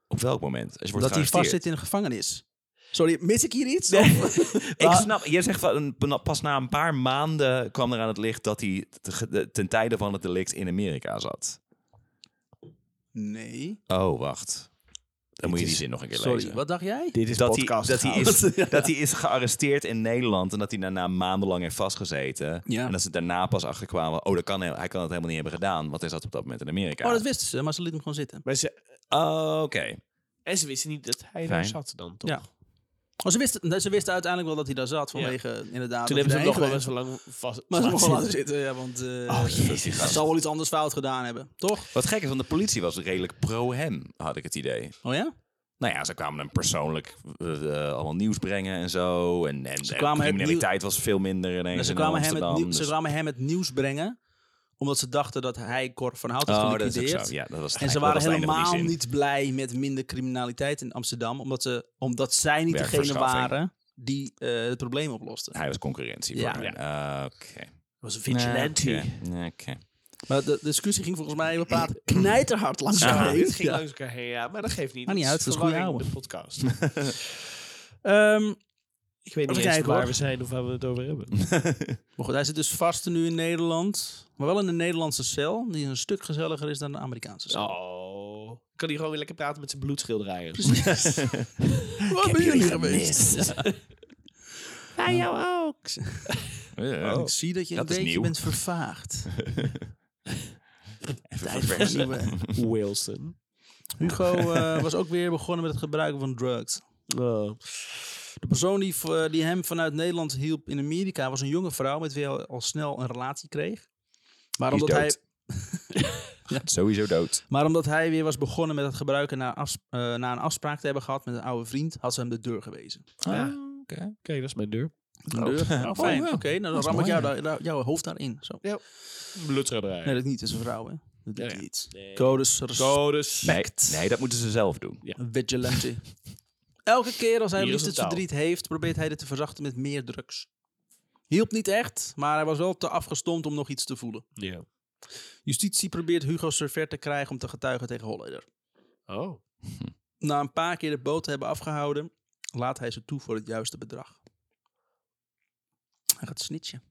Speaker 3: Op welk moment? Als je wordt
Speaker 1: Dat hij vast
Speaker 3: gearresteerd.
Speaker 1: zit in de gevangenis. Sorry, mis ik hier iets? Of-
Speaker 3: Ik
Speaker 1: Ah.
Speaker 3: snap, jij zegt van, een- pas na een paar maanden kwam er aan het licht dat hij te- de- ten tijde van het delict in Amerika zat.
Speaker 1: Nee.
Speaker 3: Oh, wacht. Dan moet je die zin nog een keer
Speaker 1: Sorry,
Speaker 3: lezen.
Speaker 1: wat dacht jij?
Speaker 2: Dit is
Speaker 3: dat hij,
Speaker 2: podcast.
Speaker 3: dat, hij
Speaker 2: goud.
Speaker 3: is, dat hij is gearresteerd in Nederland en dat hij daarna maandenlang heeft vastgezeten.
Speaker 1: Ja.
Speaker 3: En dat ze daarna pas achterkwamen, oh, dat kan, hij hij kan dat helemaal niet hebben gedaan, want hij zat op dat moment in Amerika.
Speaker 1: Oh, dat wisten ze, maar ze lieten hem gewoon zitten.
Speaker 2: Maar ze,
Speaker 3: Oh, Oké.
Speaker 2: en ze wisten niet dat hij daar
Speaker 3: Fijn.
Speaker 2: zat dan, toch?
Speaker 1: Ja. Maar Oh, ze wisten, ze wisten uiteindelijk wel dat hij daar zat, vanwege inderdaad...
Speaker 2: Toen
Speaker 1: dat
Speaker 2: hebben ze hem
Speaker 1: hij
Speaker 2: nog wel
Speaker 1: daarheen
Speaker 2: best wel lang vast
Speaker 1: Maar ze
Speaker 2: laten Oh,
Speaker 1: mogen laten
Speaker 2: zitten.
Speaker 1: zitten, ja, want eh
Speaker 3: Dat die
Speaker 1: ze
Speaker 3: gast-
Speaker 1: zal wel iets anders fout gedaan hebben, toch?
Speaker 3: Wat gek is, want de politie was redelijk pro hem, had ik het idee.
Speaker 1: Oh ja?
Speaker 3: Nou ja, ze kwamen hem persoonlijk eh, eh, allemaal nieuws brengen en zo. En, en, en
Speaker 1: kwamen het
Speaker 3: criminaliteit was veel minder ineens
Speaker 1: En Dus ze
Speaker 3: in
Speaker 1: kwamen, hem het,
Speaker 3: Amsterdam.
Speaker 1: nieuw- ze
Speaker 3: dus-
Speaker 1: kwamen hem het nieuws brengen Omdat ze dachten dat hij Cor van Hout had
Speaker 3: Oh, dat is ook
Speaker 1: geliquideerd.
Speaker 3: zo. Ja, dat was het
Speaker 1: En ze
Speaker 3: eigenlijk.
Speaker 1: waren
Speaker 3: Dat was het einde van die
Speaker 1: helemaal
Speaker 3: zin.
Speaker 1: niet blij met minder criminaliteit in Amsterdam. Omdat, ze, omdat zij niet degene
Speaker 3: Werkverschaffing.
Speaker 1: waren die eh, het probleem oplosten.
Speaker 3: Hij was concurrentie
Speaker 1: Ja.
Speaker 3: voor hen. Eh, Oké.
Speaker 1: was een
Speaker 3: Oké. Oké.
Speaker 1: Maar de, de discussie ging volgens mij, we praten knijterhard langs elkaar
Speaker 3: Ah,
Speaker 2: Sorry,
Speaker 1: heen.
Speaker 2: het ging
Speaker 1: Ja.
Speaker 2: langs elkaar heen, ja. Maar dat geeft niet.
Speaker 1: Maakt niet
Speaker 2: Het
Speaker 1: uit, dat is goede ouwe.
Speaker 2: verwarring, de podcast.
Speaker 1: Ehm,
Speaker 2: Ik weet niet
Speaker 1: Even
Speaker 2: eens
Speaker 1: kijken,
Speaker 2: waar
Speaker 1: hoor.
Speaker 2: we zijn of waar we het over hebben.
Speaker 1: maar goed, hij zit dus vast nu in Nederland. Maar wel in een Nederlandse cel, die een stuk gezelliger is dan een Amerikaanse cel.
Speaker 2: Oh. Kan hij gewoon weer lekker praten met zijn bloedschilderijen.
Speaker 1: Waar ben jullie geweest?
Speaker 2: Bij jou ook.
Speaker 3: Eh,
Speaker 2: Oh.
Speaker 1: Ik zie dat je
Speaker 3: Dat
Speaker 1: een
Speaker 3: is
Speaker 1: beetje
Speaker 3: nieuw.
Speaker 1: bent vervaagd.
Speaker 3: even
Speaker 1: Tijd voor
Speaker 3: verversen.
Speaker 1: nieuwe-
Speaker 2: Wilson.
Speaker 1: Hugo eh, was ook weer begonnen met het gebruiken van drugs.
Speaker 2: Oh.
Speaker 1: De persoon die, v- eh, die hem vanuit Nederland hielp in Amerika was een jonge vrouw met wie hij al- al snel een relatie kreeg. Maar
Speaker 3: Die is
Speaker 1: omdat, hij,
Speaker 3: dood. Sowieso dood.
Speaker 1: maar omdat hij weer was begonnen met het gebruiken na, afs- eh, na een afspraak te hebben gehad met een oude vriend, had ze hem de deur gewezen.
Speaker 2: Ja.
Speaker 3: Ah, Oké.
Speaker 2: Kijk, dat is mijn deur.
Speaker 1: De deur? Oh, fijn. Oké, nou, dan ram ik jou, daar- daar- jouw hoofd daarin. Zo.
Speaker 2: Bloedschilderijen.
Speaker 1: Nee, dat niet. Dat is een vrouw, hè? Dat doet
Speaker 2: Ja, ja.
Speaker 1: hij iets.
Speaker 2: Nee.
Speaker 1: Codes, respect,
Speaker 2: Codes.
Speaker 3: Nee, nee, dat moeten ze zelf doen.
Speaker 1: vigilante. Elke keer als hij
Speaker 2: Hier is
Speaker 1: liefst
Speaker 2: het
Speaker 1: het
Speaker 2: touw.
Speaker 1: verdriet heeft, probeert hij dit te verzachten met meer drugs. Hielp niet echt, maar hij was wel te afgestomd om nog iets te voelen.
Speaker 2: Ja.
Speaker 1: Justitie probeert Hugo Server te krijgen om te getuigen tegen Holleder.
Speaker 2: Oh.
Speaker 1: Na een paar keer de boot te hebben afgehouden, laat hij ze toe voor het juiste bedrag. Hij gaat snitchen.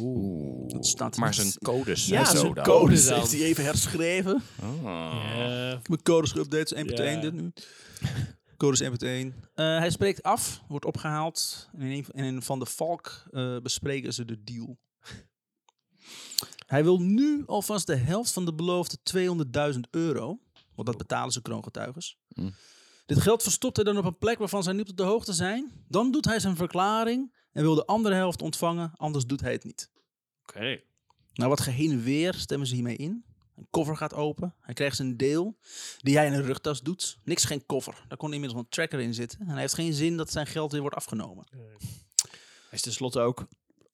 Speaker 3: Oeh.
Speaker 1: Dat staat
Speaker 3: maar
Speaker 1: niet-
Speaker 3: zijn codes
Speaker 2: Ja,
Speaker 3: zijn zo
Speaker 2: zijn
Speaker 3: dan.
Speaker 2: code.
Speaker 1: Codes
Speaker 2: dan.
Speaker 1: heeft hij even herschreven.
Speaker 3: Ah.
Speaker 2: Eh,
Speaker 1: Mijn codes updates 1.1
Speaker 2: Ja.
Speaker 1: dit nu. Codes 1.1. Eh, hij spreekt af, wordt opgehaald. En in, een- in een van de Valk eh, bespreken ze de deal. Hij wil nu alvast de helft van de beloofde 200.000 euro. Want dat betalen ze kroongetuigens.
Speaker 3: Mm.
Speaker 1: Dit geld verstopt hij dan op een plek waarvan zij niet op de hoogte zijn. Dan doet hij zijn verklaring en wil de andere helft ontvangen. Anders doet hij het niet.
Speaker 2: Oké.
Speaker 1: Nou, wat geheen en weer stemmen ze hiermee in. Een koffer gaat open. Hij krijgt zijn deel die hij in een rugtas doet. Niks geen koffer. Daar kon inmiddels wel een tracker in zitten. En hij heeft geen zin dat zijn geld weer wordt afgenomen.
Speaker 2: Hij is tenslotte ook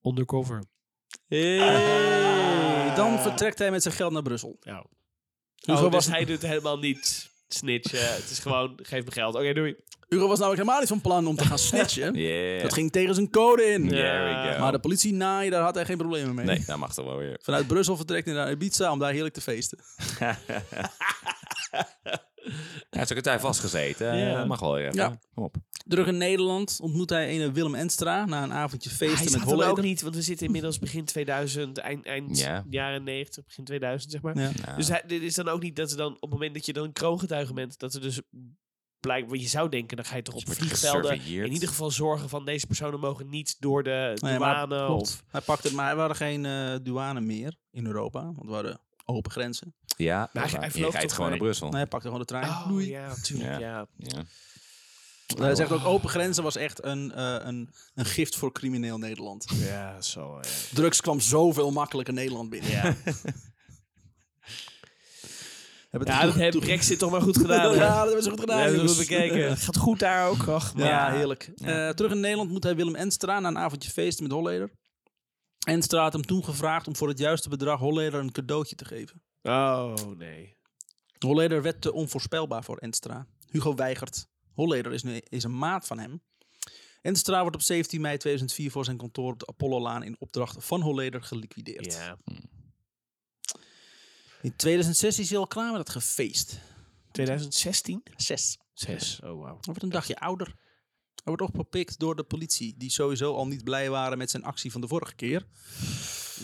Speaker 2: undercover. Ah.
Speaker 1: Hey, dan vertrekt hij met zijn geld naar Brussel.
Speaker 2: Eh. Ja.
Speaker 1: Hugo,
Speaker 2: Oh, dus
Speaker 1: was,
Speaker 2: hij doet helemaal niet snitchen. Het is gewoon, geef me geld. Oké, doei.
Speaker 1: Hugo was namelijk helemaal niet van plan om te gaan snitchen.
Speaker 3: Yeah.
Speaker 1: Dat ging tegen zijn code in.
Speaker 3: There we go.
Speaker 1: Maar de politie naaien, daar had hij geen problemen mee.
Speaker 3: Nee, dat mag toch wel weer.
Speaker 1: Vanuit Brussel vertrekt hij naar Ibiza om daar heerlijk te feesten.
Speaker 3: Hij heeft ook een tijd vastgezeten.
Speaker 2: Ja. Dus
Speaker 3: Ja. Mag wel even.
Speaker 1: Ja.
Speaker 3: Kom op.
Speaker 1: Terug in Nederland ontmoet hij een Willem Enstra na een avondje
Speaker 2: Hij
Speaker 1: feesten met
Speaker 2: zat er dan ook
Speaker 1: Holleder.
Speaker 2: niet, want we zitten inmiddels begin 2000, eind, eind
Speaker 3: Ja.
Speaker 2: jaren 90, begin 2000, zeg maar.
Speaker 1: Ja.
Speaker 3: Nou,
Speaker 2: Dus hij, dit is dan ook niet dat ze dan op het moment dat je dan kroongetuige bent, dat er dus blijkt wat je zou denken, dan ga je toch op
Speaker 3: wordt
Speaker 2: vliegvelden
Speaker 3: gesurveilleerd.
Speaker 2: in ieder geval zorgen van deze personen mogen niet door de
Speaker 1: Nee, maar-
Speaker 2: douane
Speaker 1: klopt.
Speaker 2: of
Speaker 1: Hij pakte het, maar er waren geen eh, douane meer in Europa, want we hadden open grenzen.
Speaker 3: ja,
Speaker 2: hij- hij
Speaker 3: je rijdt
Speaker 2: vloog toch
Speaker 3: gewoon naar
Speaker 2: mee.
Speaker 3: Brussel.
Speaker 1: Nee, hij pakte gewoon de trein.
Speaker 2: oh
Speaker 1: Doei.
Speaker 2: ja, tuurlijk, ja.
Speaker 3: Ja.
Speaker 2: ja.
Speaker 3: Ja.
Speaker 1: Hij zegt ook open grenzen was echt een, eh, een, een gift voor crimineel Nederland.
Speaker 2: zo. Ja.
Speaker 1: Drugs kwam zoveel makkelijker Nederland binnen.
Speaker 2: Ja,
Speaker 1: Hebben het
Speaker 2: ja
Speaker 1: goed
Speaker 2: dat heeft
Speaker 1: toe-
Speaker 2: Brexit toch maar goed gedaan.
Speaker 1: Ja, dat hebben ze goed gedaan,
Speaker 2: Ja, dat
Speaker 1: jongens.
Speaker 2: hebben we bekeken. Het Gaat goed daar ook. Och,
Speaker 1: Ja,
Speaker 2: maar-
Speaker 1: heerlijk. Eh, terug in Nederland moet hij Willem Enstra na een avondje feesten met Holleder. Enstra had hem toen gevraagd om voor het juiste bedrag Holleder een cadeautje te geven.
Speaker 2: Oh, nee.
Speaker 1: Holleder werd te onvoorspelbaar voor Enstra. Hugo weigert. Holleder is, nu, is een maat van hem. Enstra wordt op 17 mei 2004 voor zijn kantoor op de Apollo-laan in opdracht van Holleder geliquideerd.
Speaker 2: Ja.
Speaker 1: In 2006 is hij al klaar met het gefeest.
Speaker 2: 2016?
Speaker 1: Zes.
Speaker 2: 6. Oh, wauw.
Speaker 1: Hij wordt een dagje ouder. Hij wordt opgepikt door de politie, die sowieso al niet blij waren met zijn actie van de vorige keer.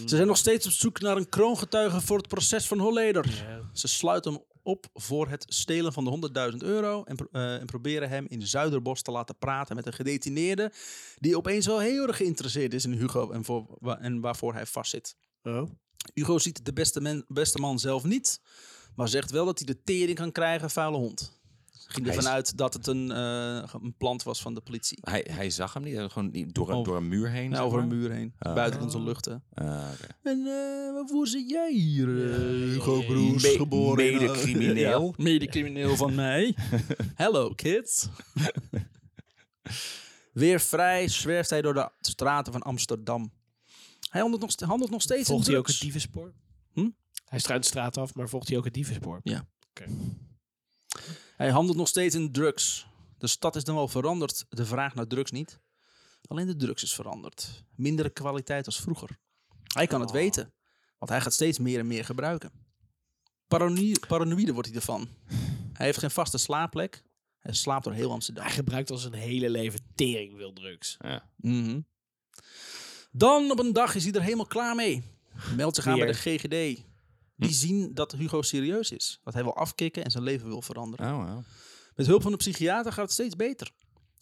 Speaker 1: Ze zijn nog steeds op zoek naar een kroongetuige voor het proces van Holleder. Ze sluiten hem op voor het stelen van de 100.000 euro en, pro- eh, en proberen hem in Zuiderbos te laten praten met een gedetineerde die opeens wel heel erg geïnteresseerd is in Hugo en, voor, wa- en waarvoor hij vastzit.
Speaker 2: Oh.
Speaker 1: Hugo ziet de beste, men- beste man zelf niet, maar zegt wel dat hij de tering kan krijgen, vuile hond. Ging
Speaker 3: Hij is-
Speaker 1: ervan uit dat het een, eh, een plant was van de politie.
Speaker 3: Hij, hij zag hem niet. Hij was Gewoon die- door, een-
Speaker 2: Oh.
Speaker 1: Over-
Speaker 3: door een muur heen.
Speaker 1: Nou,
Speaker 3: zeg
Speaker 1: over een
Speaker 3: maar.
Speaker 1: muur heen,
Speaker 3: Ah.
Speaker 1: buiten onze luchten.
Speaker 3: Ah, oké.
Speaker 1: En eh, waarvoor zit jij hier, eh, Hugo Broers,
Speaker 3: Me-
Speaker 1: geboren? in-
Speaker 3: medecrimineel.
Speaker 1: Ja, medecrimineel van mij. Hello, kids. Weer vrij zwerft hij door de straten van Amsterdam. Hij handelt nog, st- handelt nog steeds
Speaker 2: Volgt
Speaker 1: in
Speaker 2: hij ook
Speaker 1: drugs.
Speaker 2: het dievenspoor?
Speaker 1: Hm?
Speaker 2: Hij struint de straat af, maar volgt hij ook het dievenspoor?
Speaker 1: Hij handelt nog steeds in drugs. De stad is dan wel veranderd, de vraag naar drugs niet. Alleen de drugs is veranderd. Mindere kwaliteit als vroeger. Hij kan het weten, want hij gaat steeds meer en meer gebruiken. Paranoï paranoïde wordt hij ervan. Hij heeft geen vaste slaapplek. Hij slaapt door heel Amsterdam.
Speaker 2: Hij gebruikt al zijn hele leven tering veel drugs.
Speaker 1: Mhm. Dan op een dag is hij er helemaal klaar mee. Meldt zich aan bij de GGD. Die zien dat Hugo serieus is. Dat hij wil afkicken en zijn leven wil veranderen.
Speaker 3: Oh, wow.
Speaker 1: Met hulp van een psychiater gaat het steeds beter.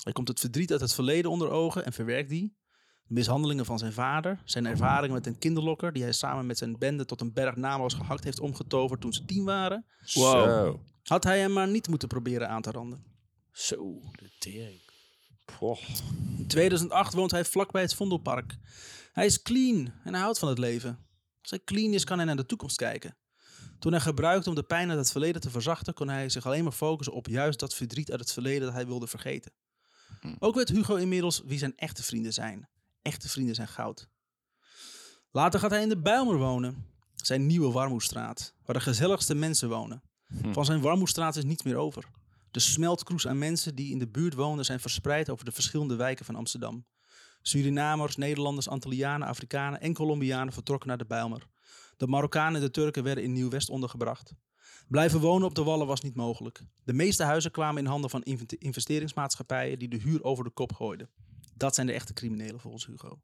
Speaker 1: Hij komt het verdriet uit het verleden onder ogen en verwerkt die. De mishandelingen van zijn vader, zijn ervaringen met een kinderlokker die hij samen met zijn bende tot een berg naamloos gehakt heeft omgetoverd toen ze tien waren,
Speaker 3: Zo.
Speaker 1: had hij hem maar niet moeten proberen aan te randen.
Speaker 2: Zo, de tering.
Speaker 3: Poch.
Speaker 1: In 2008 woont hij vlakbij het Vondelpark. Hij is clean en hij houdt van het leven. Als hij clean is, kan hij naar de toekomst kijken. Toen hij gebruikte om de pijn uit het verleden te verzachten, kon hij zich alleen maar focussen op juist dat verdriet uit het verleden dat hij wilde vergeten. Ook weet Hugo inmiddels wie zijn echte vrienden zijn. Echte vrienden zijn goud. Later gaat hij in de Bijlmer wonen, zijn nieuwe Warmoestraat, waar de gezelligste mensen wonen. Van zijn Warmoestraat is niets meer over. De smeltkroes aan mensen die in de buurt woonden zijn verspreid over de verschillende wijken van Amsterdam. Surinamers, Nederlanders, Antillianen, Afrikanen en Colombianen vertrokken naar de Bijlmer. De Marokkanen en de Turken werden in Nieuw-West ondergebracht. Blijven wonen op de wallen was niet mogelijk. De meeste huizen kwamen in handen van inv- investeringsmaatschappijen die de huur over de kop gooiden. Dat zijn de echte criminelen volgens Hugo.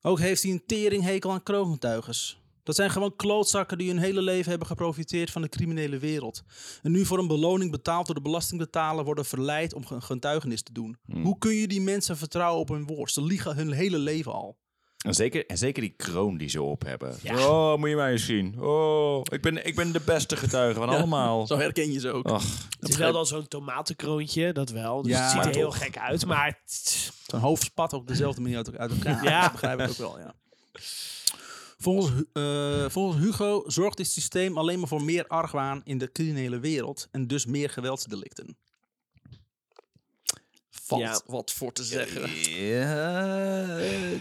Speaker 1: Ook heeft hij een teringhekel aan kroongetuigen. Dat zijn gewoon klootzakken die hun hele leven hebben geprofiteerd van de criminele wereld. En nu voor een beloning betaald door de belastingbetaler worden verleid om ge- een getuigenis te doen. Hoe kun je die mensen vertrouwen op hun woord? Ze liegen hun hele leven al.
Speaker 3: En zeker, en zeker die kroon die ze op hebben. Oh, moet je mij eens zien. Oh, ik ben, ik ben de beste getuige van allemaal.
Speaker 1: Zo herken je ze ook.
Speaker 3: Ach,
Speaker 2: Het is wel dan zo'n tomatenkroontje, dat wel. Dus
Speaker 1: Ja,
Speaker 2: het ziet
Speaker 1: maar
Speaker 2: er heel gek uit, maar... het-
Speaker 1: Zo'n hoofd spat op dezelfde manier uit, uit elkaar.
Speaker 2: Ja.
Speaker 1: Dat begrijp ik ook wel, ja. Volgens, Hu- eh, volgens Hugo zorgt dit systeem alleen maar voor meer argwaan in de criminele wereld en dus meer geweldsdelicten. Valt
Speaker 2: Ja.
Speaker 1: wat voor te zeggen.
Speaker 3: ja,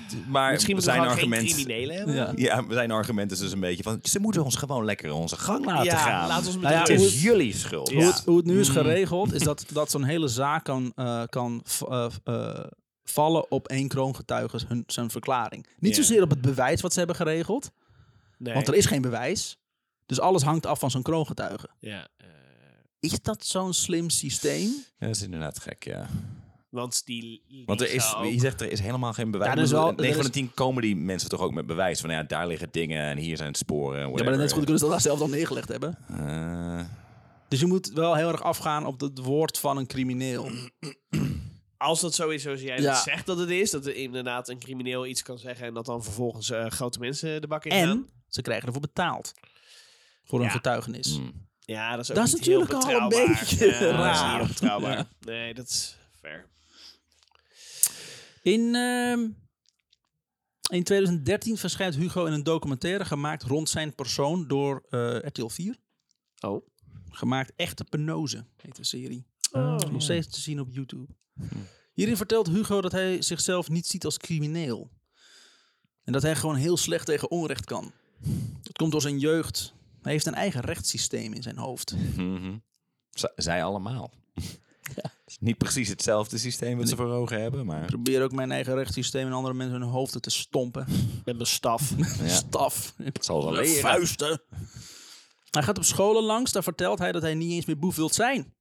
Speaker 3: d- maar
Speaker 2: Eh, Misschien moeten we
Speaker 3: zijn
Speaker 2: gewoon geen
Speaker 3: argument,
Speaker 2: criminelen hebben. Ja,
Speaker 3: ja, zijn argument is dus een beetje van... ze moeten ons gewoon lekker onze gang laten gaan.
Speaker 2: laat ons met
Speaker 1: Nou ja,
Speaker 2: de
Speaker 3: Het
Speaker 2: rust.
Speaker 1: hoe
Speaker 3: is jullie schuld.
Speaker 2: Ja.
Speaker 1: Hoe, het, hoe het nu is geregeld, is dat, dat zo'n hele zaak kan, eh, kan v- eh, eh, vallen op één kroongetuige hun, zijn verklaring. Niet
Speaker 3: Ja.
Speaker 1: zozeer op het bewijs wat ze hebben geregeld,
Speaker 2: Nee.
Speaker 1: want er is geen bewijs. Dus alles hangt af van zo'n kroongetuige.
Speaker 2: Ja, eh,
Speaker 1: Is dat zo'n slim systeem?
Speaker 3: Ja, dat is inderdaad gek, ja.
Speaker 2: want die... die
Speaker 3: Want er is,
Speaker 2: zou-
Speaker 3: je zegt, er is helemaal geen bewijs.
Speaker 1: Ja,
Speaker 3: Ja,
Speaker 1: er is wel-
Speaker 3: 9
Speaker 1: er
Speaker 3: van
Speaker 1: is-
Speaker 3: de 10 komen die mensen toch ook met bewijs. Van ja, daar liggen dingen en hier zijn sporen.
Speaker 1: Ja, maar net zo goed kunnen ze dat zelf dan neergelegd hebben.
Speaker 3: Eh,
Speaker 1: Dus je moet wel heel erg afgaan op het woord van een crimineel.
Speaker 2: Als dat zo is zoals jij
Speaker 1: Ja.
Speaker 2: het zegt dat het is, dat er inderdaad een crimineel iets kan zeggen en dat dan vervolgens eh, grote mensen de bak in gaan.
Speaker 1: En ze krijgen ervoor betaald. Voor hun
Speaker 2: Ja.
Speaker 1: getuigenis.
Speaker 3: mm.
Speaker 2: Ja, dat is ook
Speaker 1: Dat is
Speaker 2: niet heel
Speaker 1: natuurlijk al een
Speaker 2: betrouwbaar.
Speaker 1: beetje
Speaker 2: Ja, dat is niet
Speaker 1: raar.
Speaker 2: heel betrouwbaar. Nee, dat is fair.
Speaker 1: In, ehm, in 2013 verschijnt Hugo in een documentaire gemaakt rond zijn persoon door eh, RTL 4.
Speaker 2: Oh.
Speaker 1: Gemaakt Echte Penose, heet de serie. Nog steeds te zien op YouTube. Hierin vertelt Hugo dat hij zichzelf niet ziet als crimineel. En dat hij gewoon heel slecht tegen onrecht kan. Dat komt door zijn jeugd. Hij heeft een eigen rechtssysteem in zijn hoofd.
Speaker 3: Mhm. Z- Zij allemaal. Het is Niet precies hetzelfde systeem wat ze voor ogen hebben,
Speaker 1: Ik
Speaker 3: maar...
Speaker 1: probeer ook mijn eigen rechtssysteem en andere mensen hun hoofden te stompen.
Speaker 2: Met mijn staf.
Speaker 3: Ja,
Speaker 1: Staf.
Speaker 3: het zal wel
Speaker 1: Met
Speaker 3: leren.
Speaker 1: vuisten. Hij gaat op scholen langs, daar vertelt hij dat hij niet eens meer boef wilt zijn.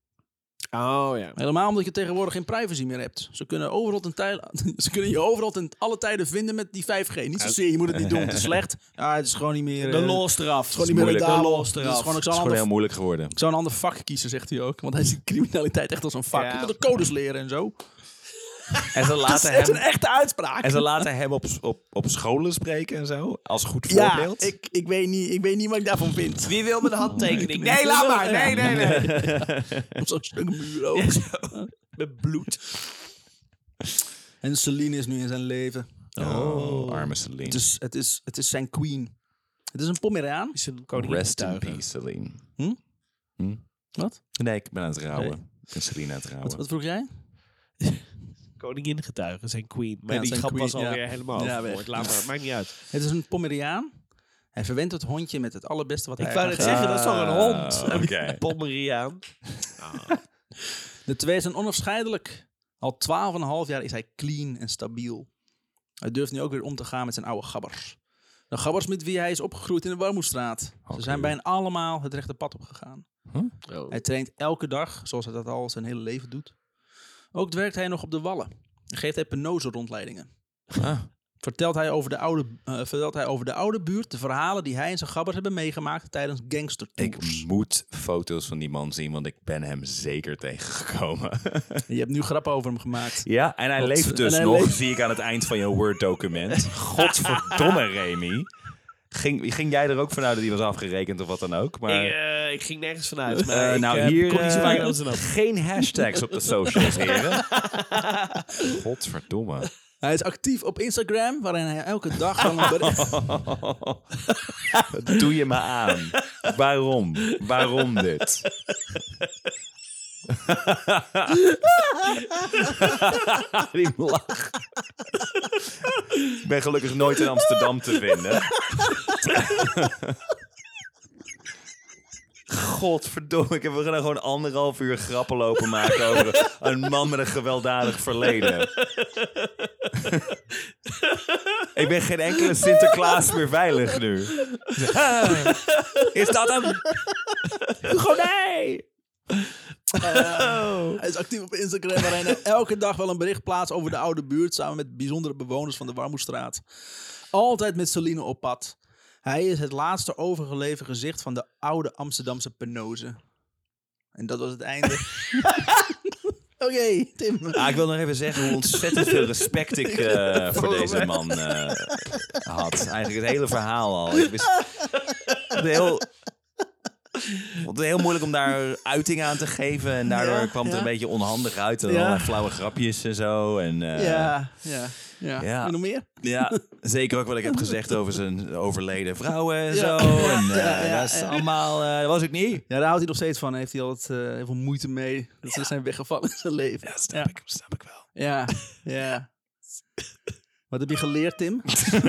Speaker 2: Oh ja.
Speaker 1: Helemaal omdat je tegenwoordig geen privacy meer hebt. Ze kunnen, overal ten tijde, ze kunnen je overal ten alle tijden vinden met die 5G. Niet zozeer, je moet het niet doen, het is slecht. Ja, het is gewoon niet meer...
Speaker 2: De
Speaker 1: eh,
Speaker 2: los eraf. Het
Speaker 1: gewoon niet meer
Speaker 2: De
Speaker 1: rendabel.
Speaker 2: los
Speaker 1: Het is
Speaker 2: eraf.
Speaker 1: gewoon, ik
Speaker 3: Het
Speaker 1: zou,
Speaker 3: is
Speaker 1: een
Speaker 3: gewoon
Speaker 1: ander,
Speaker 3: heel moeilijk geworden.
Speaker 1: ik zou een ander vak kiezen, zegt hij ook. Want hij ziet criminaliteit echt als een vak.
Speaker 2: Ja.
Speaker 1: Je moet de codes leren en zo.
Speaker 3: En ze
Speaker 1: Dat is
Speaker 3: laten
Speaker 1: echt een
Speaker 3: hem,
Speaker 1: echte uitspraak.
Speaker 3: en ze laten hem op, op, op scholen spreken en zo, als goed
Speaker 1: ja,
Speaker 3: voorbeeld.
Speaker 1: ik, ik, weet niet, ik weet niet wat ik daarvan vind.
Speaker 2: Wie wil mijn handtekening?
Speaker 1: Nee, laat maar. Nee,
Speaker 2: nee, nee.
Speaker 1: Op zo'n stuk muur ook.
Speaker 2: Met bloed.
Speaker 1: En Celine is nu in zijn leven.
Speaker 3: Oh, arme Celine.
Speaker 1: Het is, het is, het is zijn queen. Het is een Pomeraan.
Speaker 2: Is een
Speaker 3: Rest in
Speaker 2: koningin
Speaker 3: peace, Celine.
Speaker 1: Hm?
Speaker 3: Hm?
Speaker 1: Wat?
Speaker 3: Nee, ik ben aan het rouwen.
Speaker 1: Nee.
Speaker 3: Ik ben Celine aan het rouwen.
Speaker 1: Wat, wat vroeg jij?
Speaker 2: Koningin getuigen, zijn queen. Maar
Speaker 1: Ja,
Speaker 2: die
Speaker 1: zijn
Speaker 2: grap was
Speaker 1: queen,
Speaker 2: alweer
Speaker 1: ja.
Speaker 2: helemaal
Speaker 1: Ja,
Speaker 2: overboord.
Speaker 1: weg.
Speaker 2: Laat maar, maakt niet uit.
Speaker 1: Het is een Pomeraan. Hij Hij verwendt het hondje met het allerbeste wat
Speaker 2: Ik
Speaker 1: hij
Speaker 2: wou
Speaker 1: kan
Speaker 2: net
Speaker 1: geven.
Speaker 2: zeggen, dat is toch een hond?
Speaker 3: Ah, oké.
Speaker 2: Pommeriaan.
Speaker 1: De twee zijn onafscheidelijk. Al 12,5 jaar is hij clean en stabiel. Hij durft nu ook weer om te gaan met zijn oude gabbers. De gabbers met wie hij is opgegroeid in de Warmoestraat. Ze
Speaker 3: Oké.
Speaker 1: zijn bijna allemaal het rechte pad opgegaan.
Speaker 2: Oh.
Speaker 1: Hij traint elke dag, zoals hij dat al zijn hele leven doet. Ook werkt hij nog op de wallen. En geeft hij penose rondleidingen.
Speaker 3: Ah.
Speaker 1: Vertelt, hij over de oude, eh, vertelt hij over de oude buurt de verhalen die hij en zijn gabbers hebben meegemaakt tijdens gangstertours.
Speaker 3: Ik moet foto's van die man zien, want ik ben hem zeker tegengekomen.
Speaker 1: Je hebt nu grappen over hem gemaakt.
Speaker 3: Ja, en hij
Speaker 1: Wat-
Speaker 3: leeft dus
Speaker 1: en hij
Speaker 3: nog,
Speaker 1: leeft-
Speaker 3: zie ik aan het eind van je Word-document. Godverdomme, Remy. Ging, ging jij er ook vanuit dat die was afgerekend of wat dan ook? Maar,
Speaker 2: Ik, eh, ik ging nergens vanuit. Maar
Speaker 3: Eh,
Speaker 2: ik,
Speaker 3: nou,
Speaker 2: eh,
Speaker 3: hier
Speaker 2: kon niet zo
Speaker 3: eh,
Speaker 2: vaak naar Amsterdam.
Speaker 3: geen hashtags op de socials, heren. Godverdomme.
Speaker 1: Hij is actief op Instagram, waarin hij elke dag van een bericht...
Speaker 3: Wat doe je me aan? Waarom? Waarom dit? Die lach. Ik ben gelukkig nooit in Amsterdam te vinden. Godverdomme, ik heb we gaan gewoon anderhalf uur grappen lopen maken over een man met een gewelddadig verleden. Ik ben geen enkele Sinterklaas meer veilig nu. Is dat hem?
Speaker 2: Konijn!
Speaker 1: Hij is actief op Instagram, waarin hij elke dag wel een bericht plaatst over de oude buurt. samen met bijzondere bewoners van de Warmoestraat. Altijd met Celine op pad. Hij is het laatste overgeleven gezicht van de oude Amsterdamse penose. En dat was het einde. Oké, Tim.
Speaker 3: Ah, ik wil nog even zeggen hoe ontzettend veel respect ik eh, voor deze man eh, had. Eigenlijk het hele verhaal al. Ik wist, het heel, ik vond het heel moeilijk om daar uiting aan te geven. En daardoor
Speaker 1: Ja,
Speaker 3: kwam het er
Speaker 1: ja.
Speaker 3: een beetje onhandig uit. En
Speaker 1: Ja.
Speaker 3: allerlei flauwe grapjes en zo. En, eh,
Speaker 1: Ja, ja, ja.
Speaker 3: Ja.
Speaker 1: En nog meer?
Speaker 3: Ja, zeker ook wat ik heb gezegd over zijn overleden vrouwen en zo.
Speaker 1: Ja,
Speaker 3: En, eh,
Speaker 1: ja, ja,
Speaker 3: dat is
Speaker 1: ja.
Speaker 3: allemaal, eh, dat was ik niet.
Speaker 1: Ja, daar houdt hij nog steeds van. Heeft hij altijd eh, heel veel moeite mee. Dat ze zijn weggevallen in zijn leven. Ja,
Speaker 3: snap ik, snap ik wel.
Speaker 1: Ja, ja. Wat heb je geleerd, Tim?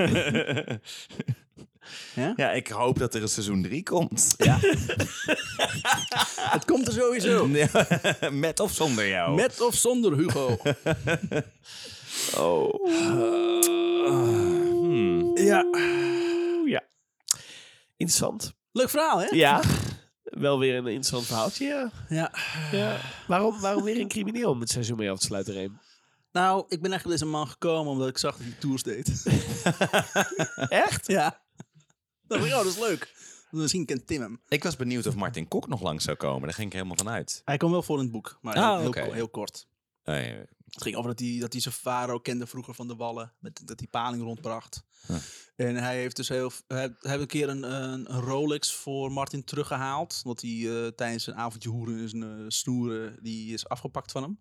Speaker 1: Ja?
Speaker 3: Ja, ik hoop dat er een seizoen 3 komt.
Speaker 1: Het komt er sowieso.
Speaker 3: Met of zonder jou.
Speaker 1: Met of zonder Hugo.
Speaker 2: Ah, hmm.
Speaker 1: Ja.
Speaker 2: Interessant.
Speaker 1: Leuk verhaal, hè?
Speaker 2: Ja. Wel weer een interessant verhaaltje, ja.
Speaker 1: Ja.
Speaker 2: Waarom, waarom weer een crimineel om het seizoen mee af te sluiten, Reem?
Speaker 1: Nou, ik ben echt op deze man gekomen omdat ik zag dat hij tours deed.
Speaker 2: Echt?
Speaker 1: ja. Dat oh, dat is leuk. Misschien kent Tim hem.
Speaker 3: Ik was benieuwd of Martin Kok nog lang zou komen. Daar ging ik helemaal van uit.
Speaker 1: Hij kwam wel voor in het boek, maar
Speaker 3: Ah,
Speaker 1: heel,
Speaker 3: oké.
Speaker 1: heel, heel kort.
Speaker 3: Nee,
Speaker 1: Het ging over dat hij, dat hij zijn faro kende vroeger van de Wallen. Met, dat hij paling rondbracht. En hij heeft dus heel, hij, hij heeft een keer een, een, een Rolex voor Martin teruggehaald. Omdat hij eh, tijdens een avondje hoeren en zijn eh, snoeren, die is afgepakt van hem.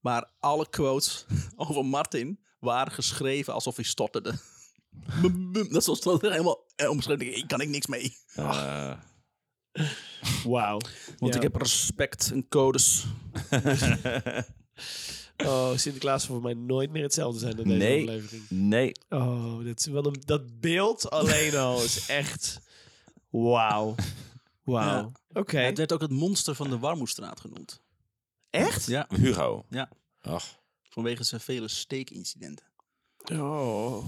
Speaker 1: Maar alle quotes over Martin waren geschreven alsof hij stotterde. Bum, bum. dat was dat helemaal eh, omschreven. Ik kan ik niks mee.
Speaker 3: eh,
Speaker 2: Wauw.
Speaker 1: Want
Speaker 2: Ja.
Speaker 1: ik heb respect en codes.
Speaker 2: Oh, Sinterklaas zal voor mij nooit meer hetzelfde zijn dan deze
Speaker 3: Nee.
Speaker 2: aflevering.
Speaker 3: nee.
Speaker 2: Oh, dat, is wel een, dat beeld alleen al is echt... Wauw. Wauw.
Speaker 1: Ja.
Speaker 2: Oké.
Speaker 1: Het werd ook het monster van de Warmoestraat genoemd.
Speaker 2: Echt?
Speaker 1: Ja,
Speaker 3: Hugo.
Speaker 1: Ja.
Speaker 3: Ach.
Speaker 1: vanwege zijn vele steekincidenten.
Speaker 2: Oh.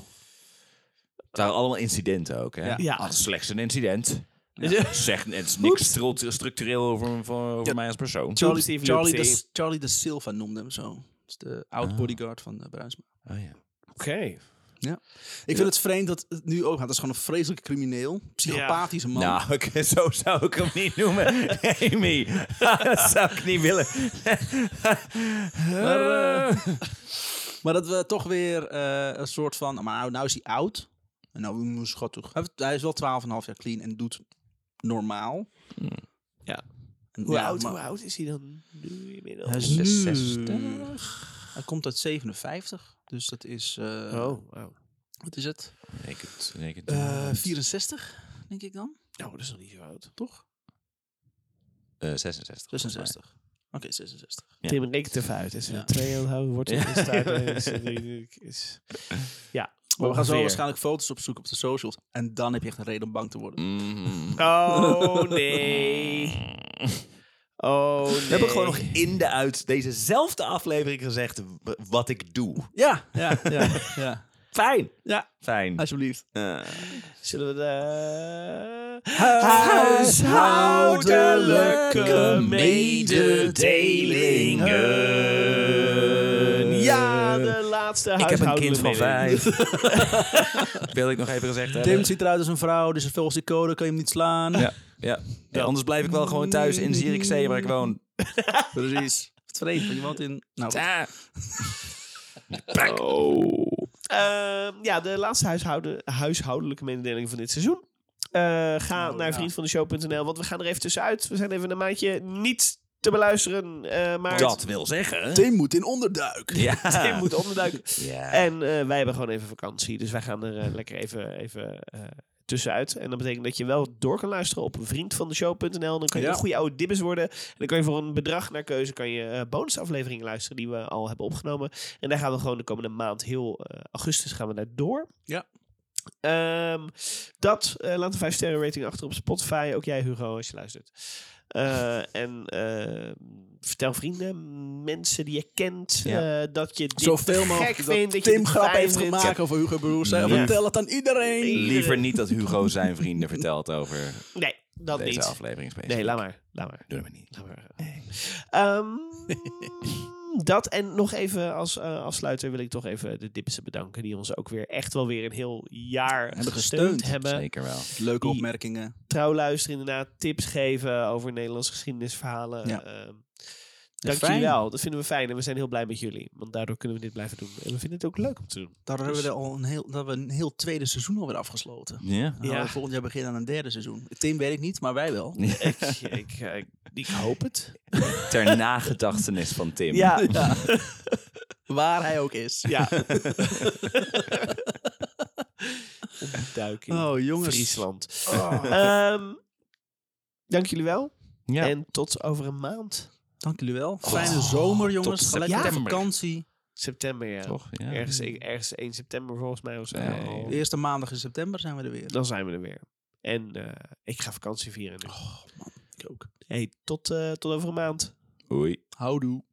Speaker 3: Het waren allemaal incidenten ook, hè?
Speaker 1: Ja.
Speaker 2: Ja.
Speaker 3: Ah, slechts een incident.
Speaker 2: Ja.
Speaker 3: Zeg, het is niks stru- structureel over, voor- over mij als persoon.
Speaker 1: Charlie,
Speaker 2: Steve
Speaker 1: Charlie,
Speaker 2: Lipsy.
Speaker 1: de, Charlie de Silva noemde hem zo. Dat is de
Speaker 2: Ah.
Speaker 1: oud-bodyguard van eh, Bruinsma.
Speaker 3: Oh, ja.
Speaker 2: Oké.
Speaker 1: Ik vind het vreemd dat het nu ook... Het is gewoon een vreselijke crimineel. Psychopathische man.
Speaker 3: Nou, ik- zo zou ik hem niet noemen. Amy, dat zou ik niet willen.
Speaker 1: Maar, eh, maar dat we toch weer eh, een soort van... Maar nou, nou is hij oud. En nou, moet schattig. Hij heeft- Hij is wel 12,5 jaar clean en doet normaal.
Speaker 2: Hmm. Ja.
Speaker 1: En
Speaker 2: Hoe,
Speaker 1: ja,
Speaker 2: oud,
Speaker 1: maar
Speaker 2: hoe oud is hij dan nu inmiddels?
Speaker 1: Hij is nu...
Speaker 3: 66.
Speaker 1: Hij komt uit 57. Dus dat is... eh,
Speaker 2: Oh, wauw.
Speaker 1: Wat is het?
Speaker 3: Ik het, ik het-
Speaker 1: Eh, 64, denk ik dan.
Speaker 2: Nou, dat is nog niet zo oud.
Speaker 1: Toch?
Speaker 3: eh, 66.
Speaker 1: 66. Oké, 66.
Speaker 3: Ja.
Speaker 2: Tim rekent even uit. Als we
Speaker 1: Ja.
Speaker 2: twee aanhouden, wordt het
Speaker 3: Ja.
Speaker 2: ja. Oh, is, is, is- Ja.
Speaker 1: Maar we gaan zo
Speaker 2: Ongeveer.
Speaker 1: waarschijnlijk foto's opzoeken op de socials. En dan heb je echt een reden om bang te worden.
Speaker 2: Mm. Oh nee. Oh nee.
Speaker 3: We hebben gewoon nog in de uit dezezelfde aflevering gezegd w- wat ik doe.
Speaker 1: Ja, ja, ja, ja.
Speaker 3: Fijn.
Speaker 1: Ja,
Speaker 3: Fijn.
Speaker 1: alsjeblieft.
Speaker 3: Eh,
Speaker 2: Zullen we de...
Speaker 1: Huishoudelijke
Speaker 3: mededelingen.
Speaker 2: Ja, de laatste
Speaker 3: Ik heb een
Speaker 2: huishoudelijke
Speaker 3: kind van
Speaker 2: mededeling.
Speaker 3: vijf. Wil ik nog even gezegd hebben.
Speaker 1: Tim ziet eruit als een vrouw, dus een volgens code kan je hem niet slaan.
Speaker 3: Ja, ja. ja, anders blijf ik wel gewoon thuis in Zierikzee waar ik woon.
Speaker 1: Precies. Het vreemd, want je woont in... Nou,
Speaker 2: Oh. Ehm, ja, de laatste huishouden, huishoudelijke mededeling van dit seizoen. Eh, ga
Speaker 3: Nou,
Speaker 2: naar vriendvandeshow.nl, want we gaan er even tussenuit. We zijn even een maandje niet te beluisteren, eh, maar
Speaker 3: Dat wil zeggen.
Speaker 1: Tim moet in onderduik.
Speaker 3: Ja.
Speaker 2: Tim moet onderduiken.
Speaker 3: Ja.
Speaker 2: En eh, wij hebben gewoon even vakantie, dus wij gaan er eh, lekker even, even eh, tussenuit. En dat betekent dat je wel door kan luisteren op vriendvandeshow.nl. Dan kan je
Speaker 1: Ja.
Speaker 2: een goede oude dibbes worden. En dan kan je voor een bedrag naar keuze kan je eh, bonusafleveringen luisteren die we al hebben opgenomen. En daar gaan we gewoon de komende maand, heel eh, augustus, gaan we daar door.
Speaker 1: Ja.
Speaker 2: Ehm, dat, eh, laat een 5 sterren rating achter op Spotify. Ook jij Hugo, als je luistert. Eh, en eh, vertel vrienden, mensen die je kent,
Speaker 3: Ja.
Speaker 2: eh, dat je dit
Speaker 1: Zoveel
Speaker 2: te
Speaker 1: mogelijk
Speaker 2: gek
Speaker 1: dat
Speaker 2: vindt, dat je
Speaker 1: Tim
Speaker 2: dit
Speaker 1: grap
Speaker 2: fijn
Speaker 1: heeft
Speaker 2: vindt.
Speaker 1: gemaakt over Hugo Broers. En
Speaker 3: Ja.
Speaker 1: vertel het aan iedereen.
Speaker 3: Liever niet dat Hugo zijn vrienden vertelt over
Speaker 2: Nee, dat
Speaker 3: deze
Speaker 2: niet.
Speaker 3: aflevering. specifiek.
Speaker 2: Nee, laat maar. Laat maar.
Speaker 3: Doen we niet.
Speaker 2: Laat maar. Ehm, dat en nog even als eh, afsluiter wil ik toch even de dippers bedanken. Die ons ook weer echt wel weer een heel jaar
Speaker 1: Hebben
Speaker 2: gesteund,
Speaker 1: gesteund,
Speaker 2: hebben.
Speaker 3: Zeker wel.
Speaker 1: Leuke
Speaker 2: Die-
Speaker 1: opmerkingen.
Speaker 2: Trouw luisteren inderdaad. Tips geven over Nederlandse geschiedenisverhalen.
Speaker 1: Ja.
Speaker 2: Ehm,
Speaker 1: Fijn.
Speaker 2: Dankjewel, dat vinden we fijn en we zijn heel blij met jullie. Want daardoor kunnen we dit blijven doen. En we vinden het ook leuk om te doen.
Speaker 1: Daardoor hebben we er al een heel, dat we een heel tweede seizoen alweer afgesloten.
Speaker 3: Ja.
Speaker 1: Dan gaan
Speaker 2: Ja.
Speaker 1: we Volgend jaar beginnen aan een derde seizoen. Tim weet ik niet, maar wij wel.
Speaker 2: ik, ik, eh, ik, ik hoop het.
Speaker 3: Ter nagedachtenis van Tim.
Speaker 2: Ja,
Speaker 1: Ja. Waar hij ook is.
Speaker 2: ja. Duiking.
Speaker 1: Oh, jongens.
Speaker 2: Friesland. Ehm, dank jullie wel.
Speaker 3: Ja.
Speaker 2: En tot over een maand.
Speaker 1: Dank jullie wel. Oh, Fijne zomer, jongens. Ga lekker op
Speaker 2: september.
Speaker 1: vakantie.
Speaker 2: September, ja.
Speaker 3: Toch? Ja.
Speaker 2: Ergens, e-, ergens 1 september volgens mij of zo. Oh.
Speaker 3: Nee.
Speaker 1: De eerste maandag in september zijn we er weer.
Speaker 2: Dan zijn we er weer. En eh, ik ga vakantie vieren nu.
Speaker 1: Ik ook.
Speaker 2: Hey, tot, eh, tot over een maand.
Speaker 3: Oei.
Speaker 1: Houdoe.